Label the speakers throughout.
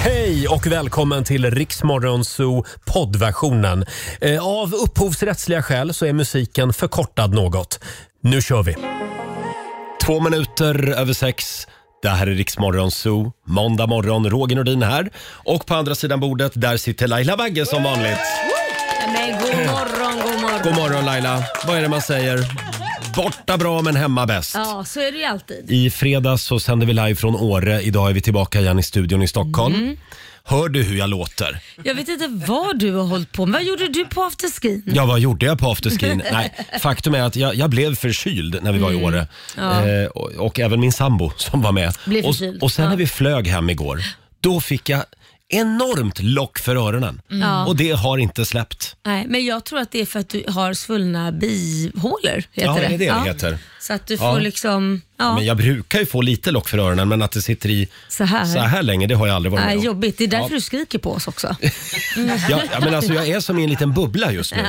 Speaker 1: Hej och välkommen till Riksmorgonzoo poddversionen. Eh, Av upphovsrättsliga skäl så är musiken förkortad något. Nu kör vi! Två minuter över sex. Det här är Riksmorgonzoo. Måndag morgon, Roger Nordin här. Och på andra sidan bordet, där sitter Laila Bagge som vanligt.
Speaker 2: Men god morgon, god morgon.
Speaker 1: God morgon Laila. Vad är det man säger? Borta bra men hemma bäst.
Speaker 2: Ja, så är det ju alltid.
Speaker 1: I fredags så sände vi live från Åre. Idag är vi tillbaka igen i studion i Stockholm. Hör du hur jag låter?
Speaker 2: Jag vet inte vad du har hållit på med. Vad gjorde du på afterskin?
Speaker 1: Ja, vad gjorde jag på afterskin? Nej, faktum är att jag, jag blev förkyld när vi
Speaker 2: Mm.
Speaker 1: var i Åre. Eh, och, och även min sambo som var med.
Speaker 2: Blev
Speaker 1: och,
Speaker 2: förkyld,
Speaker 1: och sen
Speaker 2: ja.
Speaker 1: när vi flög hem igår, då fick jag enormt lock för öronen.
Speaker 2: Mm. Ja.
Speaker 1: Och det har inte släppt.
Speaker 2: Nej, men jag tror att det är för att du har svullna bihålor. Heter
Speaker 1: Ja,
Speaker 2: det
Speaker 1: är det det
Speaker 2: ja.
Speaker 1: heter?
Speaker 2: Så att du får
Speaker 1: Ja.
Speaker 2: liksom... Ja,
Speaker 1: Men jag brukar ju få lite lock för öronen, men att det sitter i
Speaker 2: så här.
Speaker 1: så här länge, det har jag aldrig varit
Speaker 2: Nej,
Speaker 1: med om.
Speaker 2: jobbigt. Det är därför
Speaker 1: Ja.
Speaker 2: du skriker på oss också.
Speaker 1: Ja, ja, men alltså, jag är som i en liten bubbla just nu.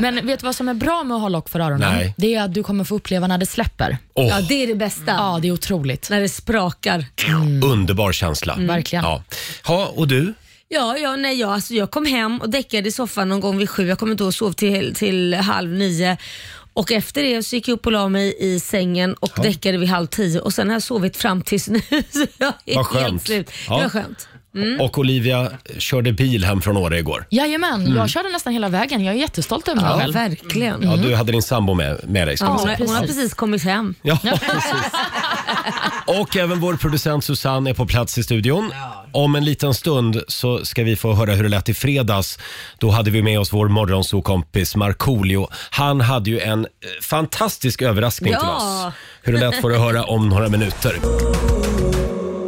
Speaker 3: Men vet du vad som är bra med att ha lock för öronen?
Speaker 1: Nej.
Speaker 3: Det är att du kommer få uppleva när det släpper.
Speaker 1: Åh,
Speaker 2: Ja, det är det bästa.
Speaker 3: Ja, det är otroligt.
Speaker 2: När det sprakar.
Speaker 1: Mm. Underbar känsla.
Speaker 2: Mm.
Speaker 3: Verkligen.
Speaker 1: Ja. ja, och du?
Speaker 2: Ja, ja nej, jag, alltså, jag kom hem och däckade i soffan någon gång vid sju. Jag kom inte och sov till, till halv nio. Och efter det så gick jag upp och la mig i sängen och däckade vid halv tio. Och sen har jag sovit fram tills nu. Så jag är
Speaker 1: Vad skönt.
Speaker 2: Helt slut.
Speaker 1: Ja.
Speaker 2: Det var skönt. Mm.
Speaker 1: Och Olivia körde bil hem från Åre igår.
Speaker 3: Jajamän, jag körde nästan hela vägen. Jag är jättestolt över mig
Speaker 2: Ja,
Speaker 3: själv.
Speaker 2: verkligen.
Speaker 1: Mm.
Speaker 2: Mm.
Speaker 1: Ja, du hade din sambo med, med dig. Ska man
Speaker 2: Hon,
Speaker 1: säga.
Speaker 2: har, hon har precis kommit hem.
Speaker 1: Ja, precis. Och även vår producent Susanne är på plats i studion. Om en liten stund så ska vi få höra hur det lät i fredags. Då hade vi med oss vår morgonsokompis Markoolio. Han hade ju en eh, fantastisk överraskning till
Speaker 2: Ja.
Speaker 1: oss. Hur det lät får du höra om några minuter.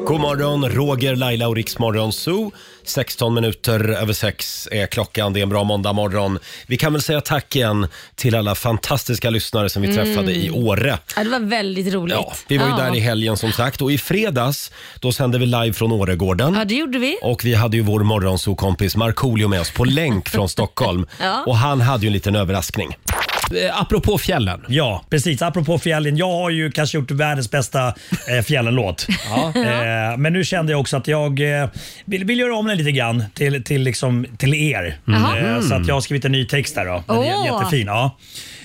Speaker 1: God morgon, Roger, Laila och Riksmorgon Zoo. 16 minuter över sex är klockan. Det är en bra måndag morgon. Vi kan väl säga tack igen till alla fantastiska lyssnare som vi träffade i
Speaker 2: Mm.
Speaker 1: Åre.
Speaker 2: Ja, det var väldigt roligt.
Speaker 1: Ja, vi var ju där i helgen som sagt och i fredags då sände vi live från Åregården.
Speaker 2: Ja, det gjorde vi.
Speaker 1: Och vi hade ju vår morgonsokompis Markoolio med oss på länk från Stockholm.
Speaker 2: Ja.
Speaker 1: Och han hade ju en liten överraskning. Eh, Apropå fjällen.
Speaker 4: Ja, precis. Apropå fjällen. Jag har ju kanske gjort världens bästa eh, fjällenlåt. Eh, men nu kände jag också att jag eh, vill, vill göra om den lite grann till, till, liksom, till er. Eh,
Speaker 1: Mm.
Speaker 4: så att jag har skrivit en ny text där. Då. Den är
Speaker 2: Åh.
Speaker 4: jättefin. Ja.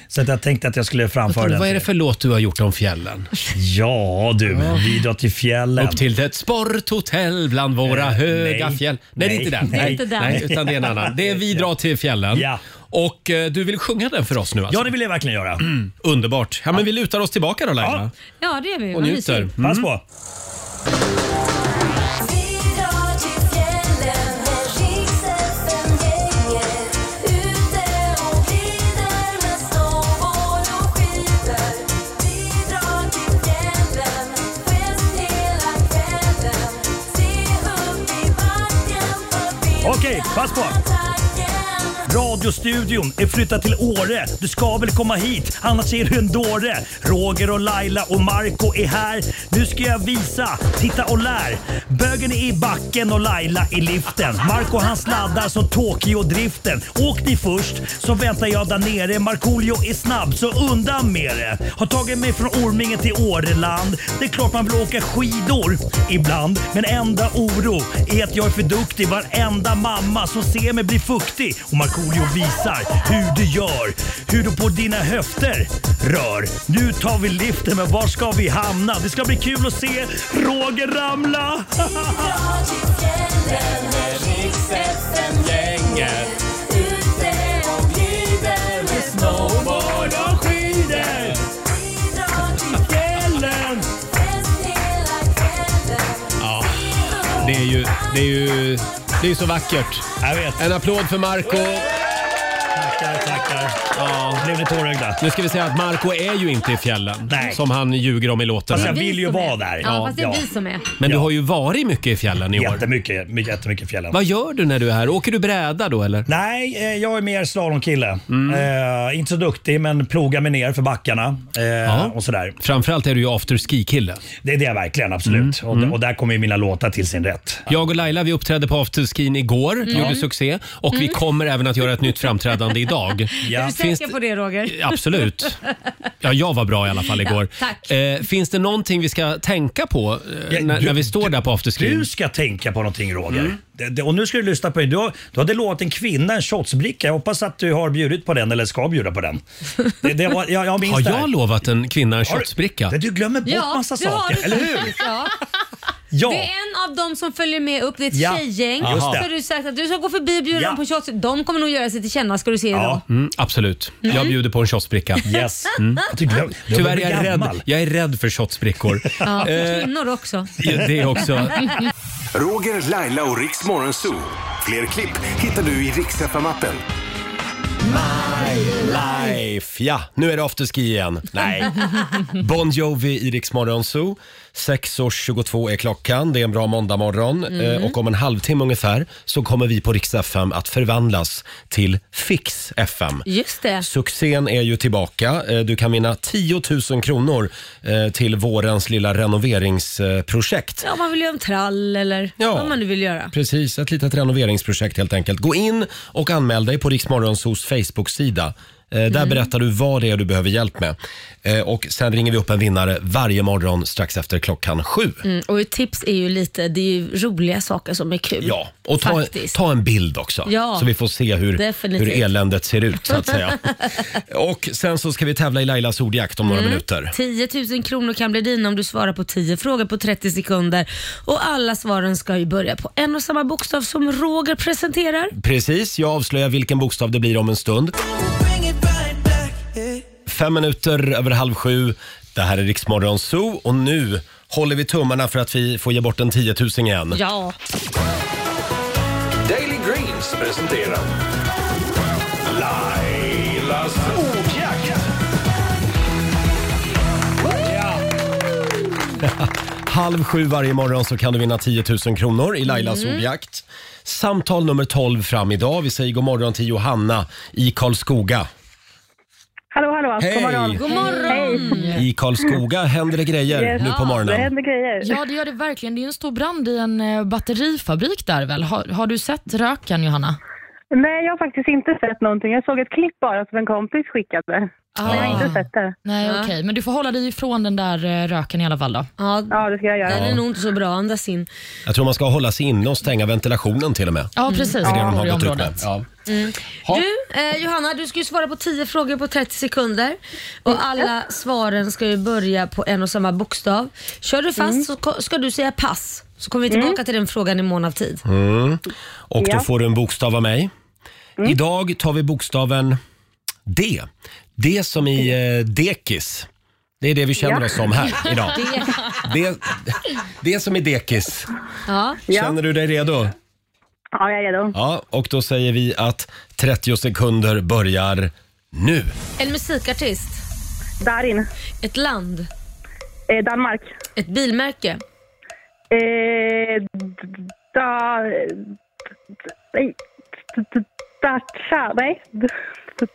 Speaker 4: Så att jag tänkte att jag skulle framföra den.
Speaker 1: Vad är det
Speaker 4: till
Speaker 1: för låt du har gjort om fjällen?
Speaker 4: er. Ja du, vi drar till fjällen.
Speaker 1: Upp till ett sporthotell bland våra
Speaker 4: Eh,
Speaker 1: höga
Speaker 4: nej.
Speaker 1: fjäll. Nej, det är
Speaker 4: Nej.
Speaker 1: inte den.
Speaker 4: Det är
Speaker 2: inte den.
Speaker 1: Nej, utan det är en annan. Det är Vi drar till fjällen.
Speaker 4: Ja.
Speaker 1: Och eh, du vill sjunga den för oss nu alltså? Mm.
Speaker 4: Ja, det vill jag verkligen göra.
Speaker 1: Underbart. Ja, men vi lutar oss tillbaka då Laila.
Speaker 2: Ja, det är vi.
Speaker 1: Och
Speaker 2: Vad
Speaker 1: njuter. Mm.
Speaker 2: mysigt.
Speaker 4: Pass på. Okej, pass på. Radiostudion är flyttad till Åre. Du ska väl komma hit, annars är du en dåre. Roger och Laila och Marco är här. Nu ska jag visa, titta och lär. Bögen är i backen och Laila i liften. Marco han sladdar som Tokyo-driften. Åk ni först, så väntar jag där nere. Markoolio är snabb, så undan med det. Har tagit mig från Orminge till Åreland. Det är klart man vill åka skidor ibland. Men enda oro är att jag är för duktig. Varenda mamma som ser mig blir fuktig. Och Markoolio visar hur du gör. Hur du på dina höfter rör. Nu tar vi liften, men var ska vi hamna? Det ska bli kul att se Roger ramla. Snowboard och skidor, fjällen.
Speaker 1: Det är ju, det är ju det är ju så vackert.
Speaker 4: Jag vet.
Speaker 1: En applåd för Marco.
Speaker 4: Tackar, tackar. Ja. Blev ni tårögda?
Speaker 1: Nu ska vi säga att Marco är ju inte i fjällen
Speaker 4: Nej.
Speaker 1: som han ljuger om i låten.
Speaker 4: Fast
Speaker 2: Det är
Speaker 4: Jag
Speaker 2: vi
Speaker 4: vill ju
Speaker 2: som är-
Speaker 4: vara där.
Speaker 2: Ja, fast det är
Speaker 4: Ja.
Speaker 2: vi som är.
Speaker 1: Men du
Speaker 4: Ja.
Speaker 1: har ju varit mycket i fjällen i år.
Speaker 4: Jättemycket, mycket- jättemycket fjällen.
Speaker 1: Vad gör du när du är här? Åker du bräda då eller?
Speaker 4: Nej, eh, jag är mer slalomkille. Eh, inte så duktig, men plogar mig ner för backarna eh, och sådär.
Speaker 1: Framförallt är du ju afterski-kille.
Speaker 4: Det är det jag verkligen, absolut.
Speaker 1: Mm.
Speaker 4: Och, och där kommer ju mina låtar till sin rätt.
Speaker 2: Mm.
Speaker 1: Jag och Laila vi uppträdde på afterskin igår, gjorde succé. Och vi kommer även att göra ett nytt framträdande dag.
Speaker 2: Är du
Speaker 1: Finns
Speaker 2: säker på det Roger?
Speaker 1: Absolut. Ja, jag var bra i alla fall igår.
Speaker 2: Ja, tack.
Speaker 1: Eh, finns det någonting vi ska tänka på eh,
Speaker 4: Ja,
Speaker 1: när,
Speaker 4: du-
Speaker 1: när vi står där på Mm. afterscreen?
Speaker 4: Du ska tänka på någonting Roger. Det, det, och nu ska du lyssna på mig. Du, har- du hade lovat en kvinna en shotsbricka. Jag hoppas att du har bjudit på den eller ska bjuda på den. Det, det var, jag, jag minns
Speaker 1: Har
Speaker 4: det här.
Speaker 1: jag lovat en kvinna en
Speaker 4: Har du-
Speaker 1: shotsbricka?
Speaker 4: Det, du glömmer bort massa
Speaker 2: det har
Speaker 4: saker,
Speaker 2: du
Speaker 4: eller hur?
Speaker 2: faktiskt, Ja.
Speaker 4: Ja.
Speaker 2: Det är en av dem som följer med upp, det är ett
Speaker 4: Ja,
Speaker 2: tjejgäng.
Speaker 4: just
Speaker 2: Så
Speaker 4: det.
Speaker 2: har du sagt att du ska gå förbi och bjuda
Speaker 4: Ja.
Speaker 2: dem på shots. De kommer nog göra sig till känna ska du se idag.
Speaker 1: Mm, absolut. Jag bjuder på en shotsbricka. Mm.
Speaker 4: Yes. Att Du glöm, du
Speaker 1: Tyvärr är
Speaker 4: blir
Speaker 1: jag rädd,
Speaker 4: gammal.
Speaker 1: jag är rädd för shotsbrickor.
Speaker 2: Ja. för Kvinnor också.
Speaker 1: Eh, Det är också.
Speaker 5: Roger, Laila och Riks Morgonzoo. Fler klipp hittar du i Riks appen
Speaker 1: Life, ja. Nu är det afterski igen. Nej. Bon Jovi i Rix Morgon Zoo. 6.22 är klockan. Det är en bra måndagmorgon. Eh, Och om en halvtimme ungefär så kommer vi på Rix FM att förvandlas till Fix FM.
Speaker 2: Just det.
Speaker 1: Succén är ju tillbaka. Eh, Du kan vinna 10 000 kronor eh, till vårens lilla renoveringsprojekt.
Speaker 2: Ja, om man vill göra en trall eller
Speaker 1: Ja.
Speaker 2: vad man nu vill göra.
Speaker 1: Precis, ett litet renoveringsprojekt helt enkelt. Gå in och anmäl dig på Riksmorgonsos Facebook-sida. Eh, där
Speaker 2: Mm.
Speaker 1: berättar du vad det är du behöver hjälp med. Eh, och sen ringer vi upp en vinnare varje morgon strax efter klockan sju.
Speaker 2: Mm, och ett tips är ju lite, det är ju roliga saker som är kul.
Speaker 1: Ja, och ta,
Speaker 2: Faktiskt.
Speaker 1: ta en bild också
Speaker 2: Ja.
Speaker 1: så vi får se hur,
Speaker 2: Definitivt.
Speaker 1: hur eländet ser ut så att säga. och sen så ska vi tävla i Lailas ordjakt om några minuter.
Speaker 2: 10 000 Mm. kronor kan bli dina om du svarar på 10 frågor på 30 sekunder. Och alla svaren ska ju börja på en och samma bokstav som Roger presenterar.
Speaker 1: Precis, jag avslöjar vilken bokstav det blir om en stund. Fem minuter över halv sju. Det här är Riksmorgon Zoo och nu håller vi tummarna för att vi får ge bort en tiotusing igen.
Speaker 2: Ja.
Speaker 6: Daily Greens presenterar Lailas ordjakt.
Speaker 1: Halv sju varje morgon så kan du vinna 10 000 kronor i Lailas ordjakt. Samtal nummer 12 fram idag. Vi säger god morgon till Johanna i Karlskoga.
Speaker 7: Hallå, hallå.
Speaker 1: Hej!
Speaker 7: God morgon.
Speaker 2: Alltså,
Speaker 3: Mm.
Speaker 2: God morgon!
Speaker 1: I Karlskoga händer det grejer
Speaker 7: Yes.
Speaker 1: nu på
Speaker 7: Det
Speaker 1: morgonen.
Speaker 7: händer grejer.
Speaker 3: Ja, det gör det verkligen. Det är ju en stor brand i en eh, batterifabrik där väl? Har, har du sett röken, Johanna?
Speaker 7: Nej, jag har faktiskt inte sett någonting. Jag såg ett klipp bara som en kompis skickade.
Speaker 2: Ah.
Speaker 7: Men jag har inte sett det.
Speaker 3: Nej, okej. Men du får hålla dig ifrån den där eh, röken i alla fall då.
Speaker 2: Ja,
Speaker 7: Ja, det ska jag
Speaker 2: den
Speaker 7: göra.
Speaker 2: är nog inte så bra. Andas in.
Speaker 1: Jag tror man ska hålla sig inne och stänga ventilationen till och med.
Speaker 3: Ja, precis.
Speaker 1: Det är det de
Speaker 3: I
Speaker 1: har gått ut med.
Speaker 3: området.
Speaker 1: Ja.
Speaker 2: Mm. Du, eh, Johanna, du ska ju svara på 10 frågor på 30 sekunder.
Speaker 7: Mm.
Speaker 2: Och alla svaren ska ju börja på en och samma bokstav. Kör du fast
Speaker 7: Mm.
Speaker 2: så ko- ska du säga pass. Så kommer vi tillbaka till den frågan i mån av tid.
Speaker 1: Och då
Speaker 7: Ja.
Speaker 1: får du en bokstav av mig. Idag tar vi bokstaven D. D som i eh, dekis. Det är det vi känner oss som här idag. Det, det som i dekis.
Speaker 2: Ja.
Speaker 1: Känner du dig redo?
Speaker 7: Ja, jag är redo.
Speaker 1: Ja, och då säger vi att 30 sekunder börjar nu.
Speaker 2: En musikartist,
Speaker 7: Darin.
Speaker 2: ett land,
Speaker 7: Eh, Danmark.
Speaker 2: ett bilmärke,
Speaker 7: Eh, d- da... d- Nej. D- d- Dacia. Nej. D- d-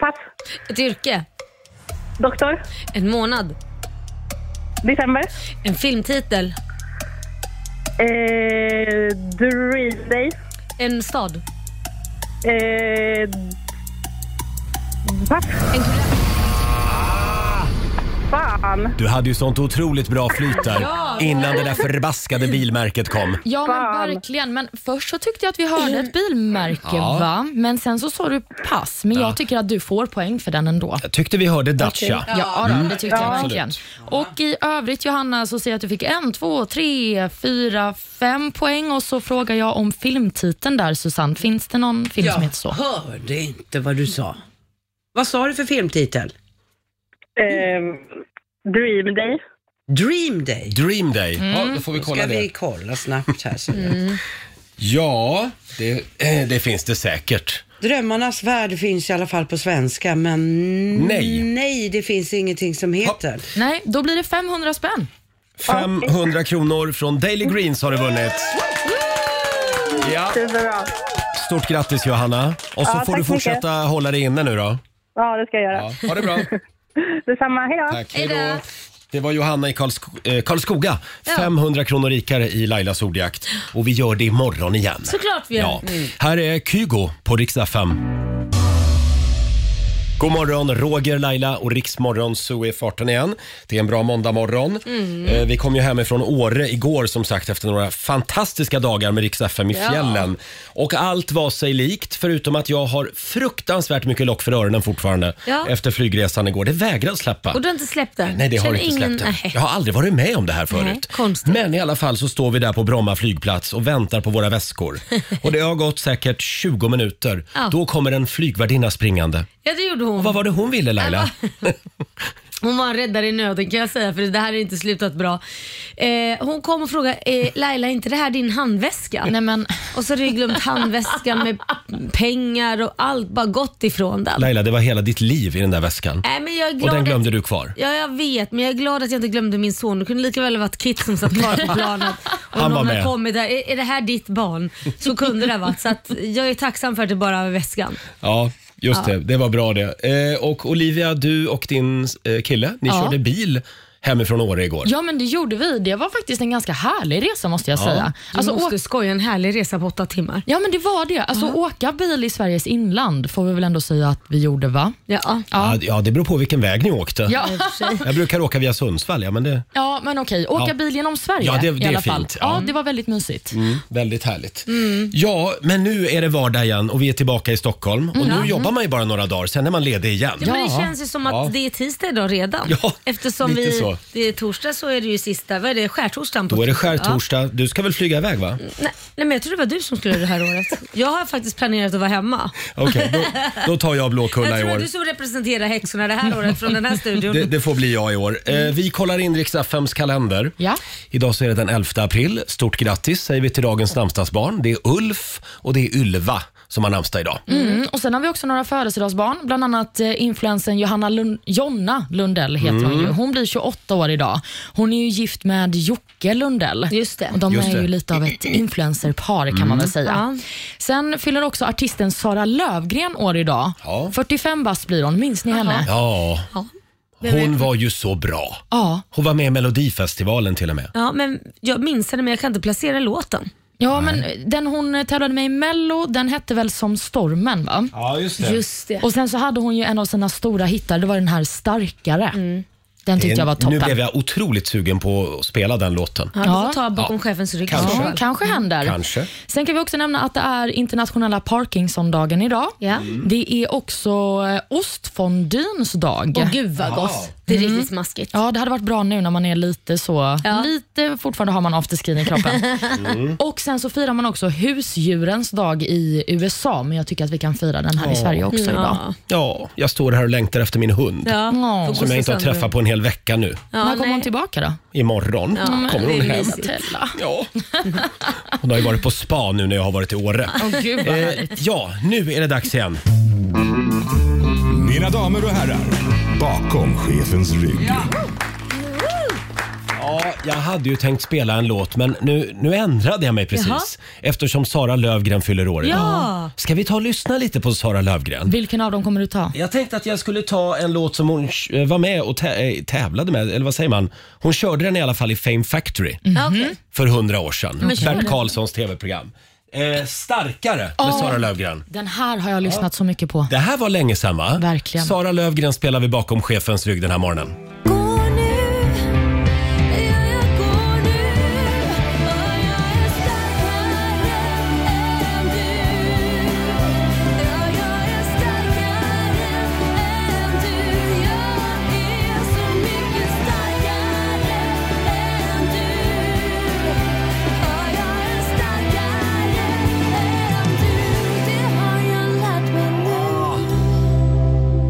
Speaker 7: Pass.
Speaker 2: ett yrke,
Speaker 7: Doktor.
Speaker 2: en månad,
Speaker 7: December.
Speaker 2: en filmtitel,
Speaker 7: Eh, Dream Day.
Speaker 2: en stad,
Speaker 7: Eh, pass. Ah. Fan.
Speaker 1: Du hade ju sånt otroligt bra flyt där innan det där förbaskade bilmärket kom.
Speaker 3: Ja,
Speaker 7: Fan.
Speaker 3: men verkligen. Men först så tyckte jag att vi hörde ett bilmärke,
Speaker 1: Ja.
Speaker 3: va? Men sen så sa du pass. Men jag tycker att du får poäng för den ändå.
Speaker 1: Jag tyckte vi hörde Dacia.
Speaker 3: Ja, då, det tyckte jag verkligen. Och i övrigt Johanna så ser jag att du fick en, två, tre, fyra, fem poäng och så frågar jag om filmtiteln där Susanne. Finns det någon film som heter så?
Speaker 8: hörde inte vad du sa. Vad sa du för filmtitel?
Speaker 7: Eh, Dream Day.
Speaker 8: Dream Day.
Speaker 1: Dream Day.
Speaker 3: Mm.
Speaker 1: Ja, då får vi kolla
Speaker 8: Ska vi
Speaker 1: det.
Speaker 8: kolla snabbt här. så.
Speaker 1: Ja, det, eh, det finns det säkert.
Speaker 8: Drömmarnas värld finns i alla fall på svenska, men
Speaker 1: Nej.
Speaker 8: nej det finns ingenting som heter.
Speaker 3: Nej, då blir det 500 spänn.
Speaker 1: 500 kronor från Daily Greens har du vunnit. Ja.
Speaker 7: Superbra.
Speaker 1: Stort grattis Johanna. Och så
Speaker 7: Ja,
Speaker 1: får du
Speaker 7: tack så
Speaker 1: fortsätta hålla dig inne nu då.
Speaker 7: Ja, det ska jag göra.
Speaker 1: Ja, ha det bra.
Speaker 7: Detsamma. Hej då.
Speaker 1: Tack. Hej
Speaker 2: Hej då.
Speaker 1: då. Det var Johanna i Karlsko- eh, Karlskoga. 500 kronor rikare i Lailas ordjakt. Och vi gör det imorgon igen.
Speaker 2: Mm. Såklart vi gör.
Speaker 1: Ja. Här är Kygo på riksdag 5. God morgon, Roger, Laila och Riksmorgon så är farten igen. Det är en bra måndagmorgon.
Speaker 2: Mm.
Speaker 1: Eh, Vi kom ju hemifrån Åre igår som sagt efter några fantastiska dagar med Rix FM i
Speaker 2: Ja.
Speaker 1: fjällen. Och allt var sig likt förutom att jag har fruktansvärt mycket lock för öronen fortfarande
Speaker 2: Ja.
Speaker 1: efter flygresan igår. Det vägrar släppa.
Speaker 2: Och du har inte släppt den?
Speaker 1: Nej, det har
Speaker 2: Känner
Speaker 1: inte
Speaker 2: ingen-
Speaker 1: släppt än.
Speaker 2: Nej.
Speaker 1: Jag har aldrig varit med om det här
Speaker 2: Nej,
Speaker 1: förut. Men i alla fall så står vi där på Bromma flygplats och väntar på våra väskor. Och det har gått säkert 20 minuter.
Speaker 2: Ja.
Speaker 1: Då kommer en flygvärdinna springande.
Speaker 2: Ja, det gjorde hon.
Speaker 1: Och vad var det hon ville Laila?
Speaker 2: Hon var en räddare i nöden kan jag säga för det här har inte slutat bra. Eh, hon kom och frågade, eh, Laila är inte det här din handväska? Nej,
Speaker 3: men...
Speaker 2: Och så har du ju glömt handväskan med pengar och allt, bara gått ifrån den.
Speaker 1: Laila, det var hela ditt liv i den där väskan.
Speaker 2: Nej, men jag är
Speaker 1: och
Speaker 2: glad
Speaker 1: den
Speaker 2: att-
Speaker 1: glömde du kvar.
Speaker 2: Ja, jag vet, men jag är glad att jag inte glömde min son. Det kunde lika väl ha varit Kit som satt kvar på planet. Och
Speaker 1: Han var
Speaker 2: någon
Speaker 1: med.
Speaker 2: har kommit där. Är, är det här ditt barn? Så kunde det ha varit. Så att jag är tacksam för att det bara var väskan.
Speaker 1: Ja, just
Speaker 2: Ja.
Speaker 1: det. Det var bra det. Eh, och Olivia, du och din eh, kille, ni
Speaker 3: Ja.
Speaker 1: körde bil hemifrån Åre igår.
Speaker 3: Ja, men det gjorde vi. Det var faktiskt en ganska härlig resa måste jag
Speaker 1: Ja.
Speaker 3: säga.
Speaker 1: Du
Speaker 2: måste
Speaker 3: skoja,
Speaker 2: en härlig resa på åtta timmar.
Speaker 3: Ja, men det var det. Alltså åka bil i Sveriges inland får vi väl ändå säga att vi gjorde, va?
Speaker 2: Ja.
Speaker 1: Ja. ja, det beror på vilken väg ni åkte.
Speaker 3: Ja.
Speaker 1: Jag brukar åka via Sundsvall, ja men det...
Speaker 3: Ja, men okej. Åka
Speaker 1: Ja.
Speaker 3: bil genom Sverige
Speaker 1: Ja, det- det
Speaker 3: i
Speaker 1: är
Speaker 3: alla fall.
Speaker 1: fint. Ja.
Speaker 3: Ja. det var väldigt mysigt.
Speaker 1: Mm, väldigt härligt.
Speaker 3: Mm.
Speaker 1: Ja, men nu är det vardag igen och vi är tillbaka i Stockholm. Och
Speaker 2: Mm.
Speaker 1: nu
Speaker 2: Ja.
Speaker 1: jobbar man ju bara några dagar, sen är man ledig igen.
Speaker 2: Ja, men det känns ju som att
Speaker 1: Ja.
Speaker 2: det är tisdag idag redan.
Speaker 1: Ja,
Speaker 2: Eftersom
Speaker 1: lite
Speaker 2: vi,
Speaker 1: så.
Speaker 2: det är torsdag så är det ju sista, vad är det, skärtorsdagen? på
Speaker 1: Då är det
Speaker 2: torsdag.
Speaker 1: skärtorsdag. Du ska väl flyga iväg va?
Speaker 2: Ja. Nej, nej, men jag tror det var du som skulle göra det här året. Jag har faktiskt planerat att vara hemma.
Speaker 1: Okej, då, då tar jag Blåkulla
Speaker 2: jag
Speaker 1: i
Speaker 2: tror
Speaker 1: år.
Speaker 2: att du som representerar häxorna det här året från den här studion.
Speaker 1: Det, det får bli jag i år. Eh,
Speaker 2: Mm.
Speaker 1: vi kollar in Rix FMs kalender.
Speaker 3: Ja.
Speaker 1: Idag så är det den 11 april. Stort grattis säger vi till dagens namnsdagsbarn. Det är Ulf och det är Ylva som har namnsdag idag.
Speaker 3: Mm. Och Sen har vi också några födelsedagsbarn, bland annat eh, influensen Johanna Lund- Jonna Lundell. heter Hon ju.
Speaker 1: Mm.
Speaker 3: Hon blir 28 år idag. Hon är ju gift med Jocke Lundell. Just det. Och de
Speaker 9: Just
Speaker 3: är
Speaker 9: det.
Speaker 3: ju lite av ett influencerpar kan man
Speaker 9: Mm.
Speaker 3: väl säga. Sen fyller också artisten Sara Lövgren år idag. 45 bast blir hon. Minns ni henne?
Speaker 1: Ja,
Speaker 2: Ja.
Speaker 1: hon var ju så bra.
Speaker 3: Ja.
Speaker 1: Hon var med i Melodifestivalen till och med.
Speaker 2: Ja, men jag minns henne men jag kan inte placera låten.
Speaker 3: Ja, men den hon tävlade med i Mello, den hette väl Som stormen va?
Speaker 1: Ja, just
Speaker 3: Och sen så hade hon ju en av sina stora hittar, det var den här Starkare. Den tyckte jag var toppen.
Speaker 1: Nu blev jag otroligt sugen på att spela den låten.
Speaker 3: Ja, du får ta bakom chefens rygg.
Speaker 1: Kanske.
Speaker 3: Ja, kanske händer.
Speaker 1: Kanske.
Speaker 3: Sen kan vi också nämna att det är internationella Parkinsondagen idag.
Speaker 1: Mm.
Speaker 3: Det är också eh, ostfondyns dag. Mm.
Speaker 2: Åh, gud, vad gott. Wow. Det är riktigt smaskigt.
Speaker 3: Ja, det hade varit bra nu när man är lite så, lite fortfarande har man afterskin i kroppen.
Speaker 2: Mm.
Speaker 3: Och sen så firar man också husdjurens dag i USA, men jag tycker att vi kan fira den här i Sverige också idag.
Speaker 1: Ja, jag står här och längtar efter min hund.
Speaker 3: Ja, får
Speaker 1: Som jag
Speaker 3: gå
Speaker 1: inte har
Speaker 3: sönder.
Speaker 1: träffat på en hel vecka nu.
Speaker 3: När kommer hon tillbaka då?
Speaker 1: Imorgon
Speaker 3: Ja,
Speaker 1: kommer hon
Speaker 3: det är
Speaker 1: hem.
Speaker 3: mysigt.
Speaker 1: Ja. Hon har ju varit på spa nu när jag har varit i Åre. Eh,
Speaker 3: Åh, gud, vad härligt.
Speaker 1: ja, nu är det dags igen.
Speaker 10: Mina damer och herrar, bakom chefens rygg.
Speaker 1: Ja, jag hade ju tänkt spela en låt men nu, nu ändrade jag mig precis.
Speaker 3: Jaha.
Speaker 1: Eftersom Sara Lövgren fyller år idag.
Speaker 3: Ja.
Speaker 1: Ska vi ta och lyssna lite på Sara Lövgren?
Speaker 3: Vilken av dem kommer du ta?
Speaker 1: Jag tänkte att jag skulle ta en låt som hon eh, var med och tä- eh, tävlade med, eller vad säger man? Hon körde den i alla fall i Fame Factory
Speaker 3: Mhm.
Speaker 1: för hundra år sedan.
Speaker 3: Men kör
Speaker 1: Bert
Speaker 3: den.
Speaker 1: Karlssons tv-program. Eh, starkare med
Speaker 3: Ja.
Speaker 1: Sara Lövgren.
Speaker 3: Den här har jag lyssnat så mycket på.
Speaker 1: Det här var länge sedan va?
Speaker 3: Verkligen.
Speaker 1: Sara Lövgren spelar vi bakom chefens rygg den här morgonen.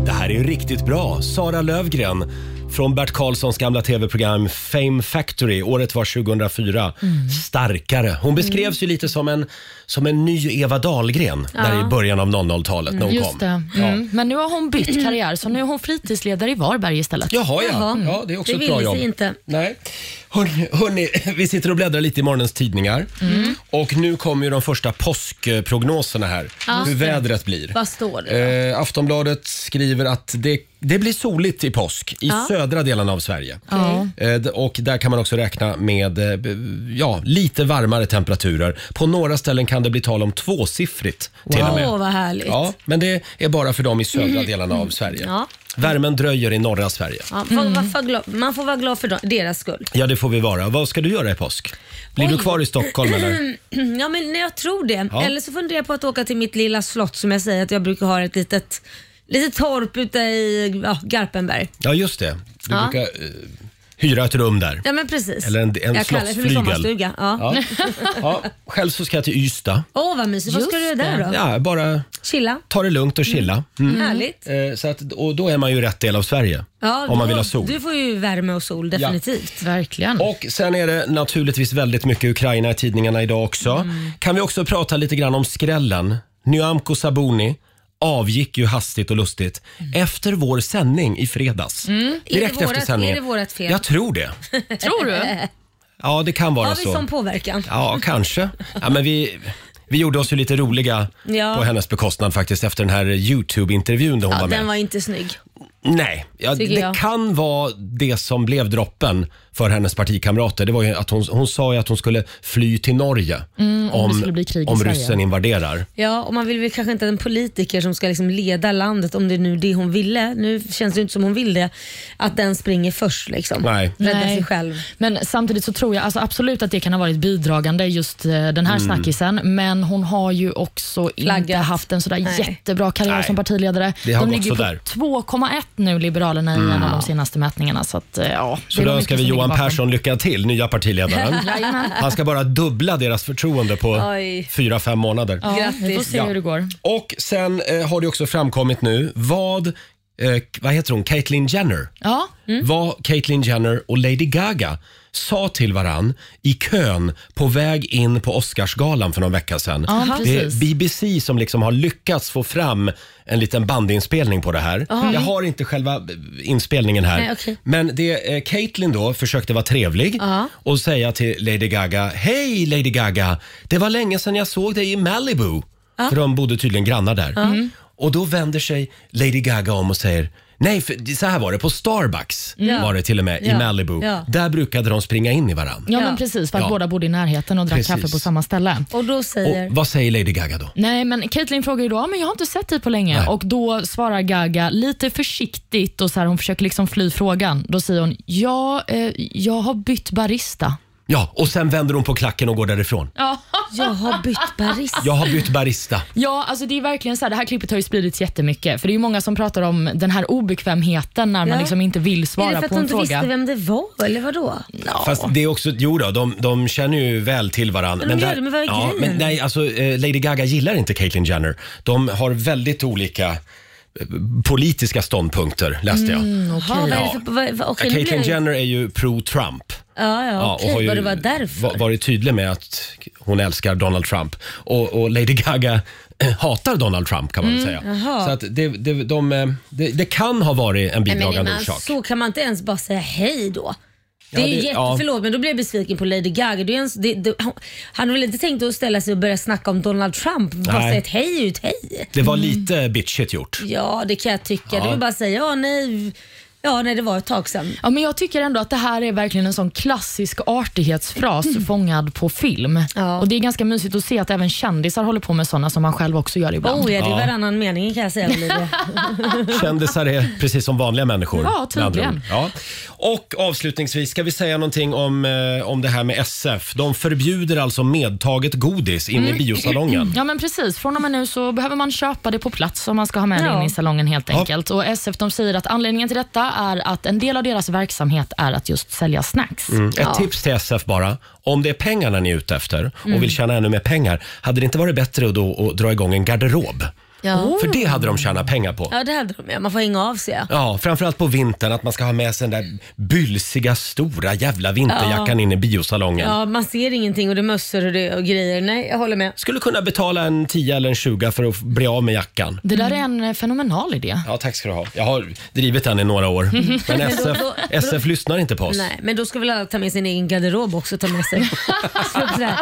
Speaker 1: Det här är ju riktigt bra. Sara Lövgren från Bert Karlssons gamla tv-program Fame Factory. Året var 2004.
Speaker 11: Mm.
Speaker 1: Starkare. Hon beskrevs ju lite som en, som en ny Eva Dahlgren där
Speaker 3: Ja.
Speaker 1: i början av 00-talet när hon
Speaker 3: Just
Speaker 1: kom.
Speaker 3: det. Mm. Men nu har hon bytt karriär, så nu är hon fritidsledare i Varberg istället.
Speaker 1: Jaha, ja. Jaha. Ja, det är också Det ett bra ville sig jobb.
Speaker 2: inte.
Speaker 1: Nej. Hörrni, hörrni, vi sitter och bläddrar lite i morgonens tidningar.
Speaker 2: Mm.
Speaker 1: Och nu kommer ju de första påskprognoserna här.
Speaker 2: Ja.
Speaker 1: hur vädret blir.
Speaker 2: Vad står det?
Speaker 1: Eh, Aftonbladet skriver att det Det blir soligt i påsk i
Speaker 2: Ja.
Speaker 1: södra delen av Sverige.
Speaker 2: Ja.
Speaker 1: Eh, d- Och där kan man också räkna med eh, b- ja, lite varmare temperaturer. På några ställen kan det bli tal om tvåsiffrigt till och med.
Speaker 2: Åh, vad härligt. Mm.
Speaker 1: Ja, men det är bara för dem i södra delarna av Sverige.
Speaker 2: Ja.
Speaker 1: Värmen dröjer i norra Sverige.
Speaker 2: Ja, får, man, får glad, man får vara glad för dem- deras skull.
Speaker 1: Ja, det får vi vara. Vad ska du göra i påsk? Blir du
Speaker 2: Oj.
Speaker 1: kvar i Stockholm eller?
Speaker 2: Ja, men nej, jag tror det.
Speaker 1: Ja.
Speaker 2: Eller så funderar jag på att åka till mitt lilla slott som jag säger att jag brukar ha ett litet, litet torp ute i ja, Garpenberg.
Speaker 1: Ja, just det. Du
Speaker 2: Ja.
Speaker 1: brukar eh, hyra ett rum där.
Speaker 2: Ja, men precis.
Speaker 1: Eller en- en
Speaker 2: jag kallar det för min
Speaker 1: slottsflygel.
Speaker 2: sommarstuga. Ja. Åh,
Speaker 1: Ja. Ja. Själv så ska jag till Ystad.
Speaker 2: vad mysigt. Vad ska du
Speaker 3: Just
Speaker 2: göra där
Speaker 3: det.
Speaker 2: då?
Speaker 1: Ja, bara
Speaker 2: Chilla?
Speaker 1: ta det lugnt och chilla. Mm.
Speaker 2: Härligt.
Speaker 1: Eh, Så att, och då är man ju i rätt del av Sverige.
Speaker 2: Ja,
Speaker 1: om man
Speaker 2: då-
Speaker 1: vill ha sol.
Speaker 2: Du får ju värme och sol definitivt.
Speaker 3: Verkligen.
Speaker 1: Och sen är det naturligtvis väldigt mycket Ukraina i tidningarna idag också.
Speaker 2: Mm.
Speaker 1: Kan vi också prata lite grann om skrällen? Nyamko Sabuni avgick ju hastigt och lustigt efter vår sändning i fredags.
Speaker 2: Mm. Är det
Speaker 1: Direkt efter
Speaker 2: vårat-
Speaker 1: sändningen.
Speaker 2: är det vårat fel?
Speaker 1: Jag tror det.
Speaker 3: Tror du?
Speaker 1: Ja, det kan vara
Speaker 2: Har vi
Speaker 1: så.
Speaker 2: sån påverkan?
Speaker 1: Ja, kanske. Ja, men vi, vi gjorde oss ju lite roliga
Speaker 2: Ja.
Speaker 1: på hennes bekostnad faktiskt efter den här Youtube-intervjun där hon
Speaker 2: Ja,
Speaker 1: var med.
Speaker 2: den var inte snygg.
Speaker 1: Nej, ja, det
Speaker 2: Tycker jag.
Speaker 1: kan vara det som blev droppen för hennes partikamrater. Det var ju att hon, hon sa ju att hon skulle fly till Norge
Speaker 3: om Mm, det skulle bli krig i
Speaker 1: om
Speaker 3: Sverige.
Speaker 1: ryssen invaderar.
Speaker 2: Ja, och man vill väl kanske inte att en politiker som ska liksom leda landet, om det är nu det hon ville, nu känns det ju inte som hon vill det, att den springer först liksom.
Speaker 1: Nej.
Speaker 2: Rädda
Speaker 3: Nej.
Speaker 2: sig själv.
Speaker 3: Men samtidigt så tror jag alltså absolut att det kan ha varit bidragande, just eh, den
Speaker 1: Mm.
Speaker 3: här snackisen. Men hon har ju också inte
Speaker 2: Flaggat.
Speaker 3: haft en sådär
Speaker 2: Nej.
Speaker 3: jättebra karriär
Speaker 1: Nej.
Speaker 3: som partiledare.
Speaker 1: Det har
Speaker 3: de
Speaker 1: gått
Speaker 3: ligger ju på
Speaker 1: sådär. Mm.
Speaker 3: 2,1 nu, Liberalerna, i en av de senaste mätningarna. Så, att, eh, ja,
Speaker 1: Så då önskar vi Johan Persson lycka till, nya partiledaren. Han ska bara dubbla deras förtroende på
Speaker 2: Oj.
Speaker 1: fyra, fem månader.
Speaker 3: Grattis. Vi får
Speaker 2: Grattis.
Speaker 3: se hur det går.
Speaker 1: Och sen eh, har det också framkommit nu vad, eh, vad heter hon, Caitlyn Jenner,
Speaker 3: Ja, Mm.
Speaker 1: vad Caitlyn Jenner och Lady Gaga sa till varann i kön på väg in på Oscarsgalan för någon vecka sedan.
Speaker 3: ja
Speaker 1: Det är
Speaker 3: precis.
Speaker 1: BBC som liksom har lyckats få fram en liten bandinspelning på det här. Jag har inte själva eh, inspelningen här.
Speaker 2: Nej, okej.
Speaker 1: Men det, eh, Caitlyn då försökte vara trevlig och säga till Lady Gaga, Hej Lady Gaga, det var länge sedan jag såg dig i Malibu. För de bodde tydligen grannar där.
Speaker 3: Mm.
Speaker 1: Och då vänder sig Lady Gaga om och säger Nej, för så här var det. På Starbucks var det till och med i
Speaker 2: Mm. Ja.
Speaker 1: Malibu.
Speaker 2: Ja.
Speaker 1: Där brukade de springa in i varandra.
Speaker 3: Ja,
Speaker 2: Ja.
Speaker 3: men precis. För att
Speaker 1: Ja.
Speaker 3: båda bodde i närheten och drack
Speaker 1: Precis.
Speaker 3: kaffe på samma ställe.
Speaker 2: Och då säger...
Speaker 1: Och vad säger Lady Gaga då?
Speaker 3: Nej, men Caitlyn frågar ju då, "Ja, men jag har inte sett dig på länge.
Speaker 1: Nej.
Speaker 3: Och då svarar Gaga lite försiktigt och så här, hon försöker liksom fly frågan. Då säger hon, ja, eh, jag har bytt barista.
Speaker 1: Ja, och sen vänder hon på klacken och går därifrån.
Speaker 3: Ja.
Speaker 2: Jag har bytt barista.
Speaker 1: Jag har bytt barista.
Speaker 3: ja, alltså det är verkligen så här, det här klippet har ju spridits jättemycket. För det är ju många som pratar om den här obekvämheten när man
Speaker 2: Ja.
Speaker 3: liksom inte vill
Speaker 2: Är
Speaker 3: svara
Speaker 2: det för att
Speaker 3: på
Speaker 2: hon
Speaker 3: en
Speaker 2: inte
Speaker 3: fråga.
Speaker 2: visste vem det var eller vadå?
Speaker 1: Fast det är också, jo då, de, de känner ju väl till varandra.
Speaker 2: Men de gör det, men vad är
Speaker 1: ja,
Speaker 2: grejen?
Speaker 1: men nej, alltså eh, Lady Gaga gillar inte Caitlyn Jenner. De har väldigt olika eh, politiska ståndpunkter, läste jag.
Speaker 3: Mm,
Speaker 2: Jaha, vad är det för... Vad, vad, okej, nu blir
Speaker 1: Caitlyn
Speaker 2: jag ju-
Speaker 1: Jenner är ju pro-Trump.
Speaker 2: Ja, ja,
Speaker 1: Ja,
Speaker 2: okej. vad det var därför.
Speaker 1: va- varit tydlig med att hon älskar Donald Trump. Och, och Lady Gaga eh, hatar Donald Trump kan man väl säga.
Speaker 2: Mm, jaha.
Speaker 1: Så att det, det, de, eh, det, det kan ha varit en
Speaker 2: Nej, men
Speaker 1: bidragande
Speaker 2: man-
Speaker 1: orsak.
Speaker 2: Så kan man inte ens bara säga hej då. Det är
Speaker 1: Ja,
Speaker 2: ju
Speaker 1: det-
Speaker 2: jätte,
Speaker 1: ja.
Speaker 2: Förlåt men då blir jag besviken på Lady Gaga. Det är ju ens, det, det, han- han har väl inte tänkt att ställa sig och börja snacka om Donald Trump? Bara
Speaker 1: Nej.
Speaker 2: säga ett hej är ju ett hej.
Speaker 1: Det var
Speaker 2: Mm.
Speaker 1: lite bitchigt gjort.
Speaker 2: Ja det kan jag tycka. Det vill bara att säga ja nej, ja nej det var ett tag sedan.
Speaker 3: Ja, men jag tycker ändå att det här är verkligen en sån klassisk artighetsfras fångad på film.
Speaker 2: Mm. Ja.
Speaker 3: Och Det är ganska mysigt att se att även kändisar håller på med såna som man själv också gör ibland.
Speaker 2: Oh ja, det är
Speaker 1: Ja.
Speaker 2: varannan mening kan jag säga Olivia.
Speaker 1: Kändisar är precis som vanliga människor.
Speaker 3: Ja,
Speaker 1: med andra
Speaker 3: tydligen.
Speaker 1: ord. Ja. Och avslutningsvis, ska vi säga någonting om, eh, om det här med SF? De förbjuder alltså medtaget godis in
Speaker 3: Mm.
Speaker 1: i biosalongen.
Speaker 3: Ja men precis, från och med nu så behöver man köpa det på plats om man ska ha med
Speaker 2: Ja.
Speaker 3: det in i salongen helt enkelt. Och SF de säger att anledningen till detta är att en del av deras verksamhet är att just sälja snacks.
Speaker 1: Mm. Ett tips till SF bara. Om det är pengarna ni är ute efter och
Speaker 3: Mm.
Speaker 1: vill tjäna ännu mer pengar, hade det inte varit bättre att då, att dra igång en garderob?
Speaker 3: Oh.
Speaker 2: Ja.
Speaker 1: Oh, För det hade de tjänat pengar på.
Speaker 2: ja det hade de ja. Man får hänga av sig ja.
Speaker 1: Ja, framförallt på vintern, att man ska ha med sig den där bylsiga, stora jävla vinterjackan in i biosalongen.
Speaker 2: Ja, man ser ingenting och det är mössor och, det, och grejer. Nej, jag håller med.
Speaker 1: Skulle kunna betala en 10 eller en 20 för att bli av med jackan.
Speaker 3: Det där är
Speaker 2: Mm.
Speaker 3: en eh, fenomenal idé.
Speaker 1: Ja, tack ska du ha. Jag har drivit den i några år. Men SF,
Speaker 2: då- då-
Speaker 1: SF lyssnar inte på oss.
Speaker 2: Nej, men då ska väl alla ta med sin egen garderob också. Ta med sig. Slå upp sådär,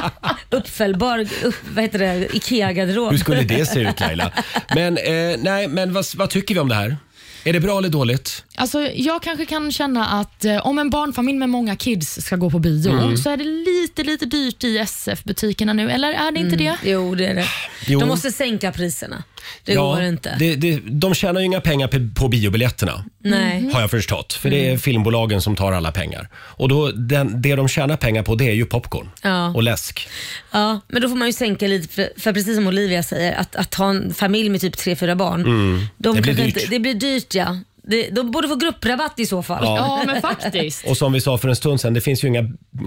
Speaker 2: uppfällbar upp, vad heter det, IKEA-garderob.
Speaker 1: Hur skulle det se ut Laila? Men, eh, nej, men vad, vad tycker vi om det här? Är det bra eller dåligt?
Speaker 3: Alltså, jag kanske kan känna att eh, om en barnfamilj med många kids ska gå på bio
Speaker 1: Mm.
Speaker 3: så är det lite, lite dyrt i SF-butikerna nu, eller är det inte det?
Speaker 2: Mm. Jo, det är det.
Speaker 1: Jo.
Speaker 2: De måste sänka priserna. Det går inte.
Speaker 1: Det, det, de tjänar ju inga pengar pe- på biobiljetterna.
Speaker 2: Nej.
Speaker 1: Mm. Har jag förstått. För
Speaker 2: Mm.
Speaker 1: det är filmbolagen som tar alla pengar. Och då, den, det de tjänar pengar på det är ju popcorn
Speaker 2: Ja.
Speaker 1: och läsk.
Speaker 2: ja, men då får man ju sänka lite för, för precis som Olivia säger, att, att ha en familj med typ tre fyra barn.
Speaker 1: Mm.
Speaker 2: De
Speaker 1: det blir
Speaker 2: kanske
Speaker 1: dyrt.
Speaker 2: Inte, det blir dyrt ja. Det, de borde få grupprabatt i så fall.
Speaker 1: Ja.
Speaker 3: Ja, men faktiskt.
Speaker 1: Och som vi sa för en stund sedan, det finns ju inga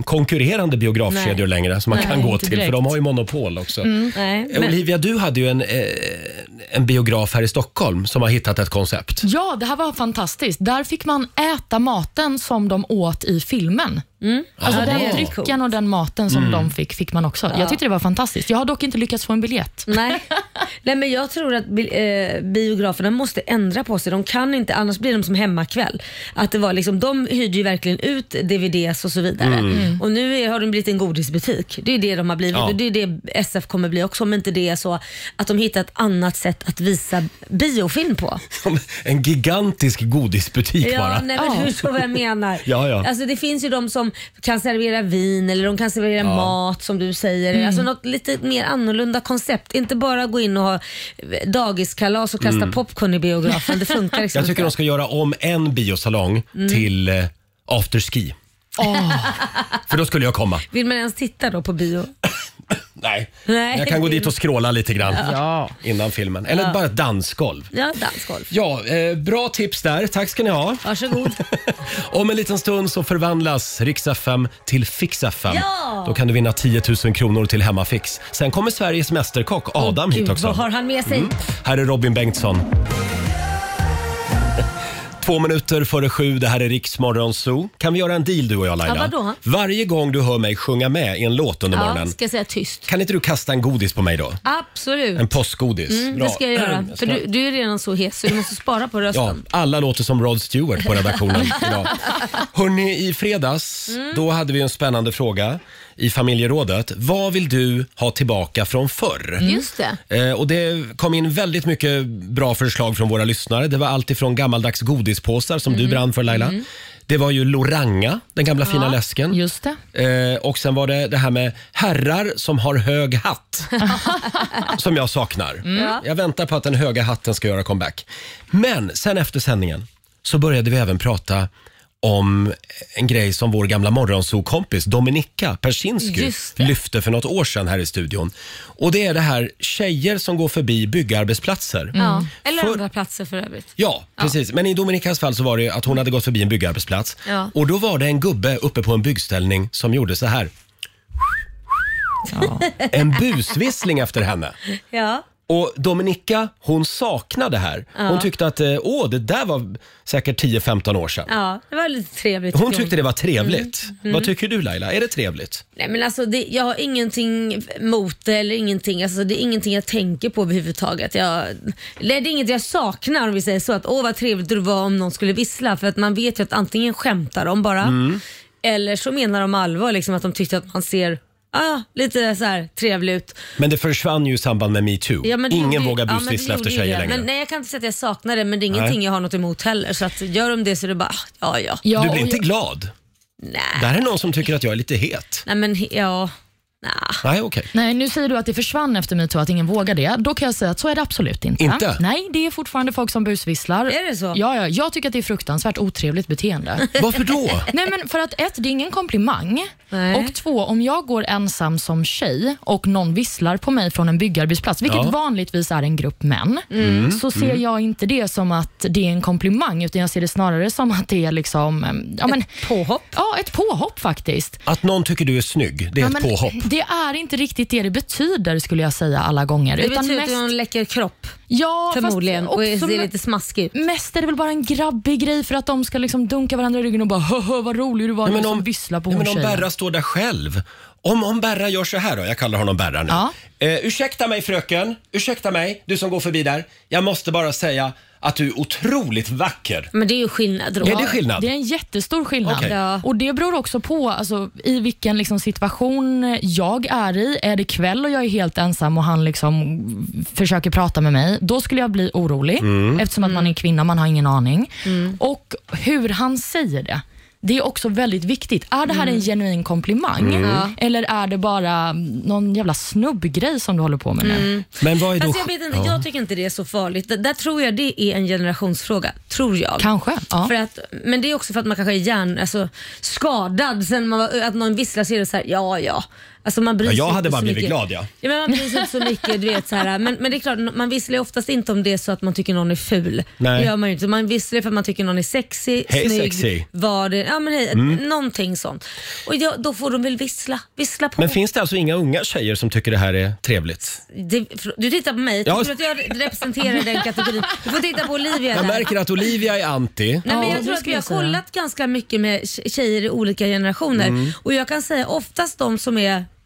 Speaker 1: konkurrerande biografkedjor
Speaker 2: Nej.
Speaker 1: längre som man
Speaker 2: Nej,
Speaker 1: kan gå
Speaker 2: inte
Speaker 1: till
Speaker 2: direkt.
Speaker 1: för de har ju monopol också.
Speaker 2: Mm. Nej, men-
Speaker 1: Olivia, du hade ju en, eh, en biograf här i Stockholm som har hittat ett koncept.
Speaker 3: Ja, det här var fantastiskt. Där fick man äta maten som de åt i filmen. Alltså
Speaker 1: Ja, det är
Speaker 3: den drycken och den maten som
Speaker 1: Mm.
Speaker 3: de fick, fick man också.
Speaker 2: Ja.
Speaker 3: Jag tyckte det var fantastiskt. Jag har dock inte lyckats få en biljett.
Speaker 2: Nej. Nej, men jag tror att bi- eh, biograferna måste ändra på sig. De kan inte, annars blir de som hemmakväll. Att det var liksom, de hyrde ju verkligen ut DVDs och så vidare.
Speaker 9: Mm. Mm.
Speaker 2: Och nu är, har de blivit en godisbutik. Det är det de har blivit
Speaker 9: Ja.
Speaker 2: och det är det SF kommer bli också om inte det är så att de hittar ett annat sätt att visa biofilm på.
Speaker 1: En gigantisk godisbutik bara.
Speaker 2: Ja, nej, men du förstår vad jag menar.
Speaker 1: Ja, ja.
Speaker 2: Alltså, det finns ju de som kan servera vin eller de kan servera
Speaker 1: Ja.
Speaker 2: mat som du säger.
Speaker 9: Mm.
Speaker 2: Alltså något lite mer annorlunda koncept. Inte bara gå in och ha eh, dagiskalas och kasta
Speaker 1: Mm.
Speaker 2: popcorn i biografen. Det funkar liksom
Speaker 1: Jag tycker de
Speaker 2: inte.
Speaker 1: ska göra om en biosalong
Speaker 2: Mm.
Speaker 1: till eh, afterski. För då skulle jag komma.
Speaker 2: Vill man ens titta då på bio?
Speaker 1: Nej.
Speaker 2: Nej.
Speaker 1: Jag kan gå dit och skråla lite grann
Speaker 2: Ja.
Speaker 1: innan filmen. Eller
Speaker 2: Ja.
Speaker 1: bara ett dansgolv.
Speaker 2: Ja, dansgolf.
Speaker 1: Ja, eh, bra tips där. Tack ska ni ha.
Speaker 2: Varsågod.
Speaker 1: Om en liten stund så förvandlas Rix FM till Fix FM.
Speaker 2: Ja!
Speaker 1: Då kan du vinna 10 000 kronor till Hemmafix. Sen kommer Sveriges mästerkock Adam hit
Speaker 2: Gud,
Speaker 1: också. Mm.
Speaker 2: vad har han med sig?
Speaker 1: Här är Robin Bengtsson. Två minuter före sju, det här är Riksmorgon Zoo. Kan vi göra en deal du och jag Laila?
Speaker 2: Ja, vadå?
Speaker 1: Varje gång du hör mig sjunga med i en låt under
Speaker 2: Ja,
Speaker 1: morgonen,
Speaker 2: ska jag säga tyst?
Speaker 1: kan inte du kasta en godis på mig då?
Speaker 2: Absolut.
Speaker 1: En påskgodis.
Speaker 2: Mm,
Speaker 1: Bra.
Speaker 2: det ska jag göra.
Speaker 1: Jag
Speaker 2: För
Speaker 1: ska-
Speaker 2: du, du är redan så hes så du måste spara på rösten.
Speaker 1: Ja, alla låter som Rod Stewart på redaktionen idag. Hörrni, i fredags då hade vi en spännande fråga i familjerådet. Vad vill du ha tillbaka från förr?
Speaker 9: Just det.
Speaker 1: Eh, och det kom in väldigt mycket bra förslag från våra lyssnare. Det var allt ifrån gammaldags godispåsar som du brann för Laila. Det var ju Loranga, den gamla fina läsken.
Speaker 3: Just
Speaker 1: Eh, och sen var det det här med herrar som har hög hatt. som jag saknar.
Speaker 9: Mm.
Speaker 1: Jag väntar på att den höga hatten ska göra comeback. Men sen efter sändningen så började vi även prata om en grej som vår gamla morgonsokompis Dominika Persinsky
Speaker 9: Just det.
Speaker 1: lyfte för något år sedan här i studion. Och det är det här tjejer som går förbi byggarbetsplatser.
Speaker 2: Ja. Eller
Speaker 1: Mm. För-
Speaker 2: andra platser för övrigt.
Speaker 1: Ja, precis. Men i Dominikas fall så var det ju att hon hade gått förbi en byggarbetsplats
Speaker 2: Ja.
Speaker 1: och då var det en gubbe uppe på en byggställning som gjorde så här. En busvissling efter henne.
Speaker 2: Ja.
Speaker 1: Och Dominika, hon saknade det här. Hon
Speaker 2: Ja.
Speaker 1: tyckte att, eh, åh, det där var säkert 10-15 år sedan.
Speaker 2: Ja, det var lite trevligt.
Speaker 1: Hon
Speaker 2: tycker
Speaker 1: tyckte det var trevligt.
Speaker 2: Mm. Mm.
Speaker 1: Vad tycker du Laila? Är det trevligt?
Speaker 2: Nej, men alltså, det, jag har ingenting mot det eller ingenting. Alltså, det är ingenting jag tänker på överhuvudtaget. Jag, det är inget jag saknar om vi säger så. Att, Åh vad trevligt det var om någon skulle vissla. För att man vet ju att antingen skämtar de bara
Speaker 9: Mm.
Speaker 2: eller så menar de allvar. Liksom, att de tyckte att man ser ah, lite så här trevlig ut.
Speaker 1: Men det försvann ju i samband med metoo.
Speaker 2: Ja, men det
Speaker 1: Ingen
Speaker 2: gjorde-
Speaker 1: vågar
Speaker 2: ja, men det
Speaker 1: busvissla
Speaker 2: gjorde
Speaker 1: efter
Speaker 2: ju
Speaker 1: tjejer
Speaker 2: det.
Speaker 1: längre.
Speaker 2: Men, nej, jag kan inte säga att jag saknar det men det är
Speaker 1: Nej.
Speaker 2: ingenting jag har något emot heller. Så att, gör de det så är det bara ah, ja ja.
Speaker 1: du blir inte glad?
Speaker 2: Nej.
Speaker 1: Där är någon som tycker att jag är lite het.
Speaker 2: Nej men he- ja. Ah.
Speaker 1: Nej, okej.
Speaker 3: Nej, nu säger du att det försvann efter metoo, att ingen vågar det. Då kan jag säga att så är det absolut inte.
Speaker 1: Inte?
Speaker 3: Nej, det är fortfarande folk som busvisslar. Är
Speaker 2: det så?
Speaker 3: Ja, ja, jag tycker att det är fruktansvärt otrevligt beteende.
Speaker 1: Varför då?
Speaker 3: Nej, men för att ett, det är ingen komplimang.
Speaker 2: Nej.
Speaker 3: Och två, om jag går ensam som tjej och någon visslar på mig från en byggarbetsplats, vilket
Speaker 9: Ja.
Speaker 3: vanligtvis är en grupp män,
Speaker 9: Mm.
Speaker 3: så ser
Speaker 9: Mm.
Speaker 3: jag inte det som att det är en komplimang, utan jag ser det snarare som att det är liksom... eh, Ja, men, ett
Speaker 2: påhopp?
Speaker 3: Ja, ett påhopp faktiskt.
Speaker 1: Att någon tycker du är snygg, det är
Speaker 3: Ja,
Speaker 1: ett
Speaker 3: men
Speaker 1: påhopp.
Speaker 3: Det är inte riktigt det det betyder skulle jag säga alla gånger.
Speaker 2: Det betyder att du har en läcker kropp.
Speaker 3: Ja, fast
Speaker 2: Förmodligen. Och
Speaker 3: också
Speaker 2: ser
Speaker 3: med-
Speaker 2: lite smaskig ut.
Speaker 3: Mest är det väl bara en grabbig grej för att de ska liksom dunka varandra i ryggen och bara hö, hö vad rolig du var,
Speaker 1: Nej,
Speaker 3: du
Speaker 1: men
Speaker 3: som
Speaker 1: om-
Speaker 3: visslar på
Speaker 1: Nej,
Speaker 3: hon
Speaker 1: men om
Speaker 3: tjejen.
Speaker 1: Berra står där själv Om, om Berra gör så här då, jag kallar honom Berra nu.
Speaker 3: Ja.
Speaker 1: Eh, ursäkta mig fröken, ursäkta mig, du som går förbi där. Jag måste bara säga att du är otroligt vacker.
Speaker 2: Men det är ju skillnad då.
Speaker 1: Är det skillnad?
Speaker 3: Det är en jättestor skillnad.
Speaker 1: Okej.
Speaker 2: Ja.
Speaker 3: Och Det beror också på alltså, i vilken liksom, situation jag är i. Är det kväll och jag är helt ensam och han liksom försöker prata med mig, då skulle jag bli orolig
Speaker 1: Mm.
Speaker 3: eftersom att man är kvinna man har ingen aning. Och hur han säger det. Det är också väldigt viktigt. Är det här
Speaker 2: Mm.
Speaker 3: en genuin komplimang
Speaker 1: Mm.
Speaker 3: eller är det bara någon jävla snubbgrej som du håller på med nu?
Speaker 1: Men vad är då...
Speaker 2: Alltså jag vet inte, jag tycker inte det är så farligt. Det- Där tror jag det är en generationsfråga. Tror jag.
Speaker 3: Kanske. Ja.
Speaker 2: För att, men det är också för att man kanske är hjärn, alltså, skadad sen man var, att någon visslar så är det så här, ja ja. Alltså man bryr
Speaker 1: Ja,
Speaker 2: sig
Speaker 1: jag
Speaker 2: inte
Speaker 1: hade bara
Speaker 2: så
Speaker 1: blivit
Speaker 2: mycket.
Speaker 1: glad, ja.
Speaker 2: men man bryr sig inte så mycket. Du vet, så här, men, men det är klart, man visslar ju oftast inte om det är så att man tycker någon är ful.
Speaker 1: Nej.
Speaker 2: Det gör man ju inte. Man visslar för att man tycker någon är sexy,
Speaker 1: Hej,
Speaker 2: snygg,
Speaker 1: sexy. Mm.
Speaker 2: vad det, ja, men hej, någonting sånt. Och ja, då får de väl vissla, vissla på.
Speaker 1: Men finns det alltså inga unga tjejer som tycker det här är trevligt?
Speaker 2: Det, du tittar på mig,
Speaker 1: Ja.
Speaker 2: tror du att jag representerar den kategorin? Du får titta på Olivia
Speaker 1: Jag
Speaker 2: där.
Speaker 1: märker att Olivia är anti.
Speaker 2: Nej, men
Speaker 3: Ja,
Speaker 2: jag
Speaker 3: det
Speaker 2: tror att
Speaker 3: skulle
Speaker 2: vi har
Speaker 3: jag säga.
Speaker 2: kollat ganska mycket med tje- tjejer i olika generationer
Speaker 1: Mm.
Speaker 2: och jag kan säga oftast de som är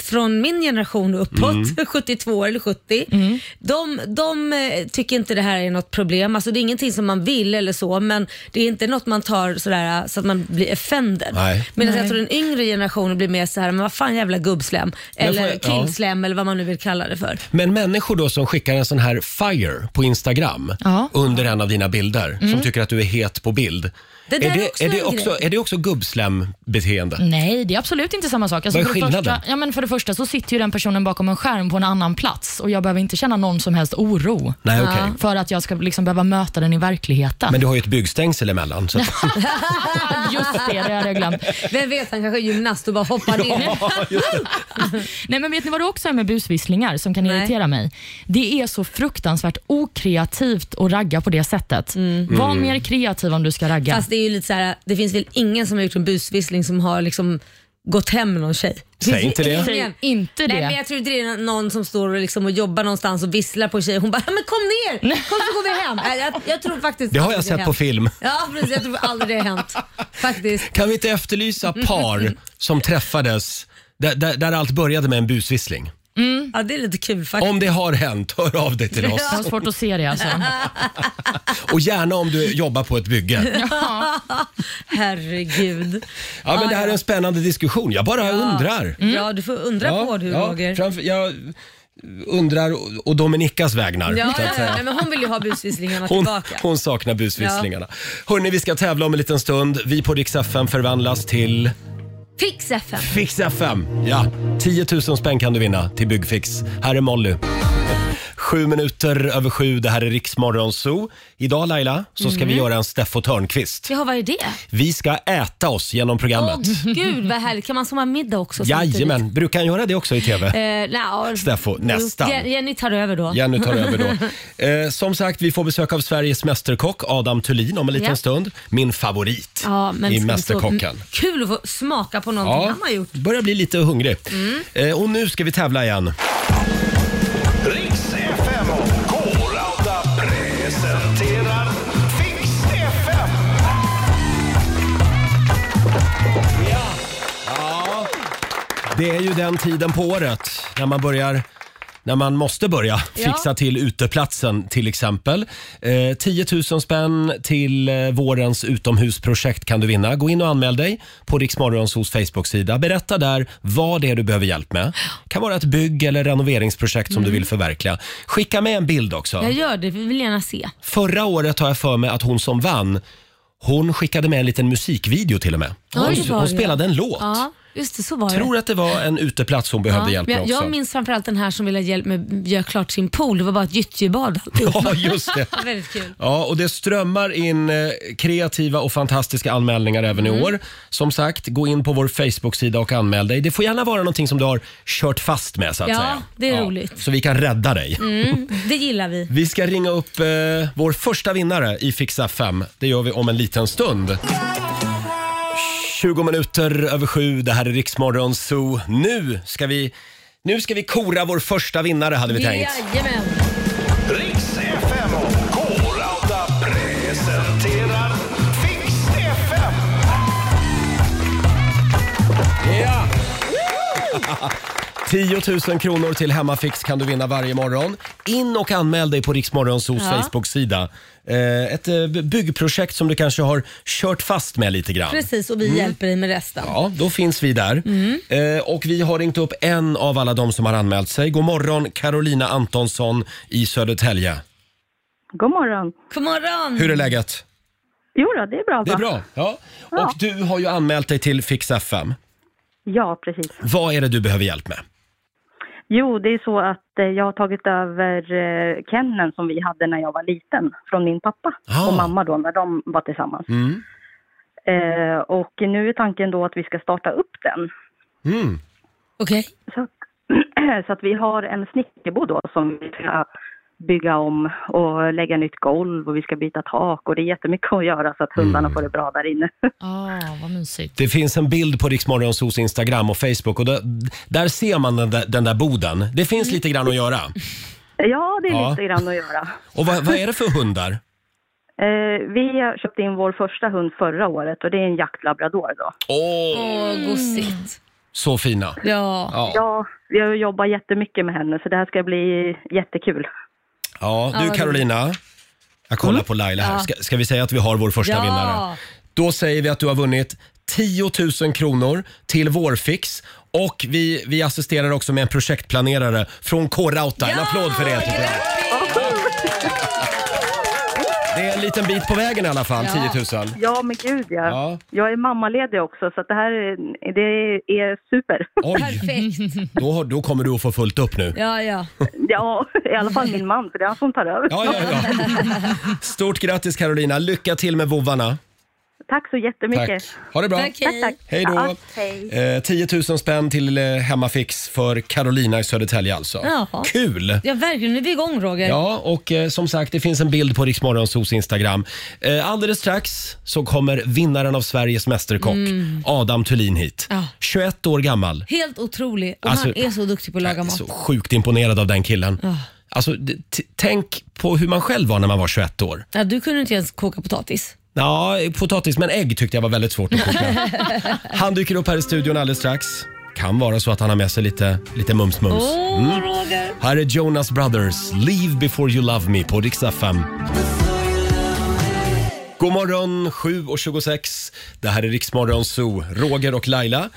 Speaker 2: från min generation och uppåt,
Speaker 1: Mm.
Speaker 2: 72 eller 70, de, de eh, tycker inte det här är något problem. Alltså det är ingenting som man vill eller så, men det är inte något man tar sådär eh, så att man blir offended.
Speaker 1: Nej.
Speaker 2: Medan jag tror den yngre generationen blir mer så här, men vad fan jävla gubbslem
Speaker 1: Men får
Speaker 2: eller
Speaker 1: jag- ja.
Speaker 2: killslem eller vad man nu vill kalla det för.
Speaker 1: Men människor då som skickar en sån här FIRE på Instagram
Speaker 3: Ja.
Speaker 1: under en av dina bilder, som tycker att du är het på bild.
Speaker 2: Mm. Det där
Speaker 1: är, det, är,
Speaker 2: är också
Speaker 1: det
Speaker 2: en
Speaker 1: också,
Speaker 2: grej.
Speaker 1: är det också gubbslem-beteende?
Speaker 3: Nej, det är absolut inte samma sak. Alltså,
Speaker 1: Vad är
Speaker 3: för det
Speaker 1: skillnaden?
Speaker 3: Första, ja, men för det första så sitter ju den personen bakom en skärm på en annan plats och jag behöver inte känna någon som helst oro
Speaker 1: Nej, okej.
Speaker 3: för att jag ska liksom behöva möta den i verkligheten.
Speaker 1: Men du har ju ett byggstängsel emellan. Så att,
Speaker 3: Just det, det hade jag glömt.
Speaker 2: Vem vet, han kanske är gymnast och bara hoppar in.
Speaker 3: Nej, men vet ni vad det också är med busvisslingar som kan
Speaker 2: Nej.
Speaker 3: irritera mig? Det är så fruktansvärt okreativt att ragga på det sättet.
Speaker 1: Mm.
Speaker 3: Var mer kreativ om du ska ragga.
Speaker 2: Mm. Fast det är ju lite så här, det finns väl ingen som har gjort en busvissling som har liksom gått hem med någon tjej.
Speaker 1: Säg
Speaker 2: Finns
Speaker 1: inte det.
Speaker 2: ingen.
Speaker 3: Säg inte det.
Speaker 2: Nej, men jag tror inte det är någon som står och, liksom och jobbar någonstans och visslar på en tjej. Hon bara, men kom ner, kom så går vi hem. Nej, Jag, jag tror faktiskt
Speaker 1: det har
Speaker 2: aldrig
Speaker 1: jag sett på
Speaker 2: hänt.
Speaker 1: film.
Speaker 2: Ja, precis. Jag tror aldrig det har hänt. Faktiskt.
Speaker 1: Kan vi inte efterlysa par som träffades där, där, där allt började med en busvissling?
Speaker 2: Ja, det är lite kul faktiskt.
Speaker 1: Om det har hänt, hör av dig till oss.
Speaker 3: Jag har svårt att se Mm. det alltså.
Speaker 1: Och gärna om du jobbar på ett bygge.
Speaker 2: Herregud.
Speaker 1: Ja, men det här är en spännande diskussion. Jag bara undrar.
Speaker 2: Ja, du får undra på du Roger.
Speaker 1: framför, jag undrar å- å Dominicas vägnar.
Speaker 2: Ja,
Speaker 1: så
Speaker 2: ja,
Speaker 1: att
Speaker 2: ja.
Speaker 1: säga.
Speaker 2: Nej, men hon vill ju ha busvisslingarna
Speaker 1: Hon,
Speaker 2: tillbaka.
Speaker 1: hon saknar busvisslingarna. Hörni, vi ska tävla om en liten stund. Vi på Rix FM förvandlas till
Speaker 2: Fix FM.
Speaker 1: Fix FM. Ja, 10 000 spänn kan du vinna till Byggfix. Här är Molly. Sju minuter över sju, det här är Riksmorgon Zoo. Idag Laila, så ska
Speaker 2: Mm.
Speaker 1: vi göra en Steffo Törnqvist.
Speaker 2: Jaha, vad är det?
Speaker 1: Vi ska äta oss genom
Speaker 2: Åh
Speaker 1: programmet.
Speaker 2: gud vad härligt. Kan man sova middag också? samtidigt?
Speaker 1: Jajamän, brukar han göra det också i TV?
Speaker 2: Eh, nja,
Speaker 1: Steffo, nästan.
Speaker 2: Je- Jenny tar över då.
Speaker 1: Jenny tar över då. Eh, som sagt, vi får besök av Sveriges mästerkock Adam Thulin om en liten
Speaker 2: Ja.
Speaker 1: stund. Min favorit
Speaker 2: Ja, men
Speaker 1: i
Speaker 2: ska vi
Speaker 1: Mästerkocken.
Speaker 2: stå- Kul att få smaka på någonting han har gjort. Mm.
Speaker 1: börjar bli lite hungrig. Eh, och nu ska vi tävla igen.
Speaker 6: Riks FM och K-Rauta presenterar Fix FM.
Speaker 1: Det är ju den tiden på året när man börjar när man måste börja fixa till uteplatsen till exempel. Eh, 10 000 spänn till eh, vårens utomhusprojekt kan du vinna. Gå in och anmäl dig på Riksmorgons hos Facebook-sida. Berätta där vad det är du behöver hjälp med. Det kan vara ett bygg eller renoveringsprojekt som du vill förverkliga. Skicka med en bild också.
Speaker 2: Jag gör det, vi vill gärna se.
Speaker 1: Förra året har jag för mig att hon som vann, hon skickade med en liten musikvideo till och med.
Speaker 2: Ja,
Speaker 1: Hon,
Speaker 2: det var
Speaker 1: hon
Speaker 2: det.
Speaker 1: spelade en låt.
Speaker 2: Ja, just det, så var det.
Speaker 1: Tror att det var en uteplats hon behövde
Speaker 2: Ja,
Speaker 1: hjälp
Speaker 2: men
Speaker 1: med
Speaker 2: jag,
Speaker 1: också.
Speaker 2: jag minns framförallt den här som ville ha hjälp med att göra klart sin pool. Det var bara ett gyttjebad alltihop.
Speaker 1: Ja, just det.
Speaker 2: Väldigt kul.
Speaker 1: Ja, och det strömmar in eh, kreativa och fantastiska anmälningar även
Speaker 2: Mm.
Speaker 1: i år. Som sagt, gå in på vår Facebook-sida och anmäl dig. Det får gärna vara någonting som du har kört fast med så att
Speaker 2: Ja, Mm.
Speaker 1: säga.
Speaker 2: det är roligt.
Speaker 1: Så vi kan rädda dig.
Speaker 2: Det gillar vi.
Speaker 1: Vi ska ringa upp eh, vår första vinnare i Fixa 5. Det gör vi om en liten stund. 20 minuter över sju, det här är Riksmorgon Zoo. Nu ska vi, nu ska vi kora vår första vinnare hade vi tänkt.
Speaker 2: Jajamän.
Speaker 6: Riks FM och K-Rauta presenterar Fix FM.
Speaker 1: Ja! 10 000 kronor till Hemmafix kan du vinna varje morgon. In och anmäl dig på Riksmorgonsos
Speaker 2: Ja.
Speaker 1: Facebook-sida. Eh, Ett eh, byggprojekt som du kanske har kört fast med lite grann.
Speaker 2: Precis, Mm. och vi
Speaker 1: Mm.
Speaker 2: hjälper dig med resten.
Speaker 1: Ja, då finns vi där. Eh, och vi har ringt upp en av alla de som har anmält sig. God morgon Carolina Antonsson i Södertälje.
Speaker 9: God morgon.
Speaker 2: God morgon.
Speaker 1: Hur är läget?
Speaker 9: Jo då, det är bra.
Speaker 1: Det är
Speaker 9: va?
Speaker 1: bra. Ja.
Speaker 9: Ja.
Speaker 1: Och du har ju anmält dig till Fix FM.
Speaker 9: Ja, precis.
Speaker 1: Vad är det du behöver hjälp med?
Speaker 9: Jo, det är så att eh, jag har tagit över eh, kenneln som vi hade när jag var liten från min pappa
Speaker 1: Ah.
Speaker 9: och mamma då när de var tillsammans.
Speaker 1: Mm.
Speaker 9: Eh, och nu är tanken då att vi ska starta upp den.
Speaker 1: Mm.
Speaker 2: Okej.
Speaker 9: Så, att- så att vi har en snickerbo då som vi ska bygga om och lägga nytt golv och vi ska byta tak och det är jättemycket att göra så att hundarna
Speaker 1: Mm.
Speaker 9: får det bra där inne.
Speaker 3: Ah, vad mysigt.
Speaker 1: Det finns en bild på Riksmorgonsos Instagram och Facebook och där, där ser man den där, den där boden. Det finns lite grann att göra.
Speaker 9: Ja, det är
Speaker 1: Ja.
Speaker 9: lite grann att göra.
Speaker 1: Och vad, vad är det för hundar?
Speaker 9: Eh, vi köpte in vår första hund förra året och det är en jaktlabrador då.
Speaker 1: Åh,
Speaker 2: Åh, gosigt.
Speaker 1: så fina.
Speaker 2: Ja.
Speaker 1: Ja.
Speaker 9: Ja, vi har jobbat jättemycket med henne så det här ska bli jättekul.
Speaker 1: Ja,
Speaker 9: Ja,
Speaker 1: du
Speaker 9: vad
Speaker 1: Carolina. Jag kollar på Laila här.
Speaker 9: Ja.
Speaker 1: Ska, ska vi säga att vi har vår första
Speaker 2: Ja.
Speaker 1: vinnare? Då säger vi att du har vunnit 10 000 kronor till Vårfix. Och vi, vi assisterar också med en projektplanerare från K-Rauta. En applåd för det tycker jag. Det är en liten bit på vägen i alla fall, 10 000.
Speaker 9: Ja, men gud ja.
Speaker 1: Ja.
Speaker 9: Jag är mammaledig också så att det här är- det är super.
Speaker 1: Oj,
Speaker 2: Perfekt.
Speaker 1: då, har- då kommer du att få fullt upp nu.
Speaker 2: Ja, ja.
Speaker 9: Ja, i alla fall min man för det är han som tar över.
Speaker 1: Ja, ja, ja. Stort grattis Carolina. Lycka till med vovvarna.
Speaker 9: Tack så jättemycket.
Speaker 1: Ha det bra.
Speaker 9: Tack, tack.
Speaker 1: Hej då.
Speaker 9: Ja, hej.
Speaker 1: Eh, 10 000 spänn till eh, Hemmafix för Carolina i Södertälje alltså.
Speaker 2: Ja.
Speaker 1: Kul!
Speaker 2: Ja, verkligen. Nu är vi igång Roger.
Speaker 1: Ja, och eh, som sagt, det finns en bild på Riksmorgonsos Instagram. Eh, alldeles strax så kommer vinnaren av Sveriges Mästerkock,
Speaker 2: Mm.
Speaker 1: Adam Thulin hit.
Speaker 2: Ja.
Speaker 1: 21 år gammal.
Speaker 2: Helt otrolig. Och
Speaker 1: Alltså-
Speaker 2: han är så duktig på att laga mat.
Speaker 1: Så sjukt imponerad av den killen.
Speaker 2: Ja.
Speaker 1: Alltså, d- t- tänk på hur man själv var när man var 21 år.
Speaker 2: Ja, du kunde inte ens koka potatis.
Speaker 1: Ja, potatis men ägg tyckte jag var väldigt svårt att koka. Han dyker upp här i studion alldeles strax. Kan vara så att han har med sig lite, lite mums-mums.
Speaker 2: Åh,
Speaker 1: Mm.
Speaker 2: Roger.
Speaker 1: Här är Jonas Brothers, Leave before you love me på Rix FM. God morgon, 7.26. Det här är Riksmorgon Zoo, Roger och Laila.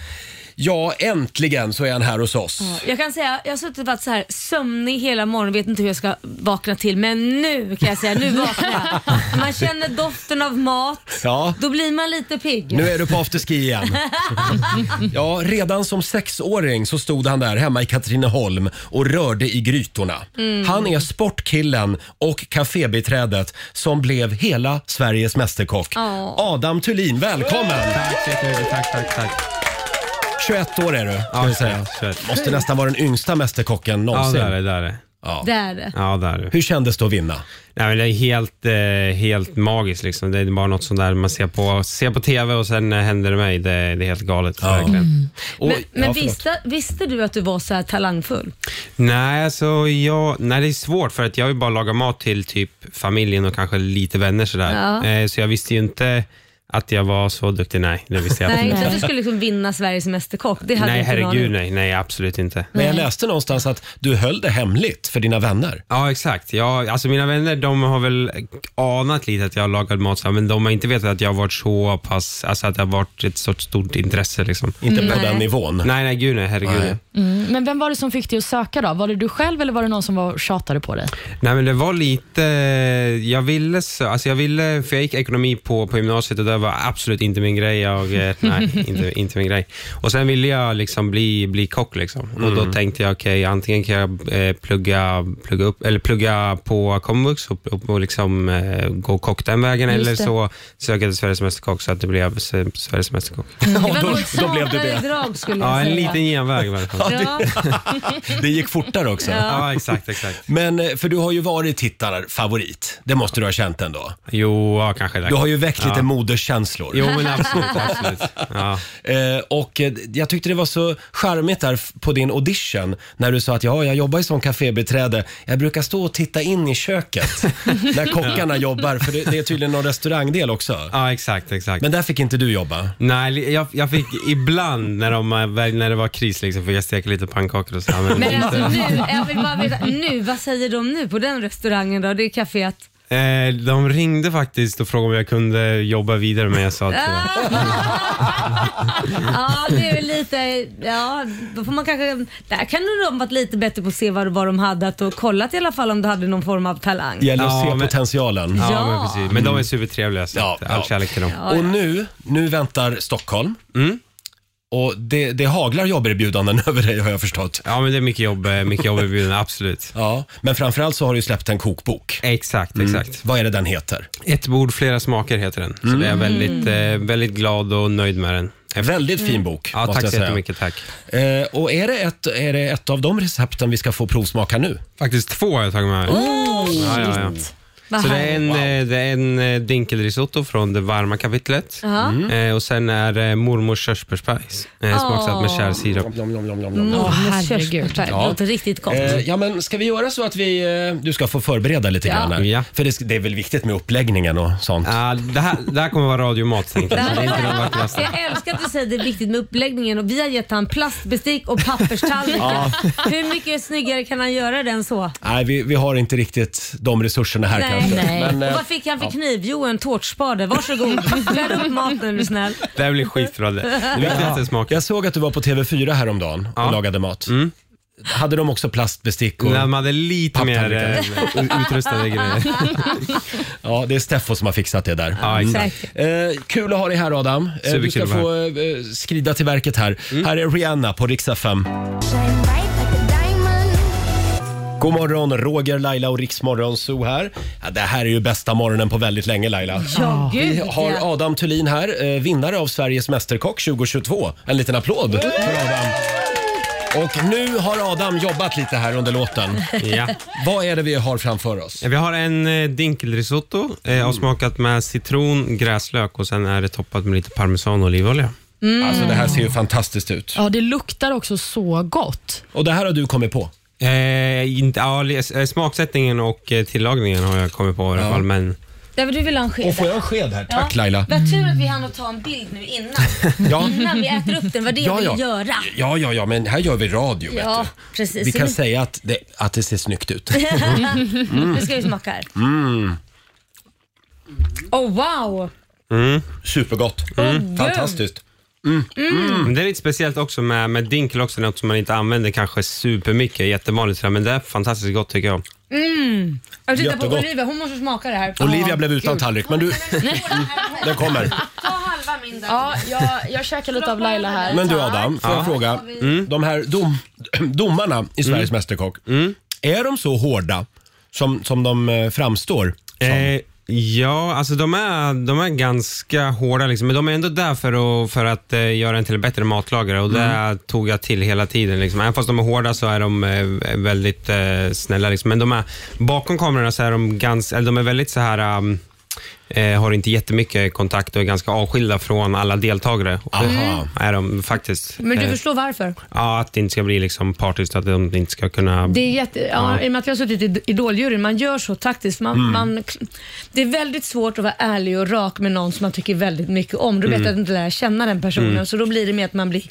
Speaker 1: Ja, äntligen så är han här hos oss.
Speaker 2: Jag kan säga, jag har suttit och varit så här sömnig hela morgonen vet inte hur jag ska vakna till. Men nu kan jag säga, nu vaknar jag. Man känner doften av mat.
Speaker 1: Ja,
Speaker 2: Då blir man lite pigg.
Speaker 1: nu är du på afterski igen. Ja, redan som sexåring så stod han där hemma i Katrineholm och rörde i grytorna.
Speaker 6: Mm.
Speaker 1: Han är sportkillen och kafébiträdet som blev hela Sveriges mästerkock.
Speaker 6: Ja.
Speaker 1: Adam Thulin, välkommen!
Speaker 11: Tack, tack, tack, tack, tack.
Speaker 1: 21 år är du, ska vi säga. Måste nästan vara den yngsta mästerkocken någonsin.
Speaker 11: Ja, det är det. Där är det.
Speaker 1: Ja.
Speaker 2: Det är det.
Speaker 11: Ja, det är det.
Speaker 1: Hur kändes det att vinna?
Speaker 11: Nej, men det är helt, eh, helt magiskt. Liksom. Det är bara något sånt där man ser på, ser på TV och sen eh, händer det mig. Det, det är helt galet. Verkligen.
Speaker 2: Mm. men men visste, visste du att du var så här talangfull?
Speaker 11: Nej, alltså, jag, nej, det är svårt för att jag har ju bara lagat mat till typ familjen och kanske lite vänner sådär.
Speaker 2: Ja.
Speaker 11: Eh, så jag visste ju inte att jag var så duktig. Nej, det visste jag
Speaker 2: Nej, inte att du
Speaker 11: absolut
Speaker 2: skulle
Speaker 11: inte.
Speaker 2: liksom vinna Sveriges Mästerkock. Det hade
Speaker 11: Nej,
Speaker 2: jag inte en aning
Speaker 11: herregud
Speaker 2: om.
Speaker 11: nej. Nej, absolut inte.
Speaker 1: Men jag läste någonstans att du höll det hemligt för dina vänner.
Speaker 11: Ja, exakt. Ja, alltså mina vänner de har väl anat lite att jag har lagat mat, så här, men de har inte vetat att jag har varit så pass, alltså att det har varit ett sorts stort intresse. Liksom.
Speaker 1: Inte på
Speaker 3: Nej. den
Speaker 1: nivån?
Speaker 11: Nej, nej, gud nej, herregud. Nej.
Speaker 3: Mm. Men vem var det som fick dig att söka då? Var det du själv eller var det någon som var och tjatade på dig?
Speaker 11: nej, men det var lite, jag ville, så, alltså jag ville, för jag gick ekonomi på, på gymnasiet och det var absolut inte min grej. Jag, eh, nej, inte, inte min grej. Och sen ville jag liksom bli, bli kock liksom. Och då
Speaker 6: Mm.
Speaker 11: tänkte jag, okej, antingen kan jag eh, plugga, plugga, upp, eller plugga på komvux och, och, och liksom, eh, gå kock den vägen,
Speaker 2: Just
Speaker 11: eller
Speaker 2: det.
Speaker 11: så söka till Sveriges Mästerkock så att det blev S- Sveriges Mästerkock.
Speaker 2: Mm. Det var nog ett snarare drag skulle jag
Speaker 11: Ja, en
Speaker 2: säga.
Speaker 11: liten genväg i varje fall.
Speaker 2: Ja.
Speaker 1: Det gick fortare också.
Speaker 2: Ja. Ja,
Speaker 11: exakt, exakt.
Speaker 1: Men eh, för du har ju varit tittarfavorit. Det måste du ha känt ändå.
Speaker 11: Jo, ja, kanske det.
Speaker 1: Du har ju väckt
Speaker 11: Ja.
Speaker 1: lite känslor.
Speaker 11: Jo, men absolut, absolut.
Speaker 1: Eh, och eh, jag tyckte det var så charmigt där f- på din audition när du sa att ja, jag jobbar ju som kafébiträde. Jag brukar stå och titta in i köket när kockarna jobbar, för det, det är tydligen någon restaurangdel också.
Speaker 11: Ja, exakt, exakt.
Speaker 1: Men där fick inte du jobba?
Speaker 11: Nej, li- jag, jag fick ibland när, de, eh, väl- när det var kris liksom, fick jag steka lite pannkakor och så. här,
Speaker 2: Men
Speaker 11: inte-
Speaker 2: alltså nu, jag vill bara veta, nu, vad säger de nu på den restaurangen då? Det är kaféet.
Speaker 11: Eh, de ringde faktiskt och frågade om jag kunde jobba vidare men jag sa att
Speaker 2: Ah! ja, det är väl lite, ja, då får man kanske, där kan nog de varit lite bättre på att se vad, vad de hade att och kollat i alla fall om du hade någon form av talang.
Speaker 1: Gäller att
Speaker 11: Ja,
Speaker 1: se
Speaker 11: men-
Speaker 1: potentialen.
Speaker 11: Ja, men precis. Men de är supertrevliga så
Speaker 1: Ja,
Speaker 11: att all
Speaker 1: ja.
Speaker 11: kärlek till dem. Mm.
Speaker 2: Ja, ja.
Speaker 1: Och nu, nu väntar Stockholm. Och det, det haglar jobberbjudanden över dig har jag förstått.
Speaker 11: Ja, men det är mycket jobb, eh, mycket jobb erbjudande, absolut.
Speaker 1: Ja, men framförallt så har du ju släppt en kokbok.
Speaker 11: Exakt,
Speaker 1: Mm.
Speaker 11: exakt.
Speaker 1: Vad är det den heter?
Speaker 11: Ett bord, flera smaker heter den.
Speaker 1: Mm.
Speaker 11: Så jag är väldigt,
Speaker 2: Mm.
Speaker 11: eh, väldigt glad och nöjd med den.
Speaker 1: Väldigt fin bok,
Speaker 11: Ja,
Speaker 1: måste
Speaker 11: tack
Speaker 1: jag
Speaker 11: så
Speaker 1: säga.
Speaker 11: jättemycket. Tack.
Speaker 1: Eh, och är det, ett, är det ett av de recepten vi ska få provsmaka nu?
Speaker 11: Faktiskt två har jag tagit med.
Speaker 2: Oh,
Speaker 11: ja, ja, ja.
Speaker 2: Vad
Speaker 11: Så det är,
Speaker 2: härligt.
Speaker 11: en, eh, det är en eh, dinkelrisotto från det varma kapitlet.
Speaker 2: Ja. Mm.
Speaker 11: Eh, och sen är det mormors körsbärspajs, eh, smaksatt med
Speaker 2: Åh.
Speaker 11: kärsirap.
Speaker 1: Mm.
Speaker 2: Åh,
Speaker 3: herregud.
Speaker 2: körsbärsfärg. Det låter riktigt gott.
Speaker 1: Eh, ja, men ska vi göra så att vi... Eh, du ska få förbereda lite
Speaker 2: Ja.
Speaker 1: grann här. För det, det är väl viktigt med uppläggningen och sånt?
Speaker 11: Ja, det, här, det här kommer vara radiomat, tänker jag. Det är inte den vackraste.
Speaker 2: Jag älskar att du säger det är viktigt med uppläggningen och vi har gett han plastbestick och papperstallrikar. Hur mycket snyggare kan han göra den så?
Speaker 1: Nej, vi, vi har inte riktigt de resurserna här kanske. Men, eh,
Speaker 2: och vad fick han för
Speaker 1: ja.
Speaker 2: kniv? Jo, en tårtspade. Varsågod. Skär upp maten är du snäll.
Speaker 11: Det här blir skitbra. Det Det viktigaste är
Speaker 1: Ja.
Speaker 11: smaken.
Speaker 1: Jag såg att du var på TV4 häromdagen och lagade mat. Hade de också plastbestick? Och...
Speaker 11: Nej, Mm. de hade lite mer
Speaker 1: Papptallrikar.
Speaker 11: eh, utrustade grejer.
Speaker 1: Ja, det är Steffo som har fixat det där.
Speaker 11: Ja, exakt.
Speaker 1: Eh, kul att ha dig här Adam. Eh, du ska
Speaker 11: Superkul Mm. att
Speaker 1: få eh, skrida till verket här. Här är Rihanna på Riksdag 5. God morgon, Roger, Laila och Riksmorgon Zoo här. Ja, det här är ju bästa morgonen på väldigt länge Laila.
Speaker 2: Ja,
Speaker 1: Vi
Speaker 2: gud
Speaker 1: har
Speaker 2: ja.
Speaker 1: Adam Thulin här, eh, vinnare av Sveriges Mästerkock 2022. En liten applåd för Adam. Och nu har Adam jobbat lite här under låten.
Speaker 11: Ja.
Speaker 1: Vad är det vi har framför oss?
Speaker 11: Vi har en eh, dinkelrisotto
Speaker 1: Mm.
Speaker 11: eh, avsmakat med citron, gräslök och sen är det toppat med lite parmesan och olivolja.
Speaker 2: Mm.
Speaker 11: Mm.
Speaker 1: Alltså det här ser ju fantastiskt ut.
Speaker 3: Ja, det luktar också så gott.
Speaker 1: Och det här har du kommit på?
Speaker 11: Eh, inte, ja, li- eh, smaksättningen och eh, tillagningen har jag kommit på i alla fall, men
Speaker 2: Ja, men du vill ha en sked?
Speaker 1: Och får jag en sked här?
Speaker 2: Ja.
Speaker 1: Tack Laila.
Speaker 2: Vad tur att vi hann att ta en bild nu innan.
Speaker 1: Ja.
Speaker 2: Innan vi äter upp den. Vad det
Speaker 1: Ja,
Speaker 2: vi
Speaker 1: ja.
Speaker 2: vill göra.
Speaker 1: Ja, ja, ja, men här gör vi radio.
Speaker 2: Ja,
Speaker 1: vet du.
Speaker 2: precis.
Speaker 1: Vi kan säga att det, att det ser snyggt ut.
Speaker 2: Nu ska vi smaka här.
Speaker 1: Mm.
Speaker 2: Oh wow!
Speaker 11: Mm.
Speaker 1: Supergott. Mm.
Speaker 2: gud.
Speaker 1: Fantastiskt.
Speaker 2: Mm.
Speaker 1: Mm.
Speaker 11: Men Mm. Det är lite speciellt också med, med dinkel, också, något som man inte använder kanske supermycket, jättevanligt, sådär, men det är fantastiskt gott tycker jag.
Speaker 2: Mm. Jag tittar på
Speaker 1: Jättegott.
Speaker 2: Olivia, hon måste smaka det här.
Speaker 1: Olivia blev utan tallrik, men du, den kommer.
Speaker 2: Ta halva min där.
Speaker 3: Ja, jag, jag käkar lite av Laila här.
Speaker 1: Men du Adam, får jag
Speaker 11: Ja.
Speaker 1: fråga. De här dom, domarna i Sveriges Mästerkock, är de så hårda som, som de eh, framstår?
Speaker 11: Eh, ja, alltså de är, de är ganska hårda, liksom, men de är ändå där för att, för att eh, göra en till en bättre matlagare och det tog jag till hela tiden. Liksom. Även fast de är hårda så är de eh, väldigt eh, snälla. Liksom. Men de är, bakom kamerorna så är de, ganska, eller de är väldigt så här... Um, Eh, har inte jättemycket kontakt och är ganska avskilda från alla deltagare. Och det
Speaker 1: Aha.
Speaker 11: Är de faktiskt.
Speaker 12: Men du
Speaker 11: Eh,
Speaker 12: förstår varför?
Speaker 11: Ja, att det inte ska bli liksom partiskt, att de inte ska kunna...
Speaker 12: Det är jätte, ja, I och med att jag har suttit i Idoljuryn, man gör så taktiskt. Man,
Speaker 11: Mm.
Speaker 12: man, det är väldigt svårt att vara ärlig och rak med någon som man tycker väldigt mycket om. Du vet
Speaker 11: Mm.
Speaker 12: att du inte lär känna den personen,
Speaker 11: Mm.
Speaker 12: så då blir det mer att man blir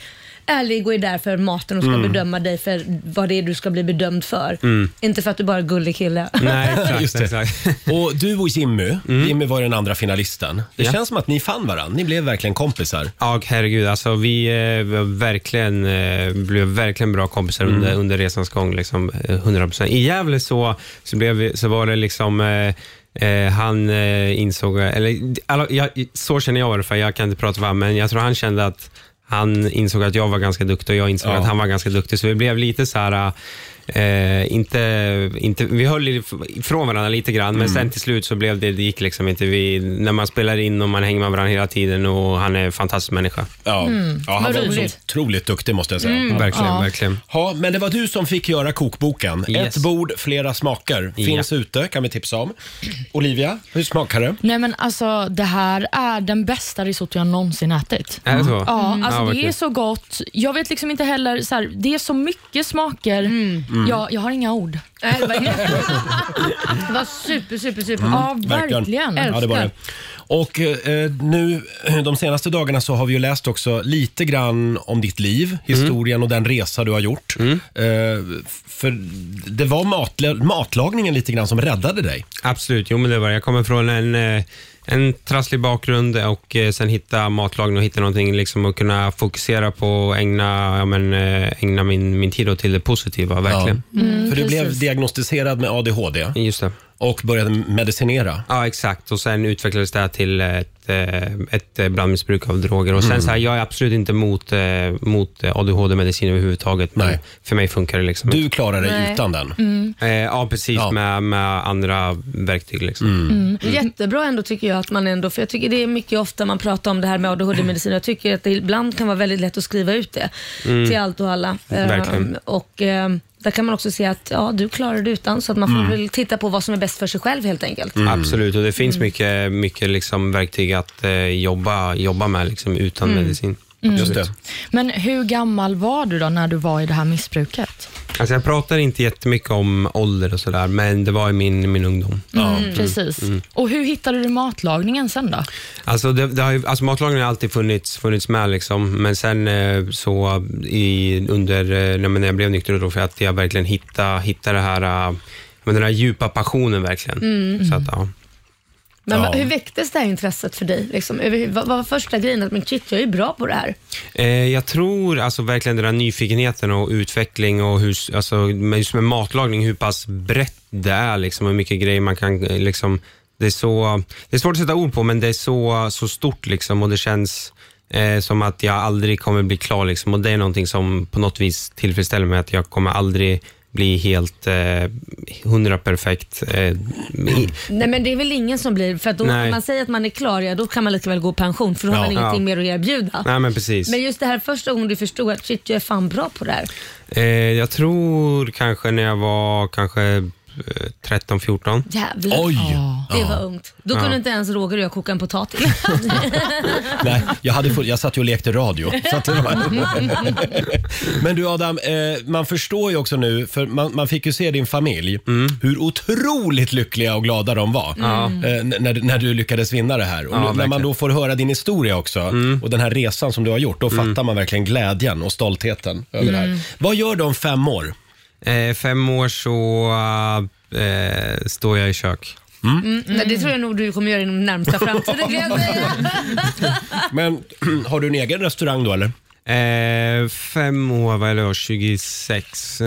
Speaker 12: ärlig och är där för maten och ska
Speaker 11: Mm.
Speaker 12: bedöma dig för vad det är du ska bli bedömd för.
Speaker 11: Mm.
Speaker 12: Inte för att du bara är en gullig kille.
Speaker 1: Just det. Och du och Jimmy, Jimmy var ju den andra finalisten. Det
Speaker 11: Ja.
Speaker 1: känns som att ni fann varandra. Ni blev verkligen kompisar.
Speaker 11: Ja, herregud. Alltså, vi eh, var verkligen, eh, blev verkligen bra kompisar under, under resans gång. Liksom, eh, 100%. I Gävle så, så, blev vi, så var det liksom... Eh, eh, han eh, insåg, eller alla, jag, så känner jag i alla fall, jag kan inte prata för honom, men jag tror han kände att han insåg att jag var ganska duktig och jag insåg
Speaker 1: Ja.
Speaker 11: att han var ganska duktig, så vi blev lite så här Eh, inte, inte, vi höll i- ifrån varandra lite grann, men
Speaker 13: Mm.
Speaker 11: sen till slut så blev det, det gick liksom inte. Vi, när man spelar in och man hänger med varandra hela tiden och han är en fantastisk människa.
Speaker 1: Ja,
Speaker 13: Mm,
Speaker 1: ja han
Speaker 13: vad
Speaker 1: var också
Speaker 13: roligt.
Speaker 1: otroligt duktig måste jag säga.
Speaker 13: Mm, Verkligen, ja.
Speaker 11: verkligen.
Speaker 1: Ja, men det var du som fick göra kokboken.
Speaker 11: Yes.
Speaker 1: Ett bord, flera smaker. Finns ute, kan vi tipsa om. Olivia, hur smakar det?
Speaker 3: Nej men alltså det här är den bästa risotto jag någonsin ätit.
Speaker 1: Är det så?
Speaker 3: Ja,
Speaker 1: Mm.
Speaker 3: alltså
Speaker 1: Ja, vad
Speaker 3: det är
Speaker 1: kul.
Speaker 3: så gott. Jag vet liksom inte heller, så här, det är så mycket smaker.
Speaker 1: Mm.
Speaker 3: Jag, jag har inga ord.
Speaker 2: Det var super, super,
Speaker 1: Mm.
Speaker 2: super.
Speaker 3: Mm. typ- Ja, verkligen.
Speaker 1: Ja, det var det. Och eh, nu de senaste dagarna så har vi ju läst också lite grann om ditt
Speaker 3: Mm.
Speaker 1: liv, historien och den resa du har gjort. Eh, för det var matla- matlagningen lite grann som räddade dig.
Speaker 11: Absolut, jo men det var det. Jag kommer från en, eh, en trasslig bakgrund och eh, sen hitta matlagning och hitta någonting liksom att kunna fokusera på och ägna, ja, men, eh, ägna min, min tid åt till det positiva, verkligen.
Speaker 1: Mm, För du blev precis. diagnostiserad med ADHD.
Speaker 11: Just det.
Speaker 1: Och började medicinera.
Speaker 11: Ja, exakt. Och sen utvecklades det här till ett, eh, ett eh, blandmissbruk av droger. Och sen
Speaker 1: Mm.
Speaker 11: så här, jag är absolut inte mot, eh, mot eh, ADHD-medicin överhuvudtaget. Men för mig funkar det liksom
Speaker 1: Du klarar dig Nej. utan den. Mm.
Speaker 11: Eh, ja, precis. Med, med andra verktyg liksom.
Speaker 2: Mm. Jättebra ändå tycker jag att man ändå, för jag tycker det är mycket ofta man pratar om det här med ADHD-medicin. Jag tycker att det ibland kan vara väldigt lätt att skriva ut det
Speaker 11: Mm.
Speaker 2: till allt och alla.
Speaker 11: Verkligen.
Speaker 2: Ehm, och ehm, där kan man också se att ja, du klarar det utan, så att man får
Speaker 11: Mm.
Speaker 2: väl titta på vad som är bäst för sig själv helt enkelt.
Speaker 11: Absolut, och det finns mycket, mycket liksom verktyg att eh, jobba, jobba med liksom, utan
Speaker 3: Mm.
Speaker 11: medicin.
Speaker 3: Mm.
Speaker 11: Absolut.
Speaker 3: Men hur gammal var du då när du var i det här missbruket?
Speaker 11: Alltså, jag pratar inte jättemycket om ålder och sådär, men det var i min, min ungdom.
Speaker 3: Mm, Precis.
Speaker 11: Mm.
Speaker 3: Och hur hittade du matlagningen sen då?
Speaker 11: Alltså, det, det har ju, alltså matlagning har alltid funnits, funnits med, liksom. men sen eh, så i, under, eh, nej, men när jag blev nykter då, för att jag verkligen hittade, hittade det här, eh, men den här djupa passionen verkligen.
Speaker 2: Mm.
Speaker 11: Så att, ja.
Speaker 2: Men
Speaker 11: Ja.
Speaker 2: hur väcktes det här intresset för dig? Liksom, över, vad vad var första grejen? Att men shit, jag är ju bra på det här.
Speaker 11: Eh, jag tror alltså verkligen den här nyfikenheten och utveckling och hur, alltså, med- just med matlagning, hur pass brett det är liksom, hur mycket grejer man kan eh, liksom, det är, så, det är svårt att sätta ord på, men det är så, så stort liksom, och det känns eh, som att jag aldrig kommer bli klar. Liksom, och Det är någonting som på något vis tillfredsställer mig, att jag kommer aldrig bli helt eh, hundra perfekt. Eh, i-
Speaker 2: Nej men det är väl ingen som blir, för att då,
Speaker 11: Nej.
Speaker 2: om man säger att man är klar, ja då kan man lika väl gå i pension för då har
Speaker 11: Ja.
Speaker 2: man ingenting
Speaker 11: Ja.
Speaker 2: mer att erbjuda.
Speaker 11: Nej, men precis.
Speaker 2: Men just det här första gången du förstod att shit, jag är fan bra på det här.
Speaker 11: Eh, jag tror kanske när jag var kanske eh, 13-14.
Speaker 2: Jävlar. Det var ungt. Då kunde
Speaker 11: Ja.
Speaker 2: inte ens Roger och jag koka en potatis.
Speaker 1: Nej, jag, hade full, jag satt ju och lekte radio. Så att det
Speaker 2: Mm,
Speaker 1: var... Men du Adam, eh, man förstår ju också nu, för man, man fick ju se din familj, hur otroligt lyckliga och glada de var
Speaker 11: Ja.
Speaker 1: eh, n- när, när du lyckades vinna det här.
Speaker 11: Ja,
Speaker 1: Och nu, när man
Speaker 11: verkligen. Mm.
Speaker 1: då får höra din historia också och den här resan som du har gjort, då fattar man verkligen glädjen och stoltheten över det här.
Speaker 11: Mm.
Speaker 1: Vad gör du om fem år?
Speaker 11: Eh, fem år så eh, står jag i kök.
Speaker 2: Mm, nej, det tror jag nog du kommer göra inom närmsta framtiden kan jag säga.
Speaker 1: Men har du en egen restaurang då eller?
Speaker 11: Eh, fem år, vad är det då? 26? Ja,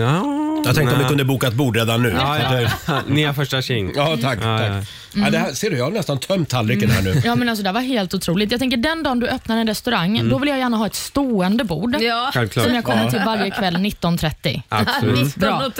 Speaker 1: Jag tänkte om vi
Speaker 11: nej.
Speaker 1: kunde boka ett bord redan nu.
Speaker 11: Ja,
Speaker 1: Så att
Speaker 11: ja.
Speaker 1: det-
Speaker 11: Ni har första tjing.
Speaker 1: Ja, tack.
Speaker 11: Ja,
Speaker 1: tack.
Speaker 11: ja. Mm.
Speaker 1: Ja, det här, ser du, jag har nästan tömt tallriken här nu.
Speaker 3: Ja men alltså det var helt otroligt. Jag tänker den dagen du öppnar en restaurang,
Speaker 1: Mm.
Speaker 3: då vill jag gärna ha ett stående bord.
Speaker 2: Ja.
Speaker 1: Självklart.
Speaker 3: Som jag kommer
Speaker 1: Ja.
Speaker 3: till varje kväll 19.30.
Speaker 1: Absolut.
Speaker 3: Bra.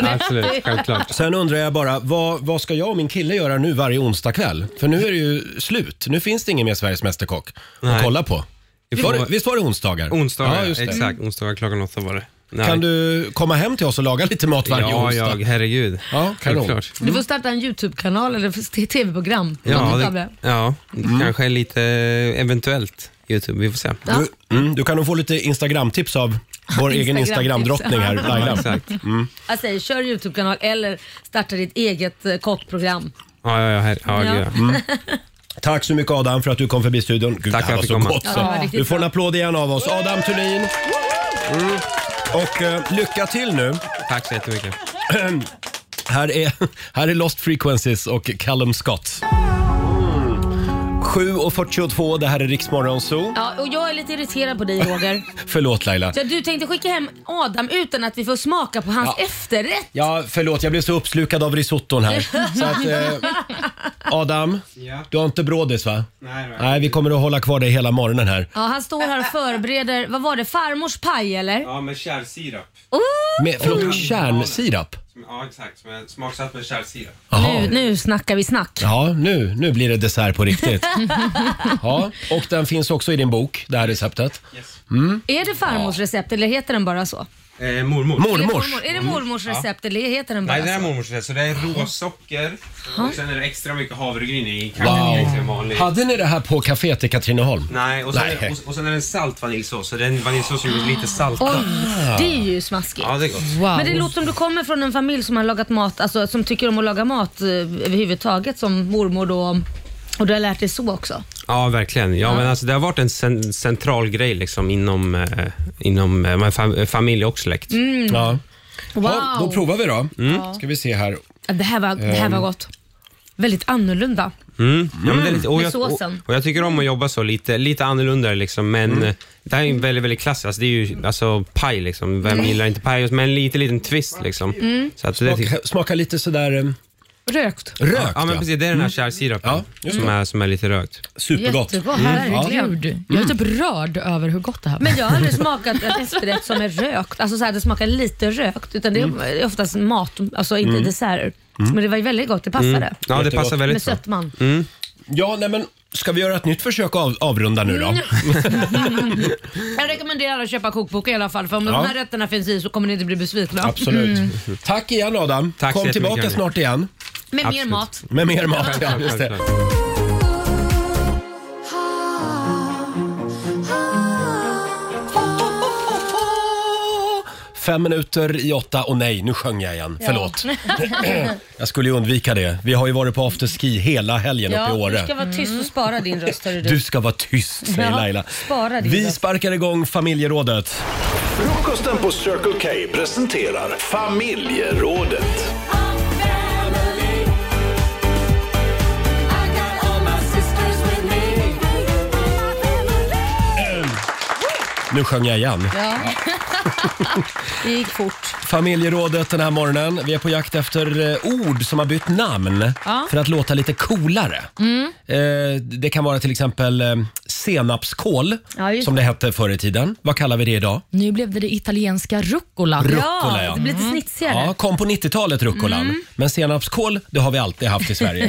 Speaker 1: Sen undrar jag bara, vad, vad ska jag och min kille göra nu varje onsdag kväll? För nu är det ju slut. Nu finns det ingen mer Sveriges Mästerkock att
Speaker 11: Nej.
Speaker 1: kolla på.
Speaker 11: Vi
Speaker 1: Var det,
Speaker 11: får-
Speaker 1: visst var det onsdagar?
Speaker 11: Onsdagar,
Speaker 1: Ja, just det.
Speaker 11: exakt. Onsdagar klockan åtta var det. Nej.
Speaker 1: Kan du komma hem till oss och laga lite mat varje
Speaker 11: ja,
Speaker 1: onsdag?
Speaker 11: Ja, herregud.
Speaker 1: Ja, kanon.
Speaker 2: Du får starta en YouTube-kanal eller ett TV-program.
Speaker 11: Mm. Ja,
Speaker 2: Något av
Speaker 11: det, ja
Speaker 1: Mm.
Speaker 11: kanske lite eventuellt Youtube. Vi får se.
Speaker 2: Ja.
Speaker 1: Du, mm, du kan nog få lite Instagram-tips av vår egen
Speaker 2: Instagram-tips.
Speaker 1: Instagram-drottning här,
Speaker 11: Ja,
Speaker 1: Laila.
Speaker 11: exakt.
Speaker 1: Mm.
Speaker 2: Jag säger, kör YouTube-kanal eller starta ditt eget eh, kockprogram.
Speaker 11: Ja, ja, ja, her- ja,
Speaker 2: Ja.
Speaker 11: ja. ja.
Speaker 1: Mm. Tack så mycket Adam för att du kom förbi studion. Gud,
Speaker 11: Tack
Speaker 1: det
Speaker 11: för
Speaker 1: här var
Speaker 11: att
Speaker 1: så
Speaker 11: jag fick komma.
Speaker 1: gott.
Speaker 2: Ja,
Speaker 1: Så.
Speaker 2: det var riktigt
Speaker 1: du får en
Speaker 2: bra.
Speaker 1: applåd igen av oss. Adam Thulin. Mm. Och eh, lycka till nu.
Speaker 11: Tack så jättemycket.
Speaker 1: här, är, här är Lost Frequencies och Callum Scott. 7.42, det här är Riksmorgon Zoo.
Speaker 2: Ja, och jag är lite irriterad på dig Roger.
Speaker 1: Förlåt Laila.
Speaker 2: Så du tänkte skicka hem Adam utan att vi får smaka på hans
Speaker 1: Ja.
Speaker 2: efterrätt?
Speaker 1: Ja, förlåt, jag blev så uppslukad av risotton här. Så att, eh, Adam, du har inte brådis va? Nej, Nej, vi kommer att hålla kvar dig hela morgonen här.
Speaker 2: Ja, han står här och förbereder, vad var det, farmors paj eller?
Speaker 11: med kärrsirap.
Speaker 2: Oh!
Speaker 1: Med, förlåt, kärnsirap?
Speaker 11: Ja, exakt. Som jag smaksatt med kärlsirap.
Speaker 1: Jaha.
Speaker 2: Nu, nu snackar vi snack.
Speaker 1: Ja, nu, nu blir det dessert på riktigt. Ja, och den finns också i din bok, det här receptet. Mm.
Speaker 2: Är det farmors recept eller heter den bara så?
Speaker 11: Eh, mormor.
Speaker 2: Är det, mormor, är det mormors
Speaker 11: Mm. Ja.
Speaker 2: recept eller heter den bara
Speaker 11: Nej, det
Speaker 1: Alltså.
Speaker 11: är
Speaker 2: så?
Speaker 11: mormors recept. Så det är råsocker
Speaker 2: Ja.
Speaker 11: och sen är det extra mycket havregryn i. Kanske wow. liksom
Speaker 1: Wow.
Speaker 11: vanlig.
Speaker 1: Hade ni det här på kaféet i Katrineholm?
Speaker 11: Nej, och sen,
Speaker 1: Nej.
Speaker 11: Och, och sen är det en salt vaniljsås. Så det är en vaniljsås som är lite
Speaker 2: Oj,
Speaker 11: saltad.
Speaker 2: det är ju smaskigt.
Speaker 11: Ah. Ja, det är gott.
Speaker 2: Men det låter som du kommer från en familj som har lagat mat, alltså som tycker om att laga mat eh, överhuvudtaget som mormor då. Och du har lärt dig så också.
Speaker 11: Ja, verkligen. Ja,
Speaker 2: Ja.
Speaker 11: Men alltså, det har varit en cen- central grej liksom, inom, eh, inom eh, men fam- familj och släkt.
Speaker 2: Mm.
Speaker 1: Ja.
Speaker 2: Wow.
Speaker 1: Ja, då provar vi då.
Speaker 2: Ja.
Speaker 1: Ska vi se här.
Speaker 2: Det här var, det här var
Speaker 11: Mm. Ehm.
Speaker 2: gott. Väldigt annorlunda.
Speaker 11: Mm. Ja, men det är lite, och,
Speaker 2: Med
Speaker 11: jag, och,
Speaker 2: såsen.
Speaker 11: och jag tycker om att jobba så, lite, lite annorlunda liksom, men eh, det här är en väldigt, väldigt klassisk, alltså, det är ju alltså, paj liksom. Vem
Speaker 2: Mm.
Speaker 11: gillar inte paj? Men en liten, liten twist liksom.
Speaker 2: Mm.
Speaker 11: Så att det
Speaker 1: Smaka,
Speaker 11: tycker-
Speaker 1: smaka lite sådär eh,
Speaker 2: Rökt.
Speaker 1: rökt.
Speaker 11: Ja, Mm. men precis. Det är den här kärlsirapen som, är, som är lite rökt.
Speaker 1: Supergott.
Speaker 11: Mm.
Speaker 2: Jättegott, verkligen.
Speaker 3: Gud, jag är typ
Speaker 1: Mm.
Speaker 3: rörd över hur gott det här var.
Speaker 2: Men jag har aldrig smakat en efterrätt som är rökt. Alltså så här, det smakar lite rökt. Utan det
Speaker 11: Mm.
Speaker 2: är oftast mat, alltså inte
Speaker 11: Mm.
Speaker 2: desserter.
Speaker 11: Mm.
Speaker 2: Men det var ju väldigt gott, det passade.
Speaker 11: Mm. Ja, det
Speaker 1: Jättegott.
Speaker 11: passar väldigt
Speaker 2: Med
Speaker 11: bra. Mm.
Speaker 2: sötman.
Speaker 1: Ja, nej men ska vi göra ett nytt försök att av, avrunda nu
Speaker 2: Mm.
Speaker 1: då?
Speaker 2: Jag rekommenderar alla att köpa kokboken i alla fall. För om
Speaker 1: Ja.
Speaker 2: de här rätterna finns i så kommer ni inte bli besvikna.
Speaker 1: Absolut.
Speaker 2: Mm.
Speaker 1: Tack igen Adam.
Speaker 11: Tack så
Speaker 1: Kom
Speaker 11: jättemycket,
Speaker 1: tillbaka
Speaker 11: Annie.
Speaker 1: snart igen.
Speaker 2: Med mer mat.
Speaker 1: Med mer mat, ja.
Speaker 11: Självklart,
Speaker 1: Just det.
Speaker 11: självklart.
Speaker 1: Fem minuter i åtta och nej, nu sjöng jag igen. Förlåt. Jag skulle ju undvika det. Vi har ju varit på afterski hela helgen
Speaker 2: ja,
Speaker 1: uppe i Åre.
Speaker 2: Du ska vara
Speaker 11: Mm.
Speaker 2: tyst och spara din röst. hörru
Speaker 1: Du ska vara tyst, säger
Speaker 2: Ja,
Speaker 1: Laila.
Speaker 2: spara din
Speaker 1: Vi
Speaker 2: röst.
Speaker 1: sparkar igång familjerådet.
Speaker 6: Frukosten på Circle K presenterar familjerådet.
Speaker 1: Nu sjöng jag igen.
Speaker 2: Ja. Det gick fort.
Speaker 1: Familjerådet den här morgonen. Vi är på jakt efter eh, ord som har bytt namn
Speaker 2: Ja.
Speaker 1: för att låta lite coolare.
Speaker 2: Mm.
Speaker 1: Eh, Det kan vara till exempel eh, senapskål,
Speaker 3: Ja, just
Speaker 1: som det
Speaker 3: det.
Speaker 1: hette förr i tiden. Vad kallar vi det idag?
Speaker 3: Nu blev det det italienska rucola.
Speaker 1: Rucola, ja.
Speaker 3: Mm.
Speaker 1: Ja, kom på 90-talet rucolan.
Speaker 3: Mm.
Speaker 1: Men senapskål, det har vi alltid haft i Sverige.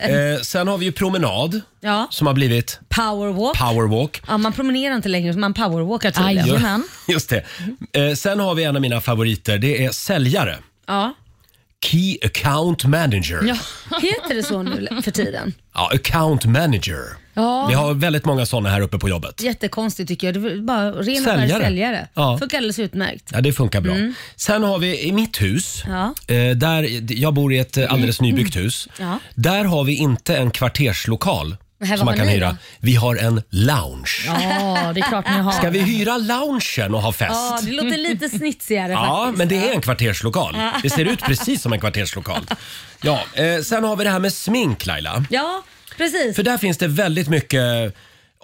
Speaker 1: eh, sen har vi ju promenad,
Speaker 2: Ja.
Speaker 1: som har blivit
Speaker 2: Powerwalk.
Speaker 1: powerwalk.
Speaker 2: Ja, man promenerar inte längre, man powerwalkar tydligen.
Speaker 1: Ju- Just det. Eh, sen har vi en av mina favoriter, det är säljare.
Speaker 2: Ja.
Speaker 1: Key account manager.
Speaker 2: ja. Heter det så nu för tiden?
Speaker 1: Ja, account manager.
Speaker 2: Ja.
Speaker 1: Vi har väldigt många såna här uppe på jobbet.
Speaker 2: Jättekonstigt tycker jag. Det var bara ren
Speaker 1: Säljare.
Speaker 2: säljare. säljare.
Speaker 1: Ja.
Speaker 2: Funkar alldeles utmärkt.
Speaker 1: Ja, det funkar bra.
Speaker 2: Mm.
Speaker 1: Sen har vi i mitt hus,
Speaker 2: Ja.
Speaker 1: eh, där, jag bor i ett eh, alldeles nybyggt hus.
Speaker 2: Mm. Ja.
Speaker 1: Där har vi inte en kvarterslokal
Speaker 2: Men här,
Speaker 1: som
Speaker 2: vad
Speaker 1: man kan
Speaker 2: har ni
Speaker 1: hyra.
Speaker 2: då?
Speaker 1: Vi har en lounge.
Speaker 2: Ja, det är klart ni har.
Speaker 1: Ska vi hyra loungen och ha fest?
Speaker 2: Ja, det låter lite snitsigare
Speaker 1: Ja,
Speaker 2: faktiskt.
Speaker 1: men det är en kvarterslokal.
Speaker 2: Ja.
Speaker 1: Det ser ut precis som en kvarterslokal. Ja, eh, sen har vi det här med smink Laila.
Speaker 2: Ja, precis.
Speaker 1: För där finns det väldigt mycket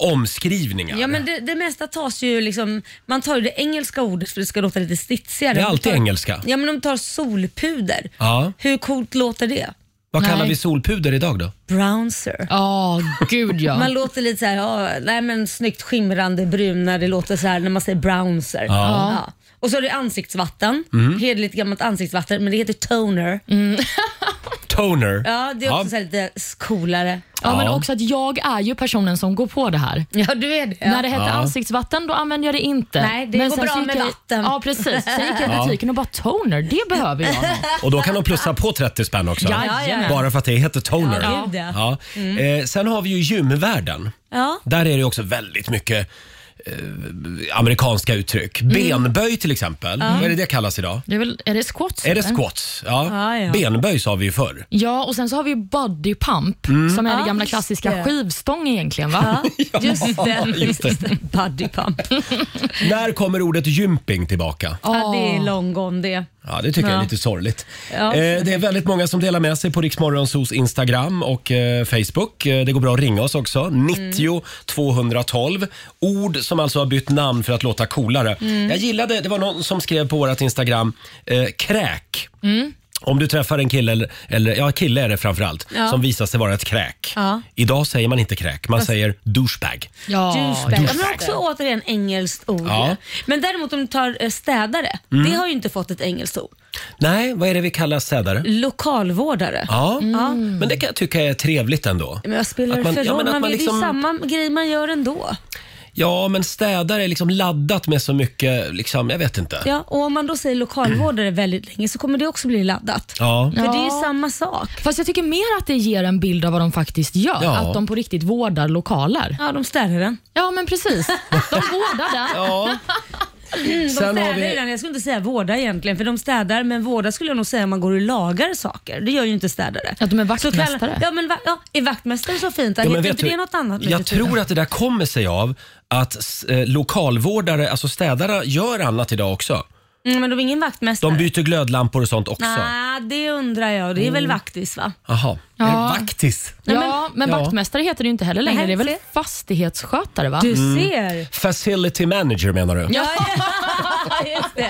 Speaker 1: omskrivningar.
Speaker 2: Ja, men det, det mesta tas ju liksom, man tar ju det engelska ordet för det ska låta lite stitsigare.
Speaker 1: Det är
Speaker 2: Om du
Speaker 1: alltid
Speaker 2: tar,
Speaker 1: engelska.
Speaker 2: Ja, men om du tar solpuder.
Speaker 1: Ja.
Speaker 2: Hur coolt låter det?
Speaker 1: Vad kallar vi solpuder idag då?
Speaker 2: Brownser.
Speaker 3: Ja, gud ja.
Speaker 2: Man låter lite så här, ja, nej men snyggt skimrande brunare, det låter så här när man säger brownser.
Speaker 1: Ja.
Speaker 2: Och så är det ansiktsvatten,
Speaker 1: Mm.
Speaker 2: hederligt gammalt ansiktsvatten, men det heter toner.
Speaker 1: Toner.
Speaker 2: Ja, det är också så här lite coolare.
Speaker 3: Ja, men
Speaker 1: Ja.
Speaker 3: också att jag är ju personen som går på det här.
Speaker 2: Ja, du är det.
Speaker 3: När det hette
Speaker 1: Ja.
Speaker 3: ansiktsvatten, då använde jag det inte.
Speaker 2: Nej, det går
Speaker 3: sen
Speaker 2: bra
Speaker 3: så gick
Speaker 2: med
Speaker 3: jag,
Speaker 2: vatten.
Speaker 3: Ja, precis. Sen gick jag
Speaker 1: Ja.
Speaker 3: i butiken och bara toner, det behöver jag. nog.
Speaker 1: Och då kan de plussa på 30 spänn också.
Speaker 3: Jajamän.
Speaker 1: Bara för att det heter toner.
Speaker 2: Ja, gud, ja. Mm.
Speaker 1: Eh, sen har vi ju gymvärlden.
Speaker 2: Ja.
Speaker 1: Där är det också väldigt mycket eh, amerikanska uttryck.
Speaker 2: Mm.
Speaker 1: Benböj till exempel.
Speaker 3: Ja.
Speaker 1: Vad är det det kallas idag?
Speaker 3: Det är, väl, är det squats?
Speaker 1: Är det
Speaker 3: eller?
Speaker 1: squats? Ja.
Speaker 3: Ja, ja.
Speaker 1: Benböj sa vi ju förr.
Speaker 3: Ja, och sen så har vi ju body pump
Speaker 1: Mm.
Speaker 3: som är
Speaker 2: Ja,
Speaker 3: det gamla
Speaker 2: just
Speaker 3: klassiska
Speaker 2: det.
Speaker 3: skivstång egentligen. Va?
Speaker 2: Ja, just det.
Speaker 1: just det.
Speaker 2: Body pump.
Speaker 1: När kommer ordet gymping tillbaka?
Speaker 2: Ja, det är long gone det.
Speaker 1: Ja, det tycker jag
Speaker 2: Ja.
Speaker 1: är lite sorgligt.
Speaker 2: Ja.
Speaker 1: Eh, det är väldigt många som delar med sig på Riksmorgonsos Instagram och eh, Facebook. Eh, det går bra att ringa oss också.
Speaker 2: Mm.
Speaker 1: 90 212. Ord som alltså har bytt namn för att låta coolare.
Speaker 6: Mm.
Speaker 3: Mm.
Speaker 1: Jag gillade, det var någon som skrev på vårt Instagram, eh, kräk. Om du träffar en kille, eller, eller ja kille är det framförallt,
Speaker 2: Ja.
Speaker 1: som visar sig vara ett kräk.
Speaker 2: Ja.
Speaker 1: Idag säger man inte kräk, man
Speaker 2: Fast-
Speaker 1: säger douchebag.
Speaker 2: Ja, douchebag. Ja, Men
Speaker 1: douchebag.
Speaker 2: också återigen engelskt ord.
Speaker 1: Ja.
Speaker 2: Men däremot om du tar eh, städare,
Speaker 1: Mm.
Speaker 2: det har ju inte fått ett engelskt ord.
Speaker 1: Nej, vad är det vi kallar städare?
Speaker 2: Lokalvårdare.
Speaker 1: Ja,
Speaker 2: Ja.
Speaker 1: men det kan jag tycka är trevligt ändå.
Speaker 2: Men vad spelar
Speaker 1: Att
Speaker 2: det
Speaker 1: man-
Speaker 2: för
Speaker 1: ja, men att
Speaker 2: roll? man
Speaker 1: man
Speaker 2: vill,
Speaker 1: liksom-
Speaker 2: Det är ju samma grej man gör ändå.
Speaker 1: Ja, men städare är liksom laddat med så mycket, liksom, jag vet inte.
Speaker 2: Ja, och om man då säger lokalvårdare väldigt länge så kommer det också bli laddat.
Speaker 1: Ja.
Speaker 2: För det är ju samma sak.
Speaker 3: Fast jag tycker mer att det ger en bild av vad de faktiskt gör.
Speaker 1: Ja.
Speaker 3: Att de på riktigt vårdar lokaler.
Speaker 2: Ja, de städar den.
Speaker 3: Ja, men precis. De vårdar den.
Speaker 1: ja.
Speaker 2: De
Speaker 1: Sen har
Speaker 2: städar
Speaker 1: vi-
Speaker 2: vi... den. Jag skulle inte säga vårda egentligen, för de städar, men vårda skulle jag nog säga om man går och lagar saker. Det gör ju inte städare. Ja,
Speaker 3: de är
Speaker 2: Så kallar... Ja, men va... ja, är vaktmästare så fint?
Speaker 1: Ja, men
Speaker 2: Heter
Speaker 1: vet
Speaker 2: inte
Speaker 1: du,
Speaker 2: det något annat nu för
Speaker 1: Jag
Speaker 2: tiden?
Speaker 1: tror att det där kommer sig av att s- eh, lokalvårdare, alltså städare, gör annat idag också.
Speaker 2: Mm, men de är ingen vaktmästare.
Speaker 1: De byter glödlampor och sånt också. Mm.
Speaker 2: Nej, det undrar jag. Det är väl vaktis va?
Speaker 1: Jaha,
Speaker 3: Ja.
Speaker 1: är det vaktis?
Speaker 3: Ja, men
Speaker 1: Ja.
Speaker 3: vaktmästare heter det ju inte heller längre.
Speaker 2: Nej,
Speaker 3: det är väl
Speaker 2: se.
Speaker 3: fastighetsskötare? Va?
Speaker 1: Mm. Facility manager menar du?
Speaker 3: Ja,
Speaker 2: just det.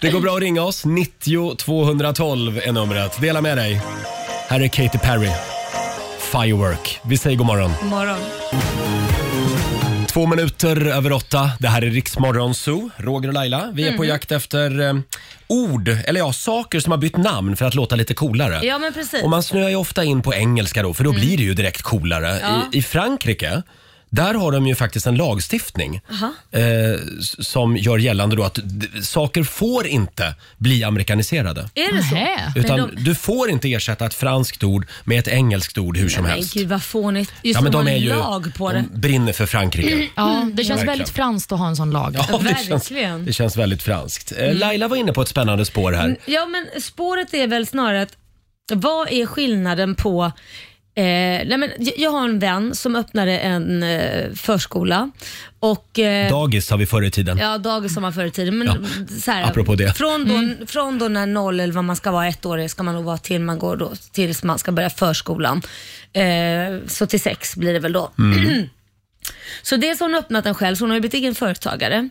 Speaker 1: Det går bra att ringa oss. 90 212 är numret. Dela med dig. Här är Katy Perry. Firework. Vi säger god morgon.
Speaker 2: God morgon.
Speaker 1: Två minuter över åtta. Det här är Riksmorgon Zoo. Roger och Laila. Vi är på
Speaker 2: Mhm.
Speaker 1: jakt efter eh, ord, eller ja, saker som har bytt namn för att låta lite coolare.
Speaker 2: Ja, men precis. Mm.
Speaker 1: Och man snöar ju ofta in på engelska då, för då blir det ju direkt coolare.
Speaker 2: Ja.
Speaker 1: I, I Frankrike, där har de ju faktiskt en lagstiftning
Speaker 2: Aha.
Speaker 1: eh, s- som gör gällande då att d- saker får inte bli amerikaniserade.
Speaker 2: Är det så?
Speaker 1: Utan
Speaker 2: men de...
Speaker 1: du får inte ersätta ett franskt ord med ett engelskt ord hur som
Speaker 2: Nej,
Speaker 1: helst.
Speaker 2: gud vad fånigt. Just
Speaker 1: Ja, men
Speaker 2: de har
Speaker 1: de är ju-
Speaker 2: lag på det.
Speaker 1: De brinner för Frankrike.
Speaker 3: Mm. Ja, det känns
Speaker 1: Verkligen.
Speaker 3: väldigt franskt att ha en sån lag.
Speaker 1: Ja, det, känns, det känns väldigt franskt. Eh, Laila var inne på ett spännande spår här.
Speaker 2: Ja, men spåret är väl snarare att vad är skillnaden på Eh, nej men, jag- jag har en vän som öppnade en eh, förskola. Och, eh,
Speaker 1: Dagis har vi förr i tiden.
Speaker 2: Ja, dagis som man förr i tiden. Men
Speaker 1: Ja,
Speaker 2: så här,
Speaker 1: apropå det.
Speaker 2: Från då, från då när noll eller vad man ska vara ett år är, ska man nog vara till man går då, tills man ska börja förskolan. Eh, så till sex blir det väl då.
Speaker 14: Mm.
Speaker 2: så dels har hon öppnat den själv, så hon har ju blivit egen företagare.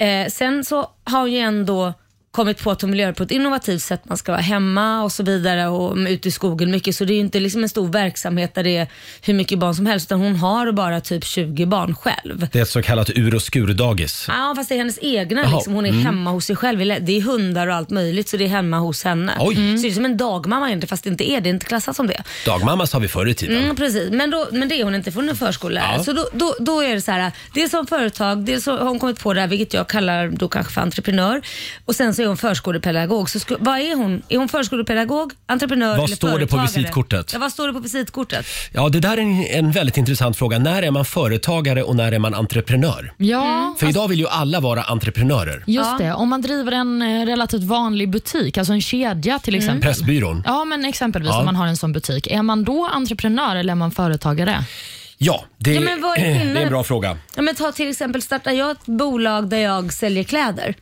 Speaker 2: Eh, sen så har hon ju ändå kommit på att hon vill göra det på ett innovativt sätt. Man ska vara hemma och så vidare och ute i skogen mycket. Så det är ju inte liksom en stor verksamhet där det är hur mycket barn som helst, utan hon har bara typ 20 barn själv.
Speaker 1: Det är ett så kallat ur och skurdagis.
Speaker 2: Ja, fast det är hennes egna.
Speaker 1: Jaha,
Speaker 2: Liksom. Hon är
Speaker 1: mm.
Speaker 2: hemma hos sig själv. Det är hundar och allt möjligt, så det är hemma hos henne.
Speaker 1: Oj. Mm.
Speaker 2: Så det är som en dagmamma egentligen, fast det inte är det. Det är inte klassat som det.
Speaker 1: Dagmamma sa vi förr i tiden.
Speaker 2: Mm, precis. Men, då, men det är hon inte, för hon är förskollärare.
Speaker 1: Ja.
Speaker 2: Så då, då, då är det så här, det är som företag, det är så, har hon kommit på det här, vilket jag kallar då kanske för entreprenör. Och sen så är hon förskolepedagog. Så sku, vad är hon? Är hon förskolepedagog, entreprenör
Speaker 1: Vad
Speaker 2: eller
Speaker 1: står det på
Speaker 2: företagare?
Speaker 1: visitkortet?
Speaker 2: Ja, vad står det på visitkortet?
Speaker 1: Ja, det där är en, en väldigt intressant fråga. När är man företagare och när är man entreprenör?
Speaker 3: Ja,
Speaker 2: Mm.
Speaker 1: För idag vill ju alla vara entreprenörer.
Speaker 3: Just det, om man driver en eh, relativt vanlig butik, alltså en kedja till
Speaker 2: Mm.
Speaker 3: exempel.
Speaker 1: Pressbyrån.
Speaker 3: Ja, men exempelvis
Speaker 1: Ja.
Speaker 3: om man har en sån butik. Är man då entreprenör eller är man företagare?
Speaker 1: Ja, det,
Speaker 2: Ja, men vad är
Speaker 1: det är en
Speaker 2: skillnaden?
Speaker 1: bra fråga.
Speaker 2: Ja, men ta till exempel, startar jag ett bolag där jag säljer kläder,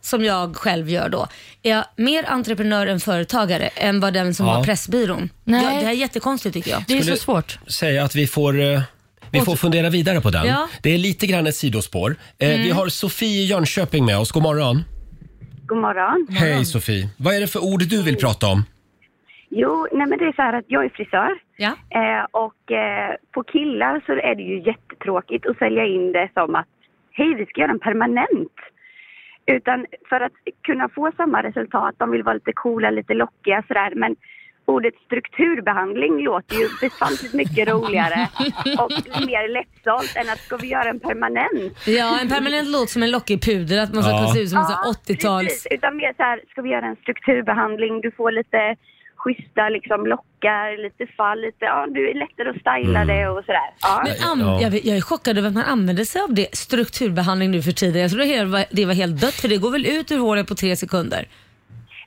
Speaker 2: som jag själv gör då. Är jag mer entreprenör än företagare än vad den som
Speaker 1: Ja.
Speaker 2: har Pressbyrån?
Speaker 3: Nej.
Speaker 2: Ja, det här är jättekonstigt tycker jag.
Speaker 1: Skulle Säga att vi får, eh, vi får
Speaker 2: Åter-
Speaker 1: fundera vidare på den.
Speaker 2: Ja.
Speaker 1: Det är lite grann ett sidospår. Eh,
Speaker 14: Mm.
Speaker 1: Vi har Sofie i Jönköping med oss. God morgon.
Speaker 14: God morgon.
Speaker 1: Hej Sofie. Vad är det för ord du vill prata om?
Speaker 14: Jo, nej men det är så här att jag är frisör. Eh, och eh, på killar så är det ju jättetråkigt att sälja in det som att hej, vi ska göra en permanent. Utan för att kunna få samma resultat, de vill vara lite coola, lite lockiga sådär. Men ordet strukturbehandling låter ju väsentligt mycket roligare och mer lättsålt än att ska vi göra en permanent?
Speaker 2: Ja, en permanent låt som en lockig puder, att man ska
Speaker 14: Ja.
Speaker 2: kunna se ut som en sån
Speaker 14: Ja,
Speaker 2: här 80-tals...
Speaker 14: Precis, utan mer så här, ska vi göra en strukturbehandling, du får lite schyssta liksom, lockar, lite fall, lite, ja du är lättare att styla
Speaker 1: Mm.
Speaker 14: det och sådär. Ja.
Speaker 2: Men an- jag, vet- jag är chockad över att man använder sig av det, strukturbehandling nu för tiden. Jag trodde det var- det var helt dött, för det går väl ut ur hålet på tre sekunder?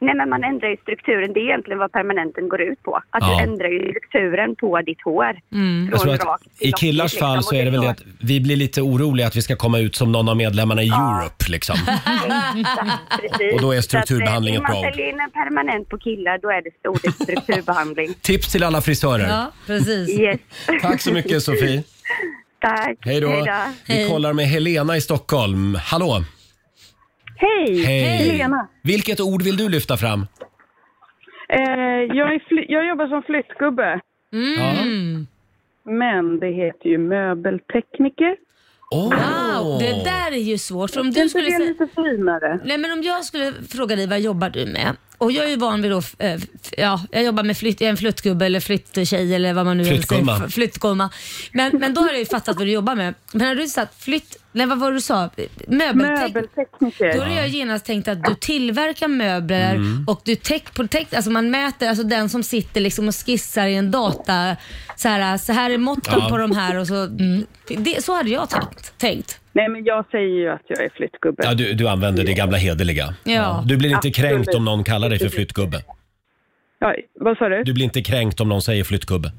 Speaker 14: Nej men man ändrar ju strukturen, det är egentligen vad permanenten går ut på. Att
Speaker 1: Ja.
Speaker 14: du ändrar ju strukturen på ditt hår. Från
Speaker 1: Jag tror att
Speaker 14: rakt till
Speaker 1: I
Speaker 14: lockigt,
Speaker 1: killars
Speaker 14: liksom,
Speaker 1: fall
Speaker 14: och
Speaker 1: så är det väl det att vi blir lite oroliga att vi ska komma ut som någon av medlemmarna i Europe liksom.
Speaker 14: Exakt, precis.
Speaker 1: Och då är
Speaker 14: Så att, eh,
Speaker 1: strukturbehandling ett
Speaker 14: Vill
Speaker 1: bra
Speaker 14: man
Speaker 1: ord.
Speaker 14: säljer in en permanent på killar då är det ordet strukturbehandling.
Speaker 1: Tips till alla frisörer.
Speaker 2: precis.
Speaker 14: Yes.
Speaker 1: Tack så mycket Sofie.
Speaker 14: Tack.
Speaker 1: Hej då. Vi kollar med Helena i Stockholm. Hallå!
Speaker 15: Hej!
Speaker 1: Hej.
Speaker 15: Helena.
Speaker 1: Vilket ord vill du lyfta fram?
Speaker 15: Eh, jag, är fly- jag jobbar som flyttgubbe.
Speaker 2: Mm.
Speaker 15: Men det heter ju möbeltekniker.
Speaker 2: Wow, det där är ju svårt. För om du skulle säga...
Speaker 15: lite finare.
Speaker 2: Nej, men om jag skulle fråga dig vad jobbar du med? Och jag är ju van vid då, f- eh, f- ja, jag jobbar med flytt, jag är en flyttgubbe eller flytttjej eller vad man nu vill säga.
Speaker 12: Flyttgumma.
Speaker 2: F- Flyttgumma. Men, men då har jag ju fattat vad du jobbar med. Men när du sa att flytt, nej vad var det du sa? Möbeltek-
Speaker 15: Möbeltekniker.
Speaker 2: Då hade jag genast tänkt att du tillverkar möbler
Speaker 15: Mm.
Speaker 2: och du tech, på tech, alltså man mäter, alltså den som sitter liksom och skissar i en data, så här, så här är måtten
Speaker 15: Ja.
Speaker 2: på de här och så. Det, så hade jag tänkt. tänkt.
Speaker 15: Nej, men jag säger ju att jag är flyttgubbe.
Speaker 1: Ja, du, du använder det gamla hederliga.
Speaker 2: Ja.
Speaker 1: Du blir inte kränkt
Speaker 15: Absolut.
Speaker 1: om någon kallar dig för flyttgubbe.
Speaker 15: Ja, vad sa du?
Speaker 1: Du blir inte kränkt om någon säger flyttgubbe.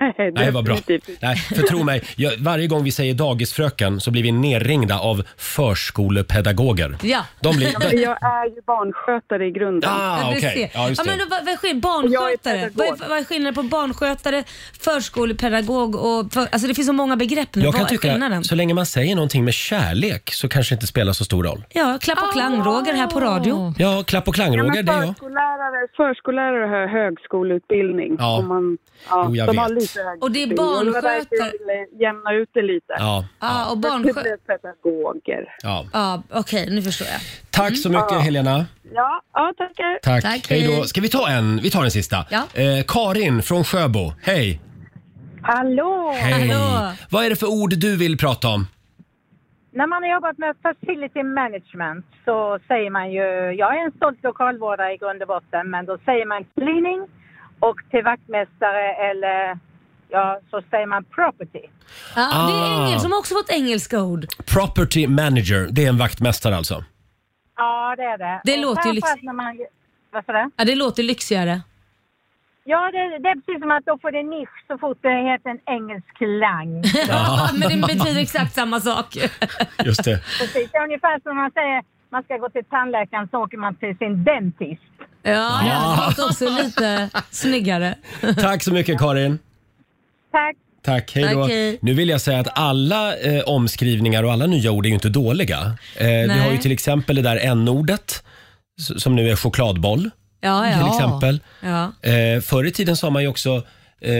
Speaker 15: Nej,
Speaker 1: Nej, vad bra.
Speaker 15: definitivt inte.
Speaker 1: Nej, för tro mig, jag, varje gång vi säger dagisfröken så blir vi nerringda av förskolepedagoger. De blir...
Speaker 15: men
Speaker 1: De,
Speaker 15: jag är ju barnskötare i grunden.
Speaker 1: Ah,
Speaker 2: Du
Speaker 1: okej.
Speaker 2: ser.
Speaker 1: Ja, just
Speaker 2: ja,
Speaker 1: det.
Speaker 2: men då, vad, vad, sker,
Speaker 15: Jag är
Speaker 2: barnskötare?
Speaker 15: pedagog.
Speaker 2: Vad är, vad är skillnaden på barnskötare, förskolepedagog och... För, alltså det finns så många begrepp nu.
Speaker 1: jag
Speaker 2: vad
Speaker 1: kan
Speaker 2: är
Speaker 1: tycka,
Speaker 2: skillnaden?
Speaker 1: så länge man säger någonting med kärlek så kanske det inte spelar så stor roll.
Speaker 2: Ja, klapp och klang, Roger här på radio.
Speaker 1: Ja, klapp och klang,
Speaker 15: Ja, men
Speaker 1: Roger, det är jag.
Speaker 15: förskollärare, förskollärare har högskoleutbildning.
Speaker 1: Ja.
Speaker 15: Och man, ja,
Speaker 1: Jo, jag
Speaker 15: de
Speaker 1: vet.
Speaker 15: har lite högskoleutbildning.
Speaker 2: Och det är
Speaker 15: var därför jag
Speaker 2: barnskötare.
Speaker 15: ville jämna ut det lite.
Speaker 1: Ja.
Speaker 2: Ja, och
Speaker 15: Det
Speaker 2: barnskötare.
Speaker 15: blev pedagoger.
Speaker 1: Ja.
Speaker 2: Ja, okej, nu förstår jag.
Speaker 1: Tack
Speaker 15: Mm.
Speaker 1: så mycket, Helena.
Speaker 15: Ja, ja tackar.
Speaker 1: Tack. hej då. Ska vi ta en? Vi tar den sista.
Speaker 15: Ja.
Speaker 1: Eh, Karin från Sjöbo. Hej.
Speaker 16: Hallå!
Speaker 1: Hej. Vad är det för ord du vill prata om?
Speaker 16: När man har jobbat med facility management så säger man ju, jag är en stolt lokalvårdare i grund och botten, men då säger man cleaning och till vaktmästare eller ja, så säger man property.
Speaker 2: Ja, Det är
Speaker 1: Ah.
Speaker 2: engelskt, de har också fått engelska ord.
Speaker 1: Property manager. Det är en vaktmästare alltså.
Speaker 16: Ja, det är det.
Speaker 2: Det
Speaker 16: Och
Speaker 2: låter ju liksom- lyx-
Speaker 16: framförallt när man, vad sa du?
Speaker 2: Ja, det låter lyxigare.
Speaker 16: Ja, det, det är precis som att då får det nisch så fort det heter en engelsk klang.
Speaker 2: Ja, men det betyder exakt samma sak.
Speaker 1: Just det.
Speaker 16: Precis, det är ungefär som man säger man ska gå till tandläkaren så åker man till sin dentist.
Speaker 2: Ja,
Speaker 1: Ja.
Speaker 2: det låter också lite snyggare.
Speaker 1: Tack så mycket Karin.
Speaker 16: Tack.
Speaker 1: Tack, hej då.
Speaker 2: Tack, hej.
Speaker 1: Nu vill jag säga att alla eh, omskrivningar och alla nya ord är ju inte dåliga. Eh, vi har ju till exempel det där n-ordet s- som nu är chokladboll.
Speaker 2: Ja, Ah, ja.
Speaker 1: Till exempel.
Speaker 2: Ja.
Speaker 1: Eh, förr i tiden sa man ju också eh,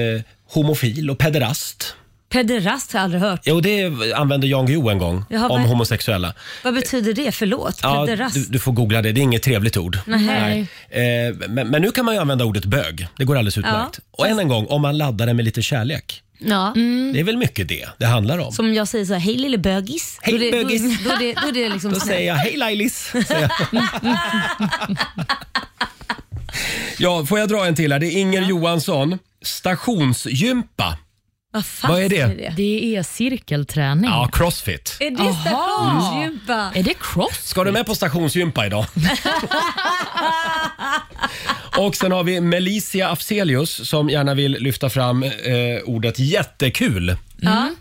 Speaker 1: homofil och pederast.
Speaker 2: Pederast har jag aldrig hört.
Speaker 1: Jo, det använde Jan Guillou en gång
Speaker 2: Jaha,
Speaker 1: om
Speaker 2: vad-
Speaker 1: homosexuella.
Speaker 2: Vad betyder det? Förlåt?
Speaker 1: Ja,
Speaker 2: Pederast?
Speaker 1: du, du får googla det, det är inget trevligt ord.
Speaker 2: Nej.
Speaker 1: Eh, men, men nu kan man ju använda ordet bög. Det går alldeles utmärkt. Och än en gång, om man laddar det med lite kärlek.
Speaker 2: Ja.
Speaker 1: Det är väl mycket det det handlar om.
Speaker 2: Mm. Som jag säger så här, hej lille bögis.
Speaker 1: Hej,
Speaker 2: Då är det-
Speaker 1: bögis.
Speaker 2: Då, då, är det- då är det liksom
Speaker 1: Då säger jag hej Lailis. säger jag. Ja, får jag dra en till här? Det är Inger Johansson. Stationsgympa.
Speaker 2: Vad, fan
Speaker 1: Vad är det?
Speaker 2: säger det?
Speaker 3: Det är cirkelträning.
Speaker 2: Mm.
Speaker 1: Ja, crossfit.
Speaker 2: Är det
Speaker 3: Aha.
Speaker 2: stationsgympa?
Speaker 3: Är det cross?
Speaker 1: Ska du med på stationsgympa idag? Och sen har vi Melicia Afzelius som gärna vill lyfta fram eh, ordet jättekul. Eh,
Speaker 3: Mm.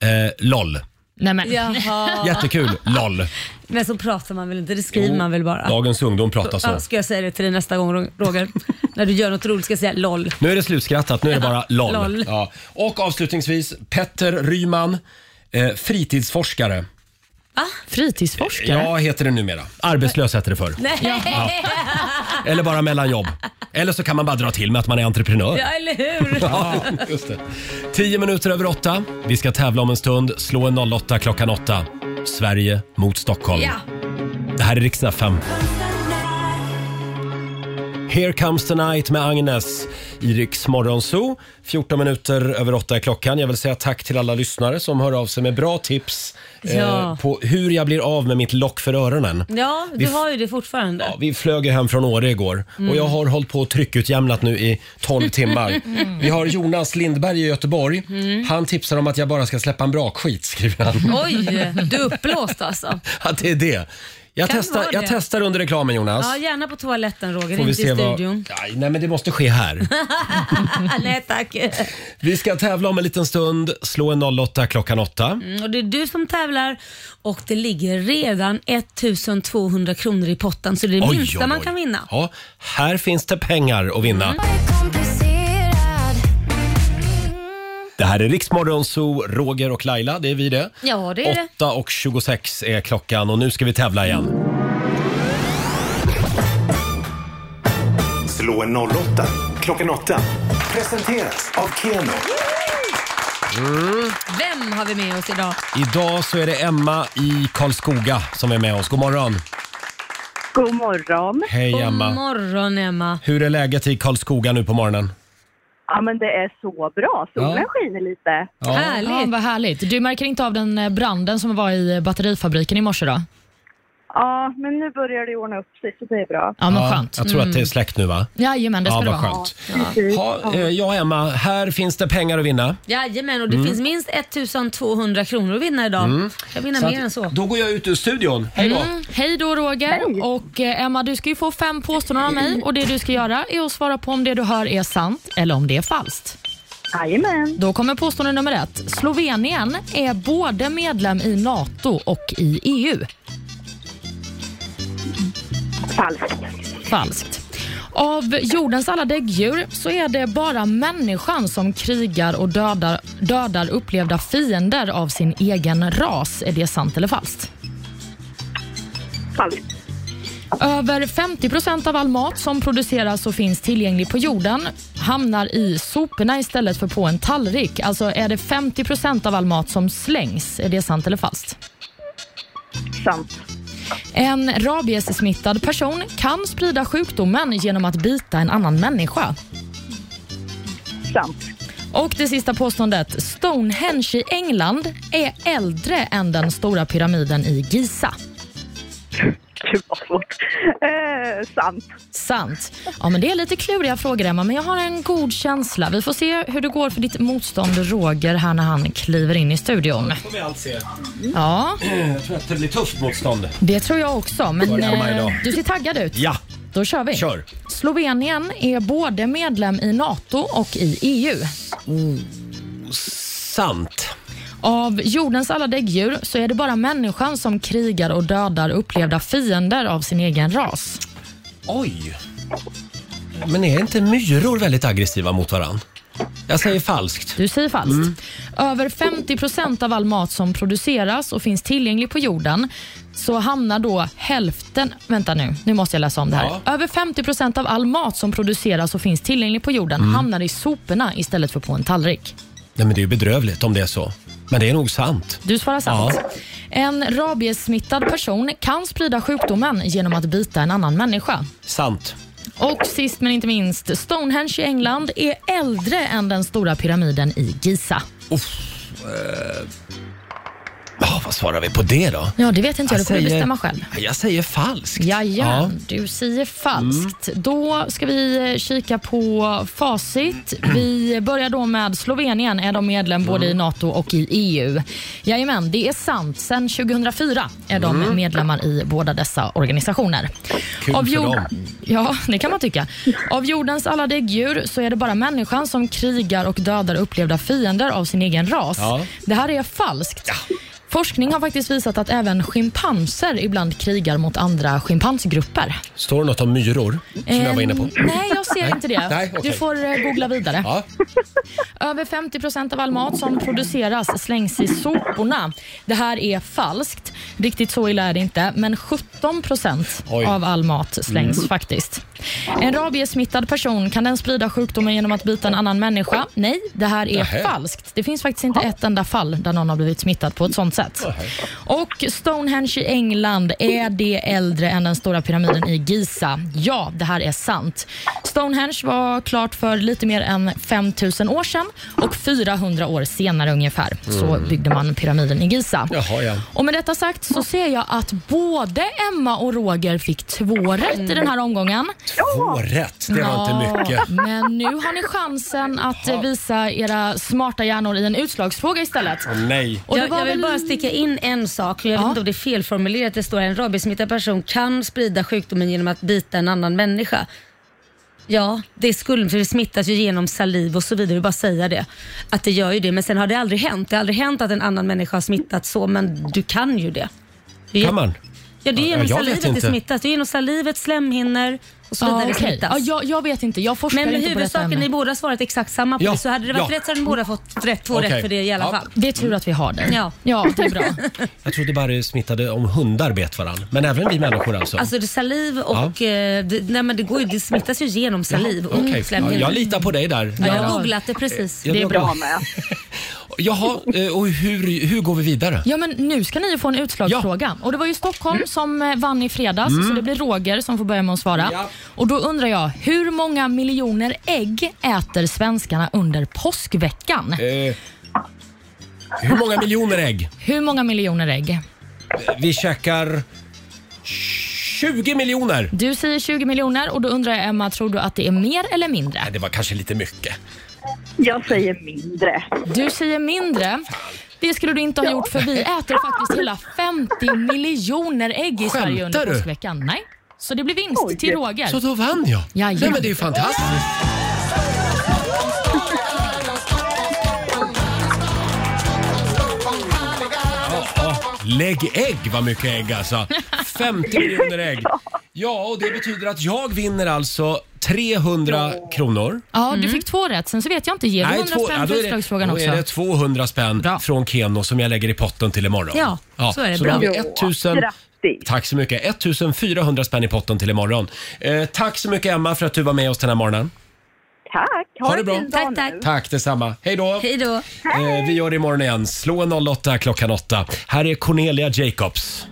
Speaker 2: Ja.
Speaker 1: LOL.
Speaker 3: Nej, men.
Speaker 2: Jaha.
Speaker 1: Jättekul. LOL.
Speaker 2: Men så pratar man väl inte? Det skriver man väl bara?
Speaker 1: Dagens ungdom pratar
Speaker 2: Ja,
Speaker 1: så.
Speaker 2: Ska jag säga det till dig nästa gång Roger? När du gör något roligt ska jag säga LOL.
Speaker 1: Nu är det slutskrattat. Nu är det bara LOL.
Speaker 2: LOL.
Speaker 1: Ja. Och avslutningsvis Petter Ryman, eh, fritidsforskare.
Speaker 3: Fritidsforskare?
Speaker 1: Ja, heter det numera. Arbetslös hette det förr.
Speaker 2: Nej!
Speaker 1: Ja. Eller bara mellanjobb. Eller så kan man bara dra till med att man är entreprenör.
Speaker 2: Ja, eller hur?
Speaker 1: Ja, just det. Tio minuter över åtta. Vi ska tävla om en stund. Slå en 08 klockan åtta. Sverige mot Stockholm.
Speaker 2: Ja.
Speaker 1: Det här är riksdag 5. Here comes the night med Agnes i Riks Morgonzoo. 14 minuter över åtta är klockan. Jag vill säga tack till alla lyssnare som hör av sig med bra tips eh,
Speaker 2: Ja.
Speaker 1: på hur jag blir av med mitt lock för öronen.
Speaker 2: Ja,
Speaker 1: Vi
Speaker 2: du
Speaker 1: f-
Speaker 2: har ju det fortfarande.
Speaker 1: Ja, vi flög ju hem från Åre igår
Speaker 2: Mm.
Speaker 1: och jag har hållit på och tryckutjämnat nu i 12 timmar.
Speaker 2: Mm.
Speaker 1: Vi har Jonas Lindberg i Göteborg.
Speaker 2: Mm.
Speaker 1: Han tipsar om att jag bara ska släppa en bra skit skriver han.
Speaker 2: Oj, du är uppblåst alltså.
Speaker 1: Att det är det. Jag,
Speaker 2: Kan
Speaker 1: testar,
Speaker 2: vara
Speaker 1: jag
Speaker 2: det.
Speaker 1: testar under reklamen Jonas.
Speaker 2: Ja, gärna på toaletten Roger,
Speaker 1: Får vi
Speaker 2: inte i
Speaker 1: se vad-
Speaker 2: studion.
Speaker 1: Nej, Nej, men det måste ske här.
Speaker 2: Nej tack. Mm,
Speaker 1: Vi ska tävla om en liten stund. Slå en 08 klockan 8.
Speaker 2: och det är du som tävlar och det ligger redan 1200 kronor i potten så det är det
Speaker 1: Oj,
Speaker 2: minsta
Speaker 1: oj,
Speaker 2: man
Speaker 1: oj.
Speaker 2: kan vinna.
Speaker 1: Ja, här finns det pengar att vinna.
Speaker 2: Mm. Mm.
Speaker 1: Det här är Riksmorgon Zoo, Roger och Laila. Det är vi det.
Speaker 2: Ja, det är det.
Speaker 1: 8 och 26 är klockan och nu ska vi tävla igen.
Speaker 5: slå en 08 klockan åtta. Presenteras av Keno.
Speaker 1: Mm.
Speaker 2: Vem har vi med oss idag?
Speaker 1: Idag så är det Emma i Karlskoga som är med oss. God morgon!
Speaker 2: God morgon.
Speaker 1: Hej, Emma.
Speaker 2: God morgon Emma.
Speaker 1: Hur är läget i Karlskoga nu på morgonen?
Speaker 15: Ja, men det är så bra. Solen
Speaker 1: Ja.
Speaker 15: skiner lite.
Speaker 1: Ja. Härligt.
Speaker 3: Ja, vad härligt. Du märker inte av den eh, branden som var i eh, batterifabriken i morse då?
Speaker 15: Ja, men nu börjar det ordna upp sig så det är bra.
Speaker 3: Ja, men
Speaker 2: Mm.
Speaker 3: skönt. Mm.
Speaker 1: Jag tror att det är släckt nu va?
Speaker 3: Jajamän, det ska
Speaker 1: ja,
Speaker 3: det
Speaker 1: vad
Speaker 3: vara.
Speaker 1: skönt.
Speaker 15: Precis.
Speaker 1: Ha, eh, ja, Emma, här finns det pengar att vinna.
Speaker 2: Jajamän, och det
Speaker 1: Mm.
Speaker 2: finns minst 1200 kronor att vinna idag.
Speaker 1: Mm.
Speaker 2: Jag vinner
Speaker 1: Så
Speaker 2: mer
Speaker 1: att-
Speaker 2: än så.
Speaker 1: Då går jag ut ur studion. Hej då!
Speaker 3: Mm. Hej då Roger. Och eh, Emma, du ska ju få fem påståenden av mig och det du ska göra är att svara på om det du hör är sant eller om det är falskt.
Speaker 15: Jajamän.
Speaker 3: Då kommer påstående nummer ett. Slovenien är både medlem i NATO och i E EU. Falskt. Falskt. Av jordens alla däggdjur så är det bara människan som krigar och dödar, dödar upplevda fiender av sin egen ras. Är det sant eller falskt?
Speaker 15: Falskt.
Speaker 3: Över 50 procent av all mat som produceras och finns tillgänglig på jorden hamnar i soporna istället för på en tallrik. Alltså är det 50 procent av all mat som slängs. Är det sant eller falskt?
Speaker 15: Sant.
Speaker 3: En rabiessmittad person kan sprida sjukdomen genom att bita en annan människa.
Speaker 15: Sant.
Speaker 3: Och det sista påståendet. Stonehenge i England är äldre än den stora pyramiden i Giza.
Speaker 15: Gud vad svårt. Eh, sant.
Speaker 3: Sant. Ja, men det är lite kluriga frågor, Emma, men jag har en god känsla. Vi får se hur det går för ditt motstånd Roger här när han kliver in i studion.
Speaker 1: får vi allt se.
Speaker 3: Ja.
Speaker 1: Jag tror att det blir tufft motstånd.
Speaker 3: Det tror jag också, men
Speaker 1: Börja komma
Speaker 3: eh,
Speaker 1: idag.
Speaker 3: du ser taggad ut.
Speaker 1: Ja.
Speaker 3: Då kör vi.
Speaker 1: Kör.
Speaker 3: Slovenien är både medlem i NATO och i E EU.
Speaker 1: Sant.
Speaker 3: Av jordens alla däggdjur så är det bara människan som krigar och dödar upplevda fiender av sin egen ras.
Speaker 1: Oj! Men är inte myror väldigt aggressiva mot varann? Jag säger falskt. Mm.
Speaker 3: Du säger falskt. Över 50 procent av all mat som produceras och finns tillgänglig på jorden så hamnar då hälften... Vänta nu, nu måste jag läsa om det här. Över 50 procent av all mat som produceras och finns tillgänglig på jorden
Speaker 1: Mm.
Speaker 3: hamnar i soporna istället för på en tallrik.
Speaker 1: Nej, men det är ju bedrövligt om det är så. Men det är nog sant.
Speaker 3: Du svarar sant.
Speaker 1: Ja.
Speaker 3: En rabiessmittad person kan sprida sjukdomen genom att bita en annan människa.
Speaker 1: Sant.
Speaker 3: Och sist men inte minst, Stonehenge i England är äldre än den stora pyramiden i Giza.
Speaker 1: Eh, ja, vad svarar vi på det då?
Speaker 3: Ja, det vet inte jag. Det får du
Speaker 1: säger-
Speaker 3: bestämma själv.
Speaker 1: Jag säger falskt. Mm.
Speaker 3: Jajamän, du säger falskt. Då ska vi eh, kika på facit. Vi börjar då med Slovenien. Är de medlem både
Speaker 1: Mm.
Speaker 3: i NATO och i EU? Jajamän, det är sant. Sen 2004 är de
Speaker 12: Mm.
Speaker 3: medlemmar i båda dessa organisationer.
Speaker 12: Kul för
Speaker 3: jord-
Speaker 12: dem.
Speaker 3: Ja, det kan man tycka. Av jordens alla däggdjur så är det bara människan som krigar och dödar upplevda fiender av sin egen ras.
Speaker 12: Ja.
Speaker 3: Det här är falskt. Forskning har faktiskt visat att även schimpanser ibland krigar mot andra schimpansgrupper.
Speaker 1: Står det något om myror? Som jag var inne på.
Speaker 3: Eh, nej, jag ser inte det.
Speaker 1: Nej, okej.
Speaker 3: Du får eh, googla vidare.
Speaker 1: Ja.
Speaker 3: Över 50 procent av all mat som produceras slängs i soporna. Det här är falskt. Riktigt så illa är det inte, men 17 procent
Speaker 12: Oj.
Speaker 3: av all mat slängs
Speaker 12: Mm.
Speaker 3: faktiskt. En rabiessmittad person, kan den sprida sjukdomen genom att bita en annan människa? Nej, det här är
Speaker 12: Nähä.
Speaker 3: falskt. Det finns faktiskt inte ett enda fall där någon har blivit smittad på ett sånt sätt. Och Stonehenge i England, är det äldre än den stora pyramiden i Giza? Ja, det här är sant. Stonehenge var klart för lite mer än 5000 år sedan och 400 år senare ungefär så
Speaker 12: Mm.
Speaker 3: byggde man pyramiden i Giza.
Speaker 1: Jaha, ja.
Speaker 3: Och med detta sagt så ser jag att både Emma och Roger fick två rätt i den här omgången.
Speaker 1: Två rätt, det var inte mycket.
Speaker 3: Men nu har ni chansen att eh, visa era smarta hjärnor i en utslagsfråga istället.
Speaker 1: Åh, nej.
Speaker 3: Och det
Speaker 2: jag,
Speaker 3: var
Speaker 2: jag vill
Speaker 3: väl-
Speaker 2: bara sticka in en sak. Jag vet inte om det är felformulerat. Det står här, en rabiessmittad person kan sprida sjukdomen genom att bita en annan människa. Ja, det skulle för det smittas ju genom saliv och så vidare. Jag vill bara säga det. Att det gör ju det. Men sen har det aldrig hänt. Det har aldrig hänt att en annan människa har smittat så, men du kan ju det.
Speaker 1: Kan man?
Speaker 2: Ja, det är
Speaker 1: Ja,
Speaker 2: genom
Speaker 1: jag vet
Speaker 2: salivet det
Speaker 1: inte.
Speaker 2: smittas. Det är genom salivet, slemhinnor och så
Speaker 3: Ja,
Speaker 2: vidare
Speaker 3: okej.
Speaker 2: smittas.
Speaker 3: Ja, jag, vet inte, jag forskar
Speaker 2: Men
Speaker 3: inte på detta
Speaker 2: huvudsaken,
Speaker 3: ännu.
Speaker 2: ni båda svarat exakt samma på
Speaker 3: Ja,
Speaker 2: det, så hade det varit
Speaker 3: ja.
Speaker 2: rätt så hade ni båda fått rätt, två
Speaker 1: Okej.
Speaker 2: rätt för det i alla
Speaker 1: Ja.
Speaker 2: fall.
Speaker 3: Det är tur att vi har dig.
Speaker 2: Ja.
Speaker 3: ja, det är bra.
Speaker 1: Jag trodde bara det smittade om hundar bet varann. Men även vi människor alltså?
Speaker 2: Alltså det är saliv och... eh, Det, nej men det, går ju, det smittas ju genom saliv Mm, och
Speaker 3: Mm,
Speaker 1: Okej. Ja,
Speaker 2: slemhinnor.
Speaker 1: jag litar på dig där.
Speaker 2: Ja, jag
Speaker 1: Laila.
Speaker 2: har googlat det precis.
Speaker 1: Ja, Det är jag- bra.
Speaker 2: med.
Speaker 1: Jaha, eh, och hur, hur går vi vidare?
Speaker 3: Ja, men nu ska ni ju få en utslagsfråga. Och det var ju Stockholm som eh, vann i fredags,
Speaker 1: Mm.
Speaker 3: så det blir Roger som får börja med att svara.
Speaker 1: Ja.
Speaker 3: Och Då undrar jag, hur många miljoner ägg äter svenskarna under påskveckan?
Speaker 1: Eh, hur många miljoner ägg?
Speaker 3: Hur många miljoner ägg?
Speaker 1: Vi käkar 20 miljoner.
Speaker 3: Du säger 20 miljoner och då undrar jag Emma, tror du att det är mer eller mindre?
Speaker 1: Nej, det var kanske lite mycket.
Speaker 3: Jag säger mindre. Du säger mindre. Det skulle du inte ha gjort för vi äter faktiskt hela 50 miljoner ägg i Sverige under
Speaker 1: Skämtar du?
Speaker 3: påskveckan. Nej. Så det blir vinst till Roger.
Speaker 1: Så då vann jag?
Speaker 3: Jajamän.
Speaker 1: Nej, men det är ju fantastiskt. Ja, lägg ägg, vad mycket ägg alltså. 50 miljoner ägg. Ja, och det betyder att jag vinner alltså 300 kronor.
Speaker 3: Ja, du fick två rätt. Sen så vet jag inte, ger du 105
Speaker 1: Mm. ja,
Speaker 3: för
Speaker 1: då, är det,
Speaker 3: utslagsfrågan
Speaker 1: då
Speaker 3: också?
Speaker 1: är det 200 spänn från Keno som jag lägger i potten till imorgon.
Speaker 3: Ja, så är det.
Speaker 1: Så då har vi
Speaker 3: Bra.
Speaker 1: 1000, tack så mycket. 1400 spänn i potten till imorgon. Eh, tack så mycket Emma för att du var med oss den här morgonen.
Speaker 15: Tack!
Speaker 1: Ha det bra.
Speaker 15: Tack, tack.
Speaker 1: Tack detsamma. Hej då.
Speaker 2: Hej då.
Speaker 1: Eh, vi gör det imorgon igen. Slå en 08 klockan 8. Här är Cornelia Jacobs.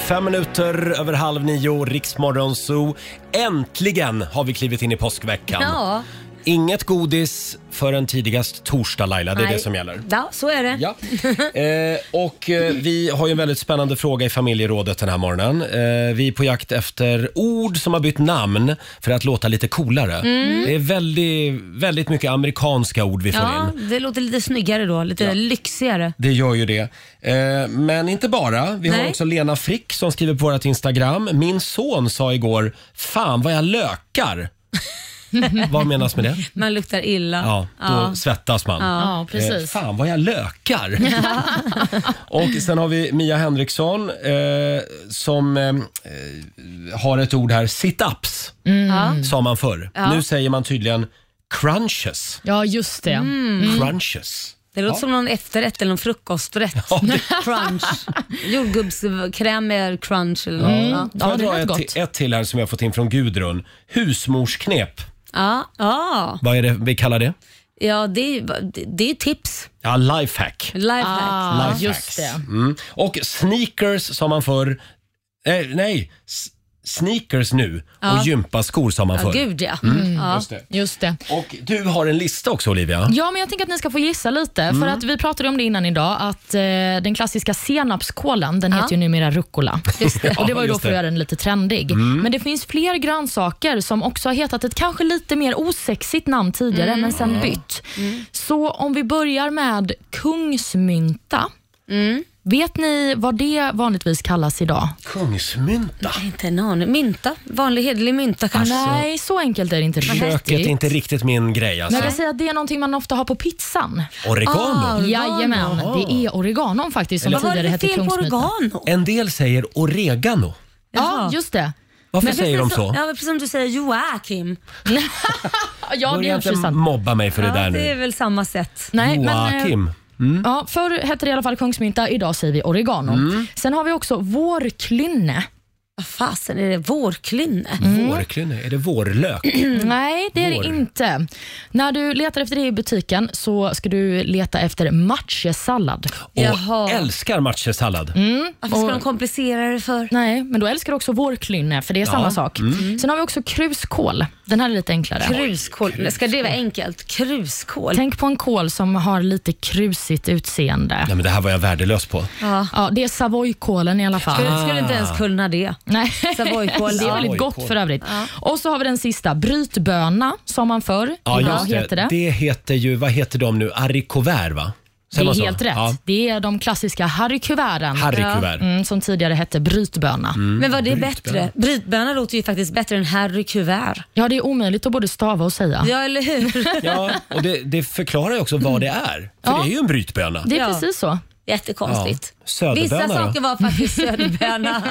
Speaker 1: Fem minuter över halv nio, Riksmorgon Zoo. Äntligen har vi klivit in i påskveckan.
Speaker 2: Ja.
Speaker 1: Inget godis förrän tidigast torsdag Laila, det är
Speaker 2: Nej.
Speaker 1: det som gäller.
Speaker 2: Ja, så är det.
Speaker 1: Ja. Eh, och eh, vi har ju en väldigt spännande fråga i familjerådet den här morgonen. Eh, vi är på jakt efter ord som har bytt namn för att låta lite coolare.
Speaker 2: Mm.
Speaker 1: Det är väldigt, väldigt mycket amerikanska ord vi får in.
Speaker 2: Ja, det låter lite snyggare då, lite lyxigare.
Speaker 1: Det gör ju det. Eh, Men inte bara. Vi har
Speaker 2: Nej.
Speaker 1: också Lena Frick som skriver på vårt Instagram. Min son sa igår, fan vad jag lökar. Vad menas med det?
Speaker 2: Man luktar illa.
Speaker 1: Ja, då svettas man.
Speaker 2: Ja,
Speaker 1: Eh,
Speaker 2: precis.
Speaker 1: Fan vad jag lökar. Och sen har vi Mia Henriksson eh, som eh, eh, har ett ord här, sit-ups
Speaker 3: Mm.
Speaker 1: sa man förr.
Speaker 3: Ja.
Speaker 1: Nu säger man tydligen crunches.
Speaker 3: Ja, just det. Mm.
Speaker 1: Crunches.
Speaker 2: Det låter
Speaker 1: Ja.
Speaker 2: som någon efterrätt eller någon frukosträtt. crunch. Jordgubbskräm med crunch eller något.
Speaker 3: Mm.
Speaker 2: Ja.
Speaker 1: Får jag dra ett, ti- ett till här som jag fått in från Gudrun? Husmorsknep.
Speaker 2: Ja, ja.
Speaker 1: Vad är det vi kallar det?
Speaker 2: ja det, är ju- det- det är tips.
Speaker 1: Ja, lifehack.
Speaker 2: Lifehack.
Speaker 1: Ah, Lifehacks. Mm. Och sneakers sa man förr. Eh, nej, s- sneakers nu
Speaker 3: Ja.
Speaker 1: och gympaskor sa man
Speaker 3: Ja,
Speaker 1: förr.
Speaker 3: gud, ja.
Speaker 1: Mm.
Speaker 3: Mm. Ja.
Speaker 1: Just det.
Speaker 3: Just det.
Speaker 1: Och du har en lista också Olivia.
Speaker 3: Ja, men jag tänker att ni ska få gissa lite.
Speaker 1: Mm.
Speaker 3: För att Vi pratade om det innan idag, att eh, den klassiska senapskålen, den
Speaker 2: Ja.
Speaker 3: heter ju numera rucola.
Speaker 2: Just det.
Speaker 3: Och det var ju då
Speaker 2: Just
Speaker 3: för att
Speaker 2: det.
Speaker 3: göra den lite trendig.
Speaker 2: Mm.
Speaker 3: Men det finns fler grönsaker som också har hetat ett kanske lite mer osexigt namn tidigare,
Speaker 2: Mm.
Speaker 3: men sen
Speaker 2: Ja.
Speaker 3: bytt. Så om vi börjar med kungsmynta.
Speaker 2: Mm.
Speaker 3: Vet ni vad det vanligtvis kallas idag?
Speaker 1: Kungsmynta?
Speaker 2: Inte en aning. Mynta. Vanlig hederlig mynta kanske.
Speaker 1: Alltså,
Speaker 3: Nej, så enkelt är det inte
Speaker 1: Köket är inte riktigt min grej
Speaker 3: Men
Speaker 1: alltså.
Speaker 3: jag vill säga att det är någonting man ofta har på pizzan.
Speaker 1: Oregano?
Speaker 3: Ah, jajamän,
Speaker 1: Jaha.
Speaker 3: det är oregano faktiskt som
Speaker 1: Eller- Vad var det
Speaker 3: tidigare
Speaker 1: för
Speaker 3: hette
Speaker 1: fel på
Speaker 3: kungsmyta.
Speaker 2: oregano?
Speaker 1: En del säger oregano.
Speaker 3: Ja, just det.
Speaker 1: Varför säger de
Speaker 2: precis
Speaker 1: så?
Speaker 2: som- Ja, men precis som du säger Joakim.
Speaker 3: ja,
Speaker 1: Börja inte mobba mig för det där
Speaker 2: Det är
Speaker 1: nu.
Speaker 2: väl samma sätt.
Speaker 3: Nej, men, eh,
Speaker 1: Joakim. Mm.
Speaker 3: Ja, förr hette det i alla fall kungsmynta, idag säger vi oregano.
Speaker 1: Mm.
Speaker 3: Sen har vi också vårklynne.
Speaker 2: Vad fasen är det? Vårklynne?
Speaker 1: Vårklynne, är det vårlök?
Speaker 3: Mm. Nej, det är
Speaker 1: Mm. Vår.
Speaker 3: det inte. När du letar efter det i butiken så ska du leta efter matjesallad.
Speaker 1: Och älskar matjesallad.
Speaker 3: Mm,
Speaker 2: Varför ska de komplicera det för?
Speaker 3: Nej, men då älskar du också vårklynne, för det är
Speaker 1: Ja.
Speaker 3: samma sak.
Speaker 1: Mm.
Speaker 3: Sen har vi också kruskål. Den här är lite enklare.
Speaker 2: Kruskål. Ska det vara enkelt? Kruskål?
Speaker 3: Tänk på en kål som har lite krusigt utseende.
Speaker 1: Nej men det här var jag värdelös på.
Speaker 3: Ja. det är savoykålen i alla fall.
Speaker 2: Skulle, skulle inte
Speaker 1: Ah.
Speaker 2: ens kunna det.
Speaker 3: Nej.
Speaker 2: Savoykål.
Speaker 3: det är
Speaker 2: ja.
Speaker 3: väldigt gott för övrigt. Och så har vi den sista, brytböna, sa man förr.
Speaker 1: Ja,
Speaker 3: Idag
Speaker 1: just det.
Speaker 3: heter det.
Speaker 1: Det heter ju, vad heter de nu, haricots va?
Speaker 3: Det
Speaker 1: Säger man
Speaker 3: är
Speaker 1: så?
Speaker 3: helt rätt.
Speaker 1: Ja.
Speaker 3: Det är de klassiska harrykuverten.
Speaker 1: Harrykuvert.
Speaker 3: Mm, som tidigare hette brytböna.
Speaker 1: Mm.
Speaker 2: Men var det bättre? Brytböna låter ju faktiskt bättre än Harry Kuvert.
Speaker 3: Ja, det är omöjligt att både stava och säga.
Speaker 2: Ja, eller hur?
Speaker 1: Ja, och det, det förklarar ju också vad det är. För
Speaker 3: Mm. Ja.
Speaker 1: det är ju en brytböna.
Speaker 3: Det är precis så.
Speaker 2: Jättekonstigt.
Speaker 1: Ja, söderböna
Speaker 2: Vissa
Speaker 1: då?
Speaker 2: saker var faktiskt söderböna.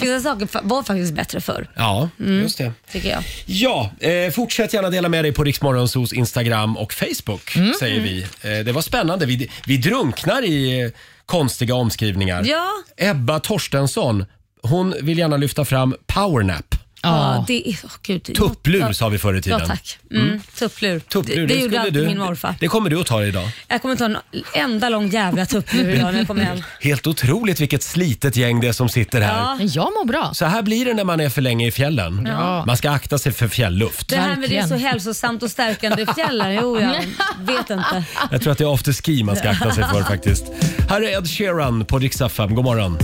Speaker 2: Vissa saker fa- var faktiskt bättre förr,
Speaker 1: Ja,
Speaker 2: Mm.
Speaker 1: just det.
Speaker 2: tycker jag.
Speaker 1: Ja, eh, fortsätt gärna dela med dig på Riksmorgonsos Instagram och Facebook,
Speaker 2: Mm.
Speaker 1: säger vi. Eh, det var spännande. Vi, vi drunknar i eh, konstiga omskrivningar.
Speaker 2: Ja.
Speaker 1: Ebba Torstensson, hon vill gärna lyfta fram powernap.
Speaker 2: Ja, det är... åh, gud.
Speaker 1: Tupplur sa vi förr i tiden.
Speaker 2: Ja, tack. Mm,
Speaker 1: Mm.
Speaker 2: Tupplur.
Speaker 1: Tupplur,
Speaker 2: det, det gjorde
Speaker 1: skulle
Speaker 2: alltid
Speaker 1: du,
Speaker 2: min morfar.
Speaker 1: Det kommer du att ta dig idag.
Speaker 2: Jag kommer ta en enda lång jävla tupplur idag när jag kommer hem.
Speaker 1: Helt otroligt vilket slitet gäng det är som sitter här.
Speaker 2: Ja.
Speaker 3: Men jag mår bra.
Speaker 1: Så här blir det när man är för länge i fjällen.
Speaker 2: Ja.
Speaker 1: Man ska akta sig för fjällluft.
Speaker 2: Det här med det är så hälsosamt och stärkande i fjällen. Jo, jag vet inte.
Speaker 1: Jag tror att det är afterski man ska akta sig för faktiskt. Här är Ed Sheeran på Rix FM. God morgon.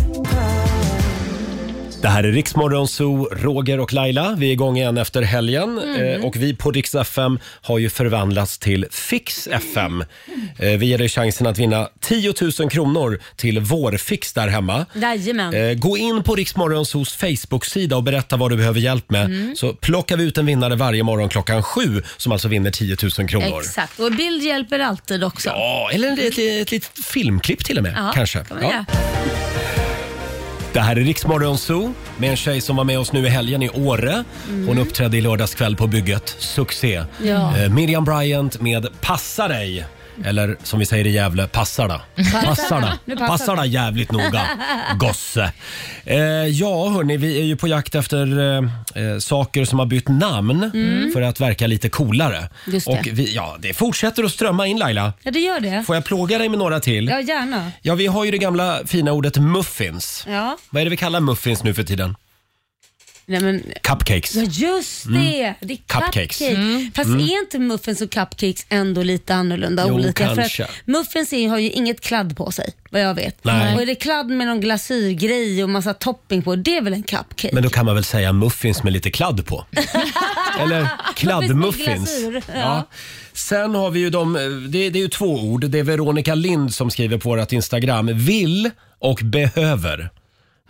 Speaker 1: Det här är Riksmorgon Zoo, Roger och Laila. Vi är igång igen efter helgen
Speaker 17: Mm.
Speaker 1: eh, och vi på Rix FM har ju förvandlats till Fix FM.
Speaker 2: Mm.
Speaker 1: Eh, vi ger dig chansen att vinna 10 000 kronor till vårfix där hemma.
Speaker 2: Jajamän.
Speaker 1: Eh, gå in på Riksmorgonsos Facebook-sida och berätta vad du behöver hjälp med.
Speaker 2: Mm.
Speaker 1: Så plockar vi ut en vinnare varje morgon klockan sju som alltså vinner 10 000 kronor.
Speaker 2: Exakt, och bild hjälper alltid också.
Speaker 1: Ja, eller ett, ett, ett litet filmklipp till och med.
Speaker 2: Ja,
Speaker 1: kanske.
Speaker 2: kan man
Speaker 1: Ja.
Speaker 2: göra.
Speaker 1: Det här är Riksmorgon Zoo med en tjej som var med oss nu i helgen i Åre. Hon
Speaker 2: Mm.
Speaker 1: uppträdde i lördags kväll på bygget. Succé!
Speaker 2: Ja.
Speaker 1: Eh, Miriam Bryant med Passa dig! Eller som vi säger i Gävle, passarna. Passarna.
Speaker 17: Nu passar
Speaker 1: Passarna
Speaker 17: det.
Speaker 1: jävligt noga. Gosse. Eh, ja, hörni, vi är ju på jakt efter eh, eh, saker som har bytt namn
Speaker 2: Mm.
Speaker 1: för att verka lite coolare.
Speaker 2: Just det.
Speaker 1: Och vi, ja, det fortsätter att strömma in Laila.
Speaker 2: Ja, det gör det.
Speaker 1: Får jag plåga dig med några till?
Speaker 2: Ja, gärna.
Speaker 1: Ja, vi har ju det gamla fina ordet muffins.
Speaker 2: Ja.
Speaker 1: Vad är det vi kallar muffins nu för tiden?
Speaker 2: Nej, men,
Speaker 1: Cupcakes.
Speaker 2: ja, just det. Det är
Speaker 1: Mm. Cupcakes.
Speaker 2: cupcakes.
Speaker 1: Mm.
Speaker 2: Fast
Speaker 1: Mm.
Speaker 2: är inte muffins och cupcakes ändå lite annorlunda? och
Speaker 1: Jo,
Speaker 2: olika?
Speaker 1: kanske.
Speaker 2: För att muffins är- har ju inget kladd på sig, vad jag vet.
Speaker 1: Nej.
Speaker 2: Och är det kladd med någon glasyrgrej och massa topping på, det är väl en cupcake?
Speaker 1: Men då kan man väl säga muffins med lite kladd på? Eller kladdmuffins.
Speaker 2: Glasyr, ja.
Speaker 1: Ja. Sen har vi ju de, det, det är ju två ord. Det är Veronica Lind som skriver på vårt Instagram. Vill och behöver.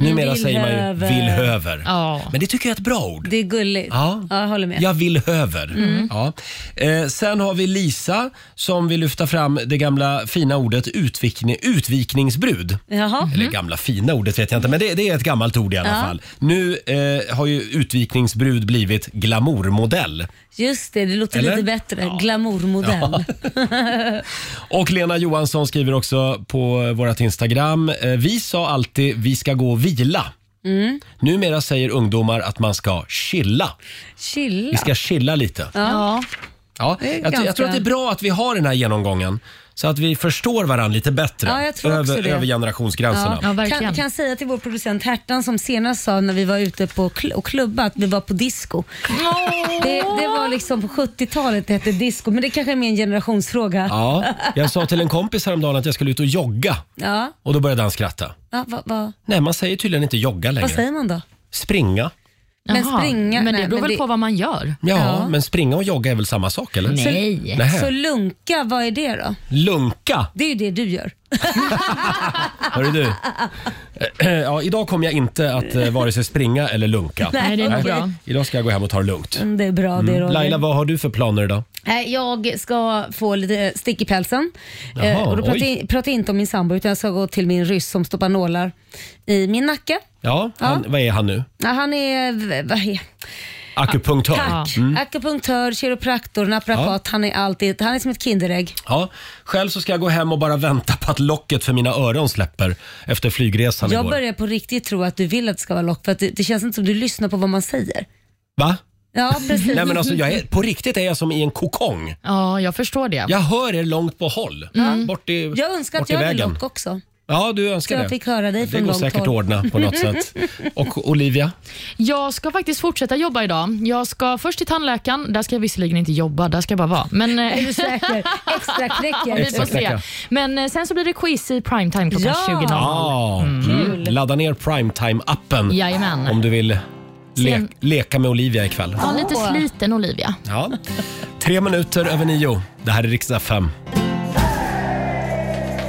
Speaker 1: Numera säger man ju
Speaker 2: Villhöver.
Speaker 1: villhöver.
Speaker 2: Ja.
Speaker 1: Men det tycker jag är ett bra ord.
Speaker 2: Det är gulligt.
Speaker 1: Ja.
Speaker 2: jag håller med.
Speaker 1: Jag vill höver.
Speaker 2: Mm.
Speaker 1: Ja. Eh, sen har vi Lisa som vill lyfta fram det gamla fina ordet utvikning, utvikningsbrud.
Speaker 2: Jaha.
Speaker 1: Eller gamla fina ordet vet jag inte, men det, det är ett gammalt ord i alla
Speaker 2: Mhm. Ja.
Speaker 1: fall. Nu eh, har ju utvikningsbrud blivit glamourmodell.
Speaker 2: Just det, det låter
Speaker 1: Eller?
Speaker 2: lite bättre. Glamourmodell.
Speaker 1: Och Lena Johansson skriver också på vårt Instagram. Eh, vi sa alltid vi ska gå och vila.
Speaker 2: Mm.
Speaker 1: Numera säger ungdomar att man ska chilla.
Speaker 2: Chilla.
Speaker 1: Vi ska chilla lite.
Speaker 2: Ja.
Speaker 1: Ja,
Speaker 2: Det är
Speaker 1: jag, jag
Speaker 2: ganska-
Speaker 1: tror att det är bra att vi har den här genomgången så att vi förstår varandra lite bättre
Speaker 2: Ja, jag tror också
Speaker 1: över,
Speaker 2: det.
Speaker 1: över generationsgränserna.
Speaker 2: kan, kan säga till vår producent Hertan som senast sa när vi var ute på kl- och klubba att vi var på disco. Det, det var liksom på 70-talet det hette disco, men det kanske är mer en generationsfråga.
Speaker 1: Ja, jag sa till en kompis häromdagen att jag skulle ut och jogga
Speaker 2: ja.
Speaker 1: och då började han skratta.
Speaker 2: ja va, va,
Speaker 1: Nej, man säger tydligen inte jogga längre.
Speaker 2: vad säger man då?
Speaker 1: Springa.
Speaker 2: Men springa,
Speaker 3: men det
Speaker 2: nej,
Speaker 3: beror
Speaker 2: men
Speaker 3: väl
Speaker 2: det-
Speaker 3: på vad man gör.
Speaker 1: Ja, men springa och jogga är väl samma sak eller?
Speaker 2: Så,
Speaker 1: Nähä.
Speaker 2: så lunka, vad är det då?
Speaker 1: Lunka,
Speaker 2: Det är ju det du gör.
Speaker 1: hörru du. Ja, idag kommer jag inte att eh, vare sig springa eller lunka.
Speaker 2: Nej, det är nog bra.
Speaker 1: Idag ska jag gå hem och ta det lugnt.
Speaker 2: Mm, Det är bra det
Speaker 1: Mm.
Speaker 2: Roger. Eh,
Speaker 1: Laila, vad har du för planer idag?
Speaker 2: Nej, Jag ska få lite stick i pälsen.
Speaker 1: Jaha,
Speaker 2: Eh, och då pratar
Speaker 1: oj.
Speaker 2: jag, pratar jag inte om min sambo utan jag ska gå till min ryss som stoppar nålar i min nacke.
Speaker 1: Ja, han, vad är han nu?
Speaker 2: Ja, han är, v- vad är
Speaker 1: Akupunktör.
Speaker 2: Tack.
Speaker 1: Mm.
Speaker 2: Akupunktör, kiropraktor, naprapat. Han, är alltid, han är som ett kinderägg.
Speaker 1: Ja, själv så ska jag gå hem och bara vänta på att locket för mina öron släpper efter flygresan
Speaker 2: Jag
Speaker 1: igår.
Speaker 2: börjar på riktigt tro att du vill att det ska vara lock för att det, det känns inte som du lyssnar på vad man säger.
Speaker 1: Va?
Speaker 2: Ja, precis.
Speaker 1: Nej men alltså, jag är, på riktigt är jag som i en kokong.
Speaker 3: Ja, jag förstår det. Mm.
Speaker 1: Jag hör er långt på håll. Bort i,
Speaker 2: Jag önskar
Speaker 1: bort
Speaker 2: att
Speaker 1: i
Speaker 2: jag hade
Speaker 1: vägen.
Speaker 2: lock också.
Speaker 1: Ja, du önskar
Speaker 2: Så
Speaker 1: det.
Speaker 2: jag fick höra dig
Speaker 1: det
Speaker 2: från
Speaker 1: går
Speaker 2: långt
Speaker 1: säkert att
Speaker 2: håll.
Speaker 1: ordna på något sätt. Och Olivia?
Speaker 3: Jag ska faktiskt fortsätta jobba idag. Jag ska först till tandläkaren. Där ska jag visserligen inte jobba, där ska jag bara vara. Men, eh,
Speaker 2: Är du säker? Extra knäcker.
Speaker 3: Vi får se.
Speaker 1: Extraknäckare.
Speaker 3: Men eh, sen så blir det quiz i primetime klockan
Speaker 2: Ja.
Speaker 3: 20.00.
Speaker 1: Ja, mm. Ladda ner Primetime-appen
Speaker 3: Jajamän.
Speaker 1: om du vill le
Speaker 3: Sen-
Speaker 1: leka med Olivia ikväll.
Speaker 3: Ja, lite sliten Olivia.
Speaker 1: Ja. Tre minuter över nio. Det här är riksdag 5.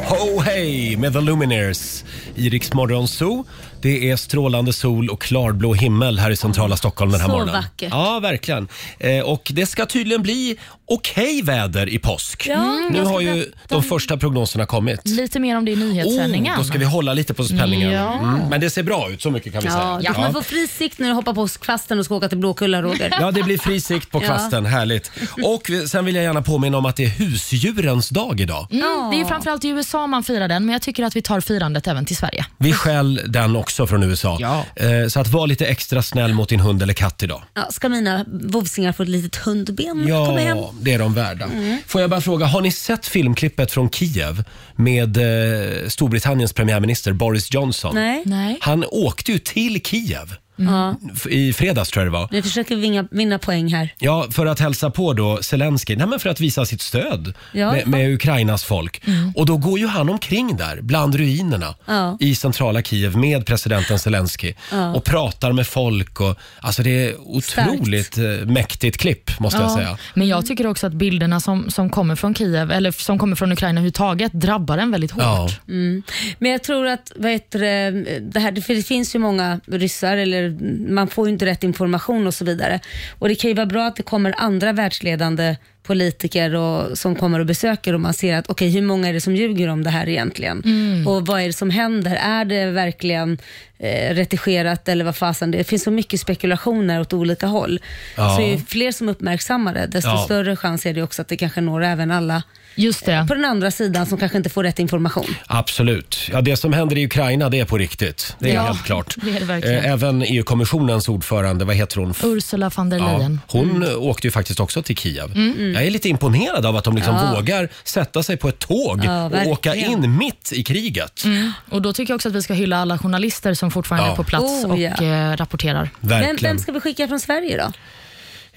Speaker 1: Ho hej med The Lumineers i Rix Morgon Zoo. Det är strålande sol och klarblå himmel här i centrala Stockholm den här
Speaker 2: Så
Speaker 1: morgonen.
Speaker 2: vackert.
Speaker 1: Ja, verkligen. Eh, och det ska tydligen bli okej väder i påsk.
Speaker 3: Ja, Mm.
Speaker 1: nu
Speaker 3: jag ska
Speaker 1: har ju
Speaker 3: berätta
Speaker 1: de
Speaker 3: om-
Speaker 1: första prognoserna kommit.
Speaker 3: Lite mer om det i nyhetssändningen.
Speaker 1: Oh, då ska vi hålla lite på spänningen.
Speaker 2: Ja.
Speaker 1: Mm. Men det ser bra ut, så mycket kan vi
Speaker 2: Ja,
Speaker 1: säga.
Speaker 2: du kommer få fri sikt när du hoppar på kvasten och ska åka till Blåkulla, Roger.
Speaker 1: Ja, det blir fri sikt på
Speaker 2: Ja.
Speaker 1: kvasten. Härligt. Och vi- sen vill jag gärna påminna om att det är husdjurens dag idag.
Speaker 3: Mm, det är ju framförallt i USA man firar den, men jag tycker att vi tar firandet även till Sverige.
Speaker 1: Vi stjäl den också från USA. Eh, Så att var lite extra snäll mot din hund eller katt idag.
Speaker 2: Ja, ska mina vovsingar få ett litet hundben när de Mm, kommer hem?
Speaker 1: Ja, det är de värda.
Speaker 2: Mm.
Speaker 1: Får jag bara fråga, har ni sett filmklippet från Kiev med eh, Storbritanniens premiärminister Boris Johnson?
Speaker 2: Nej.
Speaker 1: Han åkte ju till Kiev
Speaker 2: Mm. Ja.
Speaker 1: f- i fredags tror jag det var.
Speaker 2: Nu försöker vi vinna, vinna poäng här.
Speaker 1: Ja, för att hälsa på då Zelensky. Nej, men för att visa sitt stöd
Speaker 2: Ja.
Speaker 1: med, med Ukrainas folk.
Speaker 2: Mm.
Speaker 1: Och då går ju han omkring där, bland ruinerna
Speaker 2: Ja.
Speaker 1: i centrala Kiev med presidenten Zelensky
Speaker 2: Ja.
Speaker 1: och pratar med folk. Och, alltså det är otroligt eh, mäktigt klipp, måste jag
Speaker 3: Ja,
Speaker 1: säga.
Speaker 3: Men jag tycker också att bilderna som, som kommer från Kiev, eller som kommer från Ukraina överhuvudtaget, drabbar en väldigt hårt.
Speaker 1: Ja.
Speaker 2: Mm. Men jag tror att, vad heter det, det här, för det finns ju många ryssar, eller man får ju inte rätt information och så vidare. Och det kan ju vara bra att det kommer andra världsledande politiker och, som kommer och besöker och man ser att okej, hur många är det som ljuger om det här egentligen?
Speaker 12: Mm.
Speaker 2: Och vad är det som händer? Är det verkligen eh, retigerat eller vad fasen? Det finns så mycket spekulationer åt olika håll.
Speaker 3: Ja.
Speaker 2: Så ju fler som uppmärksammar det, desto
Speaker 3: Ja.
Speaker 2: större chans är det också att det kanske når även alla eh,
Speaker 3: Just det.
Speaker 2: på den andra sidan som kanske inte får rätt information.
Speaker 1: Absolut. Ja, det som händer i Ukraina, det är på riktigt. Det är
Speaker 2: Ja,
Speaker 1: helt klart.
Speaker 3: det är det verkligen.
Speaker 1: Eh, Även EU-kommissionens ordförande, vad heter hon?
Speaker 3: Ursula von der
Speaker 1: Ja,
Speaker 3: Leyen.
Speaker 1: hon
Speaker 2: Mm.
Speaker 1: åkte ju faktiskt också till Kiev.
Speaker 3: Mm, mm.
Speaker 1: Jag är lite imponerad av att de liksom
Speaker 3: Ja.
Speaker 1: vågar sätta sig på ett tåg
Speaker 3: Ja,
Speaker 1: och
Speaker 3: verkligen.
Speaker 1: åka in mitt i kriget.
Speaker 3: Mm. Och Då tycker jag också att vi ska hylla alla journalister som fortfarande
Speaker 1: Ja.
Speaker 3: är på plats
Speaker 2: Oh,
Speaker 3: och
Speaker 2: ja.
Speaker 3: eh, rapporterar.
Speaker 2: Vem,
Speaker 1: Verkligen.
Speaker 2: vem ska vi skicka från Sverige då?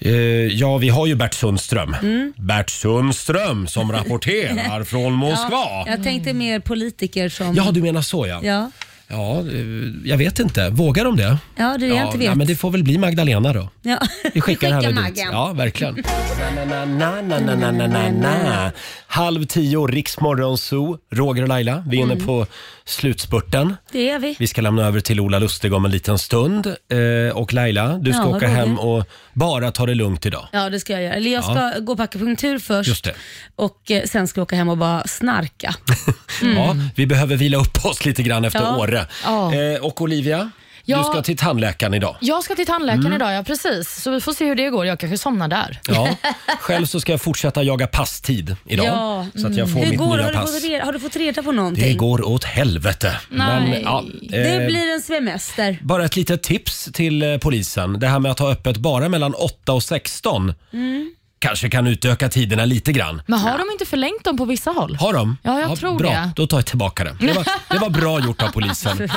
Speaker 1: Eh, ja, vi har ju Bert Sundström.
Speaker 2: Mm.
Speaker 1: Bert Sundström som rapporterar från Moskva.
Speaker 2: Ja, jag tänkte mer politiker som...
Speaker 1: Ja, du menar så ja.
Speaker 2: Ja,
Speaker 1: Ja, eh, jag vet inte. Vågar de det?
Speaker 2: ja det är det jag inte vet.
Speaker 1: nej, men det får väl bli Magdalena då.
Speaker 2: ja.
Speaker 1: Vi skickar henne dit.
Speaker 2: Maggan.
Speaker 1: Ja, verkligen. Na, na, na, na, na, na, na, na. Halv tio, Riksmorgon Zoo. Roger och Laila, vi är inne
Speaker 2: Mm.
Speaker 1: på slutspurten.
Speaker 2: Det är vi.
Speaker 1: Vi ska lämna över till Ola Lustig om en liten stund. Eh, och Laila, du ska
Speaker 2: Ja,
Speaker 1: åka
Speaker 2: Roger.
Speaker 1: hem och bara ta det lugnt idag.
Speaker 2: Ja, det ska jag göra. Eller jag ska
Speaker 1: Ja.
Speaker 2: gå på akupunktur först
Speaker 1: Just det.
Speaker 2: och eh, sen ska jag åka hem och bara snarka.
Speaker 1: Ja,
Speaker 2: Mm.
Speaker 1: vi behöver vila upp oss lite grann efter
Speaker 3: Ja.
Speaker 1: Åre.
Speaker 3: Ja.
Speaker 1: Eh, och Olivia, du
Speaker 3: Ja.
Speaker 1: ska till tandläkaren idag.
Speaker 3: Jag ska till tandläkaren
Speaker 1: Mm.
Speaker 3: idag, ja precis. Så vi får se hur det går. Jag kanske somnar där.
Speaker 1: Ja. Själv så ska jag fortsätta jaga passtid idag.
Speaker 2: Ja,
Speaker 1: Så att jag får
Speaker 2: Hur
Speaker 1: mitt
Speaker 2: går,
Speaker 1: nya
Speaker 2: har, du
Speaker 1: pass.
Speaker 2: fått reda, har du fått reda på någonting?
Speaker 1: Det går åt helvete.
Speaker 2: Nej.
Speaker 1: ja, eh,
Speaker 2: Det blir en semester.
Speaker 1: Bara ett litet tips till eh, polisen. Det här med att ha öppet bara mellan 8 och 16
Speaker 3: Mm.
Speaker 1: kanske kan utöka tiderna lite grann.
Speaker 3: Men har de inte förlängt dem på vissa håll?
Speaker 1: Har de?
Speaker 3: Ja, jag tror
Speaker 1: bra.
Speaker 3: det.
Speaker 1: Då tar jag tillbaka det. Det var, det var bra gjort av polisen.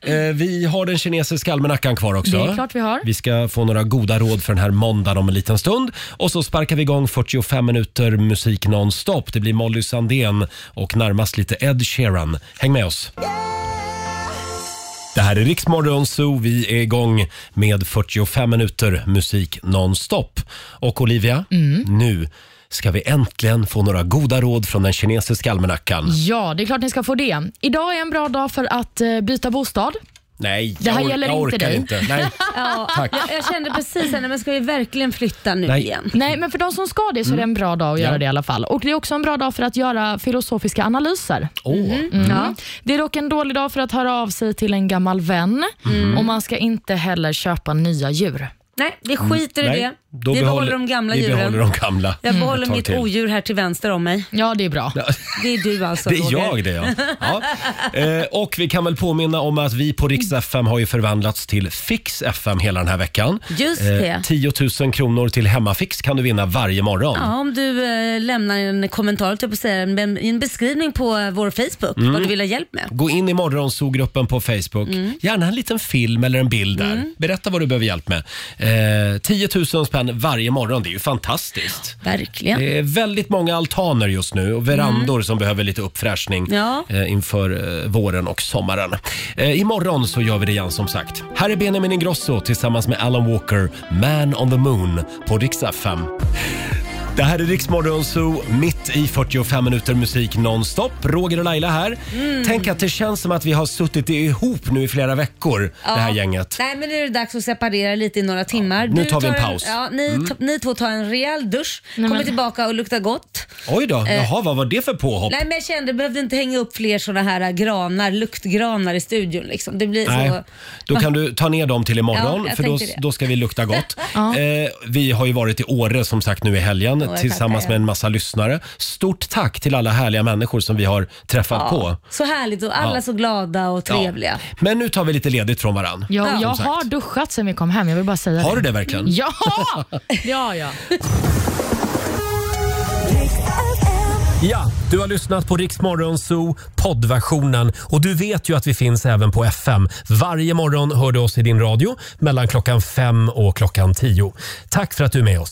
Speaker 1: Eh, vi har den kinesiska almanackan kvar också.
Speaker 3: Det är klart vi har.
Speaker 1: Vi ska få några goda råd för den här måndagen om en liten stund. Och så sparkar vi igång 45 minuter musik nonstop. Det blir Molly Sandén och närmast lite Ed Sheeran. Häng med oss. Det här är Riksmorgon Zoo. Vi är igång med 45 minuter musik nonstop. Och Olivia,
Speaker 2: Mm.
Speaker 1: nu ska vi äntligen få några goda råd från den kinesiska
Speaker 2: Mm.
Speaker 1: almanackan.
Speaker 3: Ja, det är klart ni ska få det. Idag är en bra dag för att eh, byta bostad.
Speaker 1: Nej,
Speaker 3: Det här
Speaker 1: jag, or-
Speaker 3: gäller
Speaker 1: jag
Speaker 3: inte
Speaker 1: orkar
Speaker 3: dig.
Speaker 1: inte. Nej.
Speaker 2: Ja,
Speaker 1: Tack.
Speaker 2: Jag, jag kände precis här, nej, men ska vi verkligen flytta nu
Speaker 1: Nej. Mm.
Speaker 2: igen?
Speaker 3: Nej, men för de som ska det så är det en bra dag att göra
Speaker 2: Ja.
Speaker 3: det i alla fall. Och Det är också en bra dag för att göra filosofiska analyser.
Speaker 2: Mm-hmm.
Speaker 1: Åh.
Speaker 3: Mm. Det är dock en dålig dag för att höra av sig till en gammal vän
Speaker 2: Mm.
Speaker 3: och man ska inte heller köpa nya djur.
Speaker 2: Nej, vi skiter i
Speaker 3: Mm, nej.
Speaker 2: det.
Speaker 3: Då
Speaker 2: vi
Speaker 3: behåller-
Speaker 2: behåller de gamla
Speaker 3: vi
Speaker 2: djuren.
Speaker 3: behåller
Speaker 1: de gamla.
Speaker 2: Jag
Speaker 1: Mm.
Speaker 2: behåller
Speaker 1: Ett tag
Speaker 2: mitt
Speaker 1: till.
Speaker 2: odjur här till vänster om mig.
Speaker 3: Ja, det är bra.
Speaker 2: Det är du alltså
Speaker 1: Det är
Speaker 2: Roger.
Speaker 1: jag det, ja. Ja. Eh, och vi kan väl påminna om att vi på Rix FM har ju förvandlats till Fix FM hela den här veckan.
Speaker 2: Just det.
Speaker 1: 10 000 kronor till Hemmafix kan du vinna varje morgon.
Speaker 2: Ja, om du eh, lämnar en kommentar, typ, och säger, en, en beskrivning på eh, vår Facebook,
Speaker 1: Mm.
Speaker 2: vad du vill ha hjälp med.
Speaker 1: Gå in i morgonsogruppen på Facebook.
Speaker 2: Mm.
Speaker 1: Gärna en liten film eller en bild där.
Speaker 2: Mm.
Speaker 1: Berätta vad du behöver hjälp med. Eh, 10 000 spänn varje morgon, det är ju fantastiskt.
Speaker 2: Verkligen. Mm.
Speaker 1: Det är väldigt många altaner just nu och verandor som behöver lite uppfräschning
Speaker 2: Ja.
Speaker 1: eh, inför eh, våren och sommaren. Eh, imorgon så gör vi det igen som sagt. Här är Benjamin Ingrosso tillsammans med Alan Walker, Man on the Moon på Rix FM. Det här är Rix Morgon Zoo, mitt Morgongänget i 45 minuter musik nonstop. Roger och Laila här.
Speaker 2: Mm.
Speaker 1: Tänk att det känns som att vi har suttit ihop nu i flera veckor, det här
Speaker 2: Ja.
Speaker 1: gänget.
Speaker 2: Nej men nu är det dags att separera lite i några timmar.
Speaker 1: nu
Speaker 2: Du
Speaker 1: tar vi en paus.
Speaker 2: ja, ni,
Speaker 1: Mm.
Speaker 2: t- ni två tar en rejäl dusch, kommer tillbaka och luktar gott.
Speaker 1: Oj då,
Speaker 2: Eh.
Speaker 1: jaha, vad var det för påhopp?
Speaker 2: Nej men jag kände, behövde inte hänga upp fler sådana här äh, granar, luktgranar i studion liksom. Det blir
Speaker 1: Nej,
Speaker 2: så...
Speaker 1: då kan du ta ner dem till imorgon
Speaker 2: Ja, jag
Speaker 1: för då,
Speaker 2: tänkte det.
Speaker 1: då ska vi lukta gott.
Speaker 2: Ja.
Speaker 1: eh, vi har ju varit i Åre som sagt nu i helgen
Speaker 2: jag
Speaker 1: tillsammans
Speaker 2: tackar.
Speaker 1: med en massa lyssnare. Stort tack till alla härliga människor som vi har träffat
Speaker 2: Ja,
Speaker 1: på.
Speaker 2: Så härligt och alla
Speaker 1: Ja.
Speaker 2: så glada och
Speaker 1: Ja.
Speaker 2: trevliga.
Speaker 1: Men nu tar vi lite ledigt från varann.
Speaker 3: Ja,
Speaker 1: Som
Speaker 3: jag
Speaker 1: sagt.
Speaker 3: har duschat sen vi kom hem. Jag vill bara säga
Speaker 1: Har du det verkligen?
Speaker 3: Ja! ja, ja.
Speaker 1: Ja, du har lyssnat på Rix Morgon Zoo poddversionen och du vet ju att vi finns även på FM. Varje morgon hör du oss i din radio mellan klockan fem och klockan tio. Tack för att du är med oss.